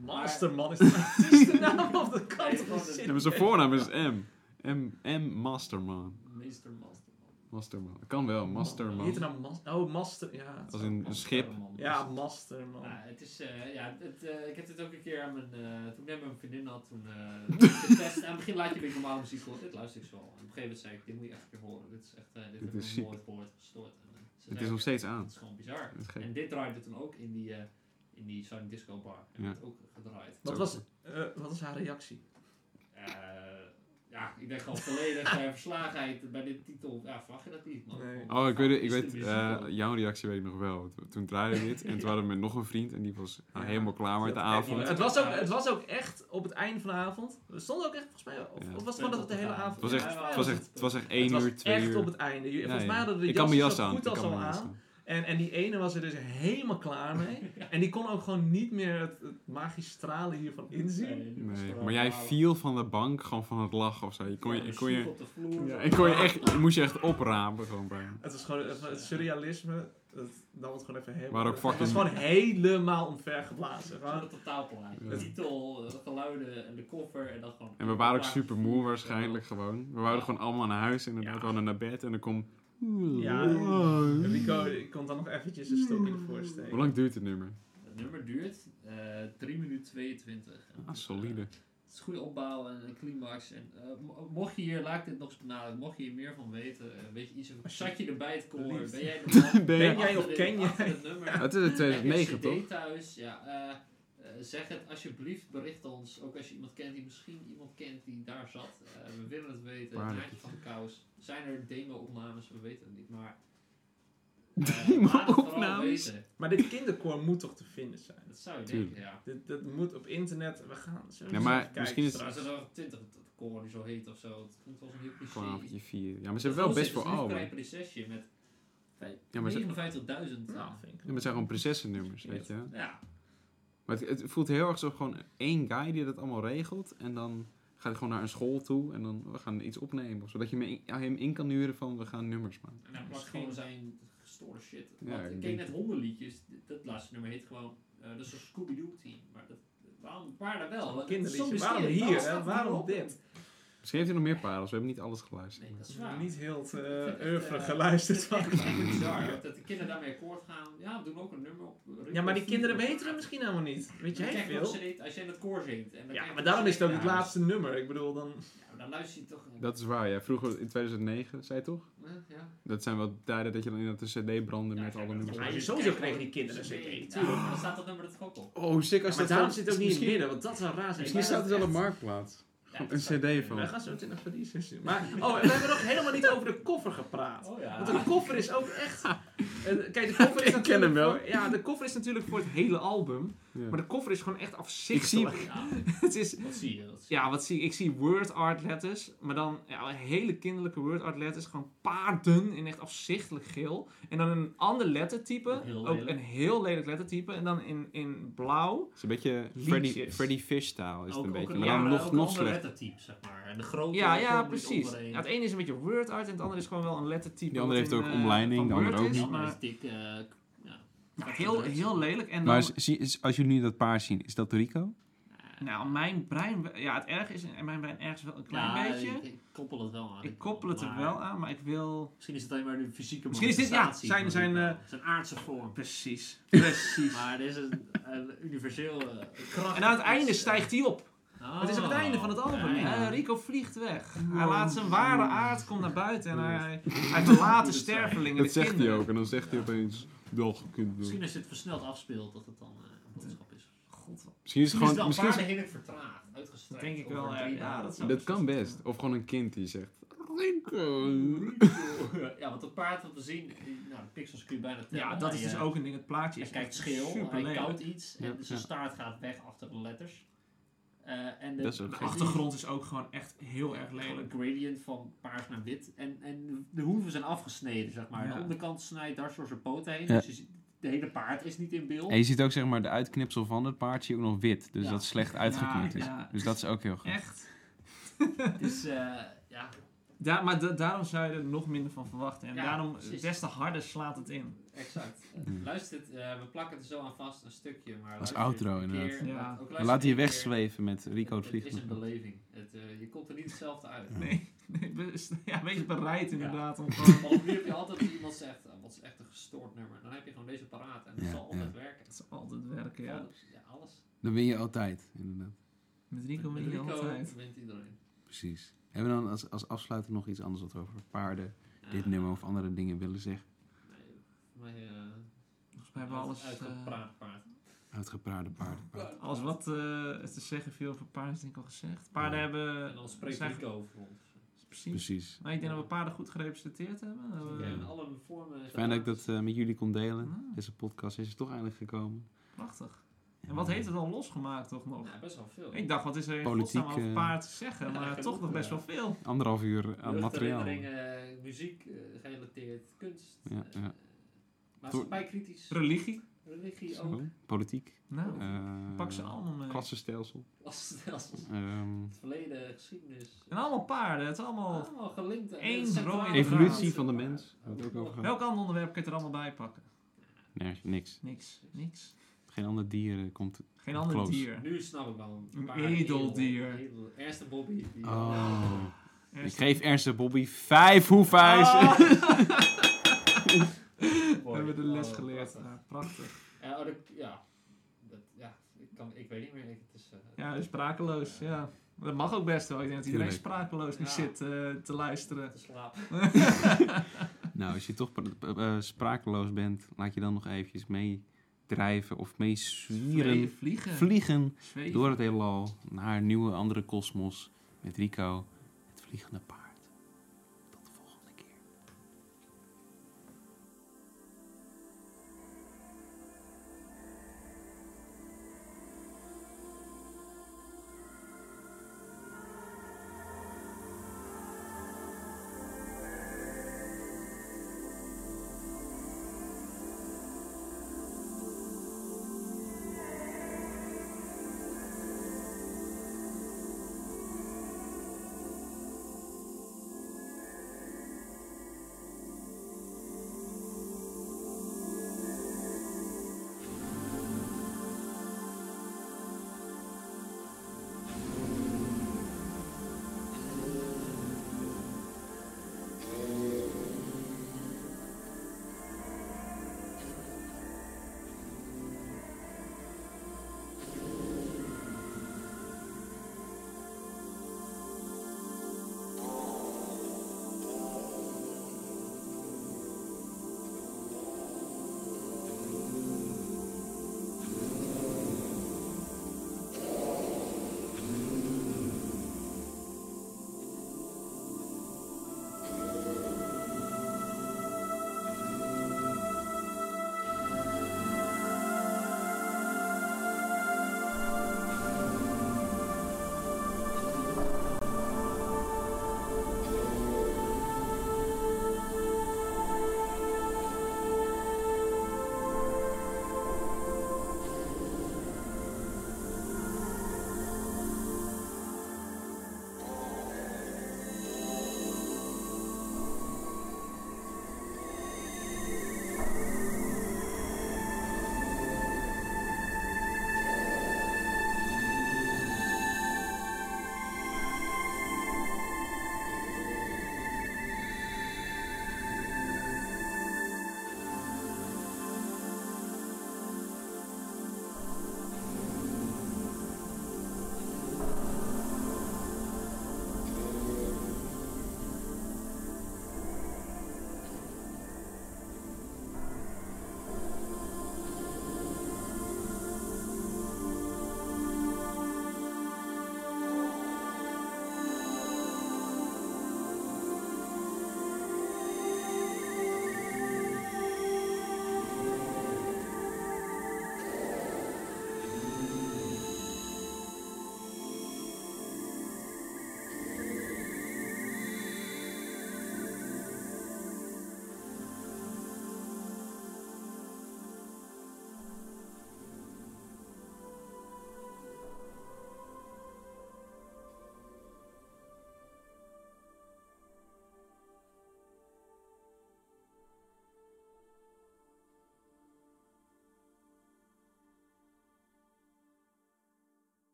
Speaker 2: Masterman is de, het is de naam op de
Speaker 3: Nee,
Speaker 2: kant.
Speaker 3: gewoon
Speaker 2: gezet.
Speaker 3: de-
Speaker 1: Ja, maar zijn voornaam is M. M, M Masterman.
Speaker 3: Meester Masterman.
Speaker 1: Masterman. Kan wel,
Speaker 2: Wie heet er
Speaker 1: Masterman.
Speaker 2: nou Mas- Oh, Master. Ja,
Speaker 1: Als een, een schip.
Speaker 3: Masterman.
Speaker 2: ja Masterman.
Speaker 3: Ja, het is, eh, ja, het, eh, ik heb dit ook een keer aan mijn, eh, toen ik net mijn vriendin had, toen eh, getest. Aan het begin laat je een beetje normaal muziek horen. Dit luister ik zo. Op een gegeven moment zei ik, dit moet je echt een keer horen. Dit is echt, eh, dit,
Speaker 1: Dit
Speaker 3: heb
Speaker 1: is
Speaker 3: ik
Speaker 1: ziek.
Speaker 3: nog nooit gehoord, gestoord. En, eh, ze
Speaker 1: Het
Speaker 3: zei
Speaker 1: is
Speaker 3: ook,
Speaker 1: nog steeds
Speaker 3: "Het
Speaker 1: aan.
Speaker 3: is gewoon bizar.
Speaker 1: Dat is gek.
Speaker 3: En dit draaide toen ook in die, eh, in die Sonic Disco Bar. En
Speaker 1: Ja.
Speaker 3: werd ook gedraaid.
Speaker 2: Wat, was, eh, wat was haar reactie?
Speaker 3: Eh, ja, ik denk gewoon volledig eh, verslagenheid bij dit titel. Ja, verwacht je dat niet, man.
Speaker 2: Nee.
Speaker 1: Oh, ik weet, ik
Speaker 3: Is de
Speaker 1: weet
Speaker 3: muziek
Speaker 1: eh,
Speaker 3: wel-
Speaker 1: jouw reactie weet ik nog wel. Want we- Toen draaide ik dit en toen hadden we met nog een vriend en die was nou,
Speaker 2: Ja.
Speaker 1: helemaal klaar met de
Speaker 3: Dat kijk je
Speaker 1: avond.
Speaker 3: wel.
Speaker 2: Het was, ook, het was ook echt op het einde van de avond. We stonden ook echt volgens mij. Of,
Speaker 1: Ja.
Speaker 2: of was het gewoon dat het de hele avond.
Speaker 1: Het was
Speaker 2: Ja,
Speaker 1: echt,
Speaker 2: wij
Speaker 1: het
Speaker 2: waren
Speaker 1: was
Speaker 2: op
Speaker 1: echt, het was echt één
Speaker 2: Het was
Speaker 1: uur, twee
Speaker 2: echt
Speaker 1: uur.
Speaker 2: op het einde. Jullie-
Speaker 1: Ja,
Speaker 2: Volgens
Speaker 1: ja.
Speaker 2: mij hadden de
Speaker 1: ik kan mijn
Speaker 2: jassen
Speaker 1: jas aan.
Speaker 2: zo goed
Speaker 1: Ik
Speaker 2: als
Speaker 1: kan
Speaker 2: al
Speaker 1: mijn jas
Speaker 2: aan.
Speaker 1: aan.
Speaker 2: En, en die ene was er dus helemaal klaar mee. En die kon ook gewoon niet meer het, het magisch stralen hiervan inzien.
Speaker 3: Nee, dit was
Speaker 1: Nee,
Speaker 3: gewoon
Speaker 1: maar jij
Speaker 3: normaal.
Speaker 1: viel van de bank gewoon van het lachen of zo. Je kon
Speaker 3: Ja,
Speaker 1: je,
Speaker 3: de
Speaker 1: kon je,
Speaker 3: soep op de vloer.
Speaker 1: ja, ik kon je echt, je moest je echt oprapen gewoon bijna.
Speaker 2: Het was gewoon het, het surrealisme. Dat nam het gewoon even helemaal.
Speaker 1: Waar ook
Speaker 2: Het was
Speaker 1: fucking-
Speaker 2: gewoon helemaal omvergeblazen.
Speaker 3: Gewoon
Speaker 2: Gewoon,
Speaker 3: het totaalplaatje.
Speaker 1: Ja.
Speaker 3: Titel, eh, geluiden en de koffer en dan gewoon...
Speaker 1: En we waren ook super moe waarschijnlijk gewoon. We waren
Speaker 3: Ja.
Speaker 1: gewoon allemaal naar huis inderdaad. We hadden naar bed en dan kom...
Speaker 2: ja, Rico ik kon dan nog eventjes een stokje ervoor
Speaker 1: Hoe
Speaker 2: steken.
Speaker 1: lang duurt het nummer?
Speaker 3: Het nummer duurt eh 3 minuten 22.
Speaker 1: Ah, solide.
Speaker 3: Het Het is goede opbouw en een climax. En, eh, mo- mocht je hier, laat ik dit nog eens benadrukken, mocht je hier meer van weten, eh, weet je iets over, zat je erbij het koor, ben jij de man?
Speaker 1: Ben
Speaker 3: jij
Speaker 1: jij
Speaker 3: achter
Speaker 2: of
Speaker 3: dit-
Speaker 2: ken
Speaker 3: achter
Speaker 2: jij?
Speaker 3: dit nummer?
Speaker 1: Het is in
Speaker 3: Heb je
Speaker 1: 2009,
Speaker 3: een
Speaker 1: toch?
Speaker 3: CD thuis, ja. eh, eh, zeg het alsjeblieft, bericht ons. Ook als je iemand kent die misschien iemand kent die daar zat. Eh, we willen het weten. Het
Speaker 1: Waarlijk.
Speaker 3: draadje van de kous. Zijn er demo-opnames? We weten het niet, maar... eh,
Speaker 1: Demo-opnames?
Speaker 2: Maar dit kinderkoor moet toch te vinden zijn?
Speaker 3: Dat zou je
Speaker 1: Tuurlijk.
Speaker 3: denken, ja.
Speaker 2: Dit, dat moet op internet. We gaan. zullen we
Speaker 1: Ja,
Speaker 2: eens
Speaker 1: maar
Speaker 2: even kijken
Speaker 1: misschien is-
Speaker 2: straks?
Speaker 3: Trouwens, er zijn er twintig koren die zo heet of zo. Het klinkt wel als een heel cliché.
Speaker 1: Voor een avondje vier. Ja, maar ze hebben wel best voor
Speaker 3: Het
Speaker 1: album.
Speaker 3: is een prinsesje met
Speaker 1: Ja, maar ze-
Speaker 3: 59.000.
Speaker 2: Nou, vind ik.
Speaker 1: Ja, maar het zijn gewoon prinsessennummers, weet je wel.
Speaker 3: Ja,
Speaker 1: Maar het, het voelt heel erg alsof gewoon één guy die dat allemaal regelt. En dan gaat hij gewoon naar een school toe. En dan we gaan iets opnemen. Zodat je hem in, hem in kan huren van we gaan nummers maken.
Speaker 3: En daar plakt
Speaker 2: Misschien.
Speaker 3: gewoon zijn gestoorde shit.
Speaker 1: Ja,
Speaker 3: Want ik
Speaker 1: ik
Speaker 3: keek
Speaker 1: denk-
Speaker 3: net hondenliedjes. D- Dat laatste nummer heet gewoon... eh, dat is een Scooby-Doo team. Maar dat, waarom waren er wel? Want het is zo
Speaker 2: Kinderliedje. Waarom
Speaker 3: mysterieus.
Speaker 2: hier?
Speaker 3: staat
Speaker 2: hè?
Speaker 3: het
Speaker 2: Waarom
Speaker 3: erop?
Speaker 2: dit?
Speaker 1: Misschien heeft hij nog meer parels. We hebben niet alles geluisterd.
Speaker 3: Nee, dat is
Speaker 2: We hebben
Speaker 3: waar.
Speaker 2: niet heel het
Speaker 3: Ik vind
Speaker 2: eh,
Speaker 3: het,
Speaker 2: oeuvre
Speaker 3: eh,
Speaker 2: geluisterd
Speaker 3: Het is echt
Speaker 2: van.
Speaker 3: echt bizar dat de kinderen daarmee akkoord gaan. Ja, we doen ook een nummer op. eh,
Speaker 2: Ja, maar die kinderen weten het misschien helemaal niet. Weet
Speaker 3: Dan
Speaker 2: jij
Speaker 3: krijg je nog
Speaker 2: veel?
Speaker 3: CD als jij in het koor zingt. En dan krijg
Speaker 2: Ja,
Speaker 3: je
Speaker 2: maar
Speaker 3: nog
Speaker 2: daarom is het ook het
Speaker 3: CD
Speaker 2: laatste nummer. Ik bedoel, dan...
Speaker 3: Ja, maar dan luister je toch...
Speaker 1: Dat is waar, ja. Vroeger in 2009, zei je toch?
Speaker 3: Eh, ja.
Speaker 1: Dat zijn wel tijden dat je dan inderdaad een cd brandde
Speaker 3: Ja,
Speaker 1: met
Speaker 3: ja,
Speaker 1: alle
Speaker 3: maar
Speaker 1: nummers.
Speaker 3: dat is-
Speaker 2: Maar sowieso kregen die kinderen
Speaker 3: Nee,
Speaker 2: CD.
Speaker 3: Tuurlijk, maar dan staat dat nummer dat gok op.
Speaker 1: Oh, sick als
Speaker 2: Maar
Speaker 1: dat
Speaker 2: daarom
Speaker 1: gewoon-
Speaker 2: zit het ook niet in het
Speaker 1: misschien-
Speaker 2: midden, want dat zou raar zijn.
Speaker 1: Misschien
Speaker 2: Ja,
Speaker 1: staat
Speaker 2: dat
Speaker 1: het wel op
Speaker 2: echt-
Speaker 1: marktplaats.
Speaker 3: Ja,
Speaker 1: Een cd
Speaker 2: Wij
Speaker 1: van.
Speaker 2: gaan zo meteen naar verliezen. zien. Maar, oh, en we hebben nog helemaal niet over de koffer gepraat.
Speaker 3: Oh ja.
Speaker 2: Want de koffer is ook echt... Eh, Kijk, de koffer is natuurlijk
Speaker 1: Ik ken hem wel.
Speaker 2: Voor, ja, de koffer is natuurlijk voor het hele album.
Speaker 1: Ja.
Speaker 2: Maar de koffer is gewoon echt
Speaker 1: Ik zie,
Speaker 2: afzichtelijk. het is,
Speaker 3: Wat zie je? Wat zie
Speaker 2: ja, wat zie ik? Ik zie word art letters, maar dan ja, hele kinderlijke word art letters. Gewoon paarden in echt afzichtelijk geel. En dan een ander lettertype.
Speaker 3: Een heel
Speaker 2: ook
Speaker 3: lelijk.
Speaker 2: een heel lelijk lettertype. En dan in, in blauw.
Speaker 1: het is een beetje
Speaker 2: Liedjes.
Speaker 1: Freddy, Freddy Fish-stijl is het een beetje. Maar
Speaker 2: ja,
Speaker 1: dan
Speaker 2: maar
Speaker 1: nog, nog
Speaker 3: slechter.
Speaker 1: slechter.
Speaker 3: lettertype, zeg maar. En de grote
Speaker 2: Ja, ja,
Speaker 3: vorm die
Speaker 2: precies.
Speaker 3: onderheen.
Speaker 2: Ja, het ene is een beetje word art en het andere is gewoon wel een lettertype.
Speaker 1: Die andere
Speaker 2: wat
Speaker 1: heeft
Speaker 2: in,
Speaker 1: ook
Speaker 2: eh,
Speaker 1: omleiding,
Speaker 2: van
Speaker 1: de andere
Speaker 2: Word
Speaker 1: ook
Speaker 2: is, nou,
Speaker 3: Die
Speaker 1: niet.
Speaker 3: andere
Speaker 2: Maar,
Speaker 3: is dik. eh, k- ja.
Speaker 2: maar heel, heel lelijk. En dan,
Speaker 1: Maar is- zie- is- als jullie dat paar zien, is dat Rico?
Speaker 2: nou, mijn brein... Ja, het erg is in mijn brein ergens wel een klein
Speaker 3: Ja,
Speaker 2: beetje.
Speaker 3: Ik, ik koppel het wel aan.
Speaker 2: Ik koppel het er
Speaker 3: Maar
Speaker 2: wel aan, maar ik wil...
Speaker 3: Misschien is het alleen maar de fysieke
Speaker 2: Misschien is dit, ja,
Speaker 3: manifestatie
Speaker 2: zijn-
Speaker 3: van
Speaker 2: zijn,
Speaker 3: Rico.
Speaker 2: eh,
Speaker 3: zijn aardse vorm.
Speaker 2: Precies. Precies.
Speaker 3: Maar dit is een, een universeel eh, kracht.
Speaker 2: en aan het einde stijgt hij op.
Speaker 3: Oh.
Speaker 2: Het is op het einde van het album.
Speaker 3: Ja, ja.
Speaker 2: Eh, Rico vliegt weg. Hij laat zijn ware aard komt naar buiten en hij, hij verlaat de stervelingen.
Speaker 1: Dat
Speaker 2: de
Speaker 1: zegt hij
Speaker 2: kinderen.
Speaker 1: ook. En dan zegt hij opeens, dag, kind.
Speaker 3: Misschien als je het versneld afspeelt, dat het dan eh, een boodschap is.
Speaker 2: God, wat-
Speaker 1: Misschien is het gewoon...
Speaker 3: misschien
Speaker 1: Misschien
Speaker 3: is
Speaker 1: is
Speaker 3: het heel vertraagd, uitgestrekt.
Speaker 2: Denk ik
Speaker 3: over
Speaker 2: wel, ja.
Speaker 3: drie
Speaker 2: Ja,
Speaker 3: dagen.
Speaker 2: dat zou-
Speaker 1: dat kan best. Of gewoon een kind die zegt, Rico.
Speaker 3: Ja, want dat paard wat we zien, die- nou, de pixels kun je bijna tellen.
Speaker 2: Ja, dat is
Speaker 3: Hij,
Speaker 2: dus
Speaker 3: eh,
Speaker 2: ook een ding. Het plaatje
Speaker 3: Hij
Speaker 2: is
Speaker 3: kijkt scheel, hij
Speaker 2: superlelijk.
Speaker 3: koudt iets en
Speaker 1: Ja,
Speaker 3: zijn
Speaker 1: ja.
Speaker 3: staart gaat weg achter de letters. Eh, en de,
Speaker 1: Dat is ook
Speaker 3: de
Speaker 2: De achtergrond is ook gewoon echt heel erg
Speaker 3: Gewoon een
Speaker 2: lelijk.
Speaker 3: gradient van paars naar wit. En, en de hoeven zijn afgesneden, zeg maar.
Speaker 2: Ja.
Speaker 3: De onderkant snijdt dwars door zijn poten heen.
Speaker 1: Ja.
Speaker 3: Dus je ziet- de hele paard is niet in beeld.
Speaker 1: En je ziet ook zeg maar de uitknipsel van het paard zie je ook nog wit. Dus
Speaker 3: Ja.
Speaker 1: dat is slecht uitgeknipt is.
Speaker 2: Ja, ja.
Speaker 1: Dus dat is ook heel goed.
Speaker 2: Echt.
Speaker 3: Dus eh, ja,
Speaker 2: Daar, maar da- daarom zou je er nog minder van verwachten. En
Speaker 3: Ja,
Speaker 2: daarom
Speaker 3: precies.
Speaker 2: des te harder slaat het in.
Speaker 3: exact.
Speaker 1: Mm.
Speaker 3: Luister, dit, eh, we plakken het er zo aan vast een stukje.
Speaker 1: Als
Speaker 3: Maar luister het
Speaker 1: outro,
Speaker 3: een
Speaker 1: inderdaad.
Speaker 3: keer,
Speaker 2: Ja.
Speaker 3: laat- ook luister
Speaker 1: Maar laat
Speaker 3: het een
Speaker 1: hij
Speaker 3: keer.
Speaker 1: wegzweven met Rico het
Speaker 3: Het is een
Speaker 1: vliegtuig.
Speaker 3: beleving. Het, eh, je komt er niet hetzelfde uit.
Speaker 2: Nee, nee bes- ja, wees bereid inderdaad om gewoon...
Speaker 3: Maar opnieuw heb je altijd dat iemand zegt, eh, wat is echt een gestoord nummer. Dan heb je gewoon deze paraat en dat
Speaker 1: Ja,
Speaker 3: zal altijd werken.
Speaker 2: Het zal altijd werken, ja.
Speaker 3: Alles- ja, alles.
Speaker 1: Dan win je altijd, inderdaad.
Speaker 2: Met Rico ben je
Speaker 3: Rico
Speaker 2: altijd.
Speaker 3: wint iedereen.
Speaker 1: Precies. Hebben we dan als, als afsluiter nog iets anders wat we over paarden,
Speaker 3: Ja.
Speaker 1: dit nummer of andere dingen willen zeggen?
Speaker 3: Nee, voor mij, eh,
Speaker 2: Volgens mij hebben we alles, eh,
Speaker 3: uitgepraat paard.
Speaker 1: Uitgepraarde paarden.
Speaker 2: alles wat eh, te zeggen viel over paarden, is denk ik al gezegd. Paarden
Speaker 1: Ja.
Speaker 2: hebben...
Speaker 3: En dan spreekt
Speaker 2: zijn-
Speaker 3: Rico over ons.
Speaker 2: Precies.
Speaker 1: Precies.
Speaker 2: Maar ik denk dat we paarden goed gerepresenteerd hebben. Dat we-
Speaker 3: Ja, in alle vormen.
Speaker 1: Fijn dat ik dat eh, met jullie kon delen.
Speaker 2: Ah.
Speaker 1: Deze podcast is er toch eindelijk gekomen.
Speaker 2: Prachtig. En wat heeft het dan losgemaakt toch nog?
Speaker 3: Ja, best wel veel.
Speaker 2: Ik dacht, wat is er in
Speaker 1: Politiek,
Speaker 2: godsnaam over
Speaker 1: eh,
Speaker 2: paarden te zeggen? Maar
Speaker 3: genoeg,
Speaker 2: toch nog best
Speaker 3: ja.
Speaker 2: wel veel.
Speaker 1: Anderhalf uur aan materiaal.
Speaker 3: Herinneringen, muziek eh, gerelateerd, kunst.
Speaker 1: Ja,
Speaker 3: eh,
Speaker 1: ja.
Speaker 3: Maatschappij kritisch.
Speaker 2: Religie.
Speaker 3: Religie
Speaker 1: Zo,
Speaker 3: ook.
Speaker 1: Politiek.
Speaker 2: Nou,
Speaker 1: eh,
Speaker 2: pak ze allemaal mee.
Speaker 1: Klassenstelsel.
Speaker 3: Klassenstelsel.
Speaker 1: ehm,
Speaker 3: Het verleden, geschiedenis.
Speaker 2: En allemaal paarden. Het is allemaal...
Speaker 3: Allemaal gelinkt. aan-
Speaker 2: Eén
Speaker 3: centraal-
Speaker 2: rode draad.
Speaker 1: evolutie van de mens. Hebben we het ook over gehad?
Speaker 2: Welk ander onderwerp kun je er allemaal bij pakken?
Speaker 1: Nee, niks.
Speaker 2: Niks. Niks.
Speaker 1: Geen ander dier eh, komt.
Speaker 2: Geen ander
Speaker 1: Close.
Speaker 2: dier.
Speaker 3: Nu snap ik wel.
Speaker 2: Een
Speaker 3: paar
Speaker 2: edeldier.
Speaker 3: edel- edel- Ernst en Bobby. die-
Speaker 1: Oh.
Speaker 2: Er
Speaker 1: Ik
Speaker 2: is-
Speaker 1: geef Ernst en Bobby vijf hoefijs.
Speaker 2: Ah!
Speaker 3: Mooi.
Speaker 2: We hebben de les
Speaker 3: Oh,
Speaker 2: geleerd.
Speaker 3: prachtig.
Speaker 2: Ja, prachtig.
Speaker 3: Eh, oh, dat- ja. dat, ja, ik, kan, ik weet niet meer. Ik, het is, eh,
Speaker 2: Ja, sprakeloos, ja. Dat mag ook best wel. Ik denk dat iedereen
Speaker 1: Tuurlijk.
Speaker 2: sprakeloos nu
Speaker 3: Ja.
Speaker 2: zit eh, te luisteren.
Speaker 3: te slaap.
Speaker 1: Nou, als je toch pra- eh, eh, sprakeloos bent, laat je dan nog eventjes meedrijven of meezwieren,
Speaker 2: Vliegen.
Speaker 1: vliegen
Speaker 2: Zweven.
Speaker 1: door het heelal naar een nieuwe andere kosmos met Rico, het vliegende paard.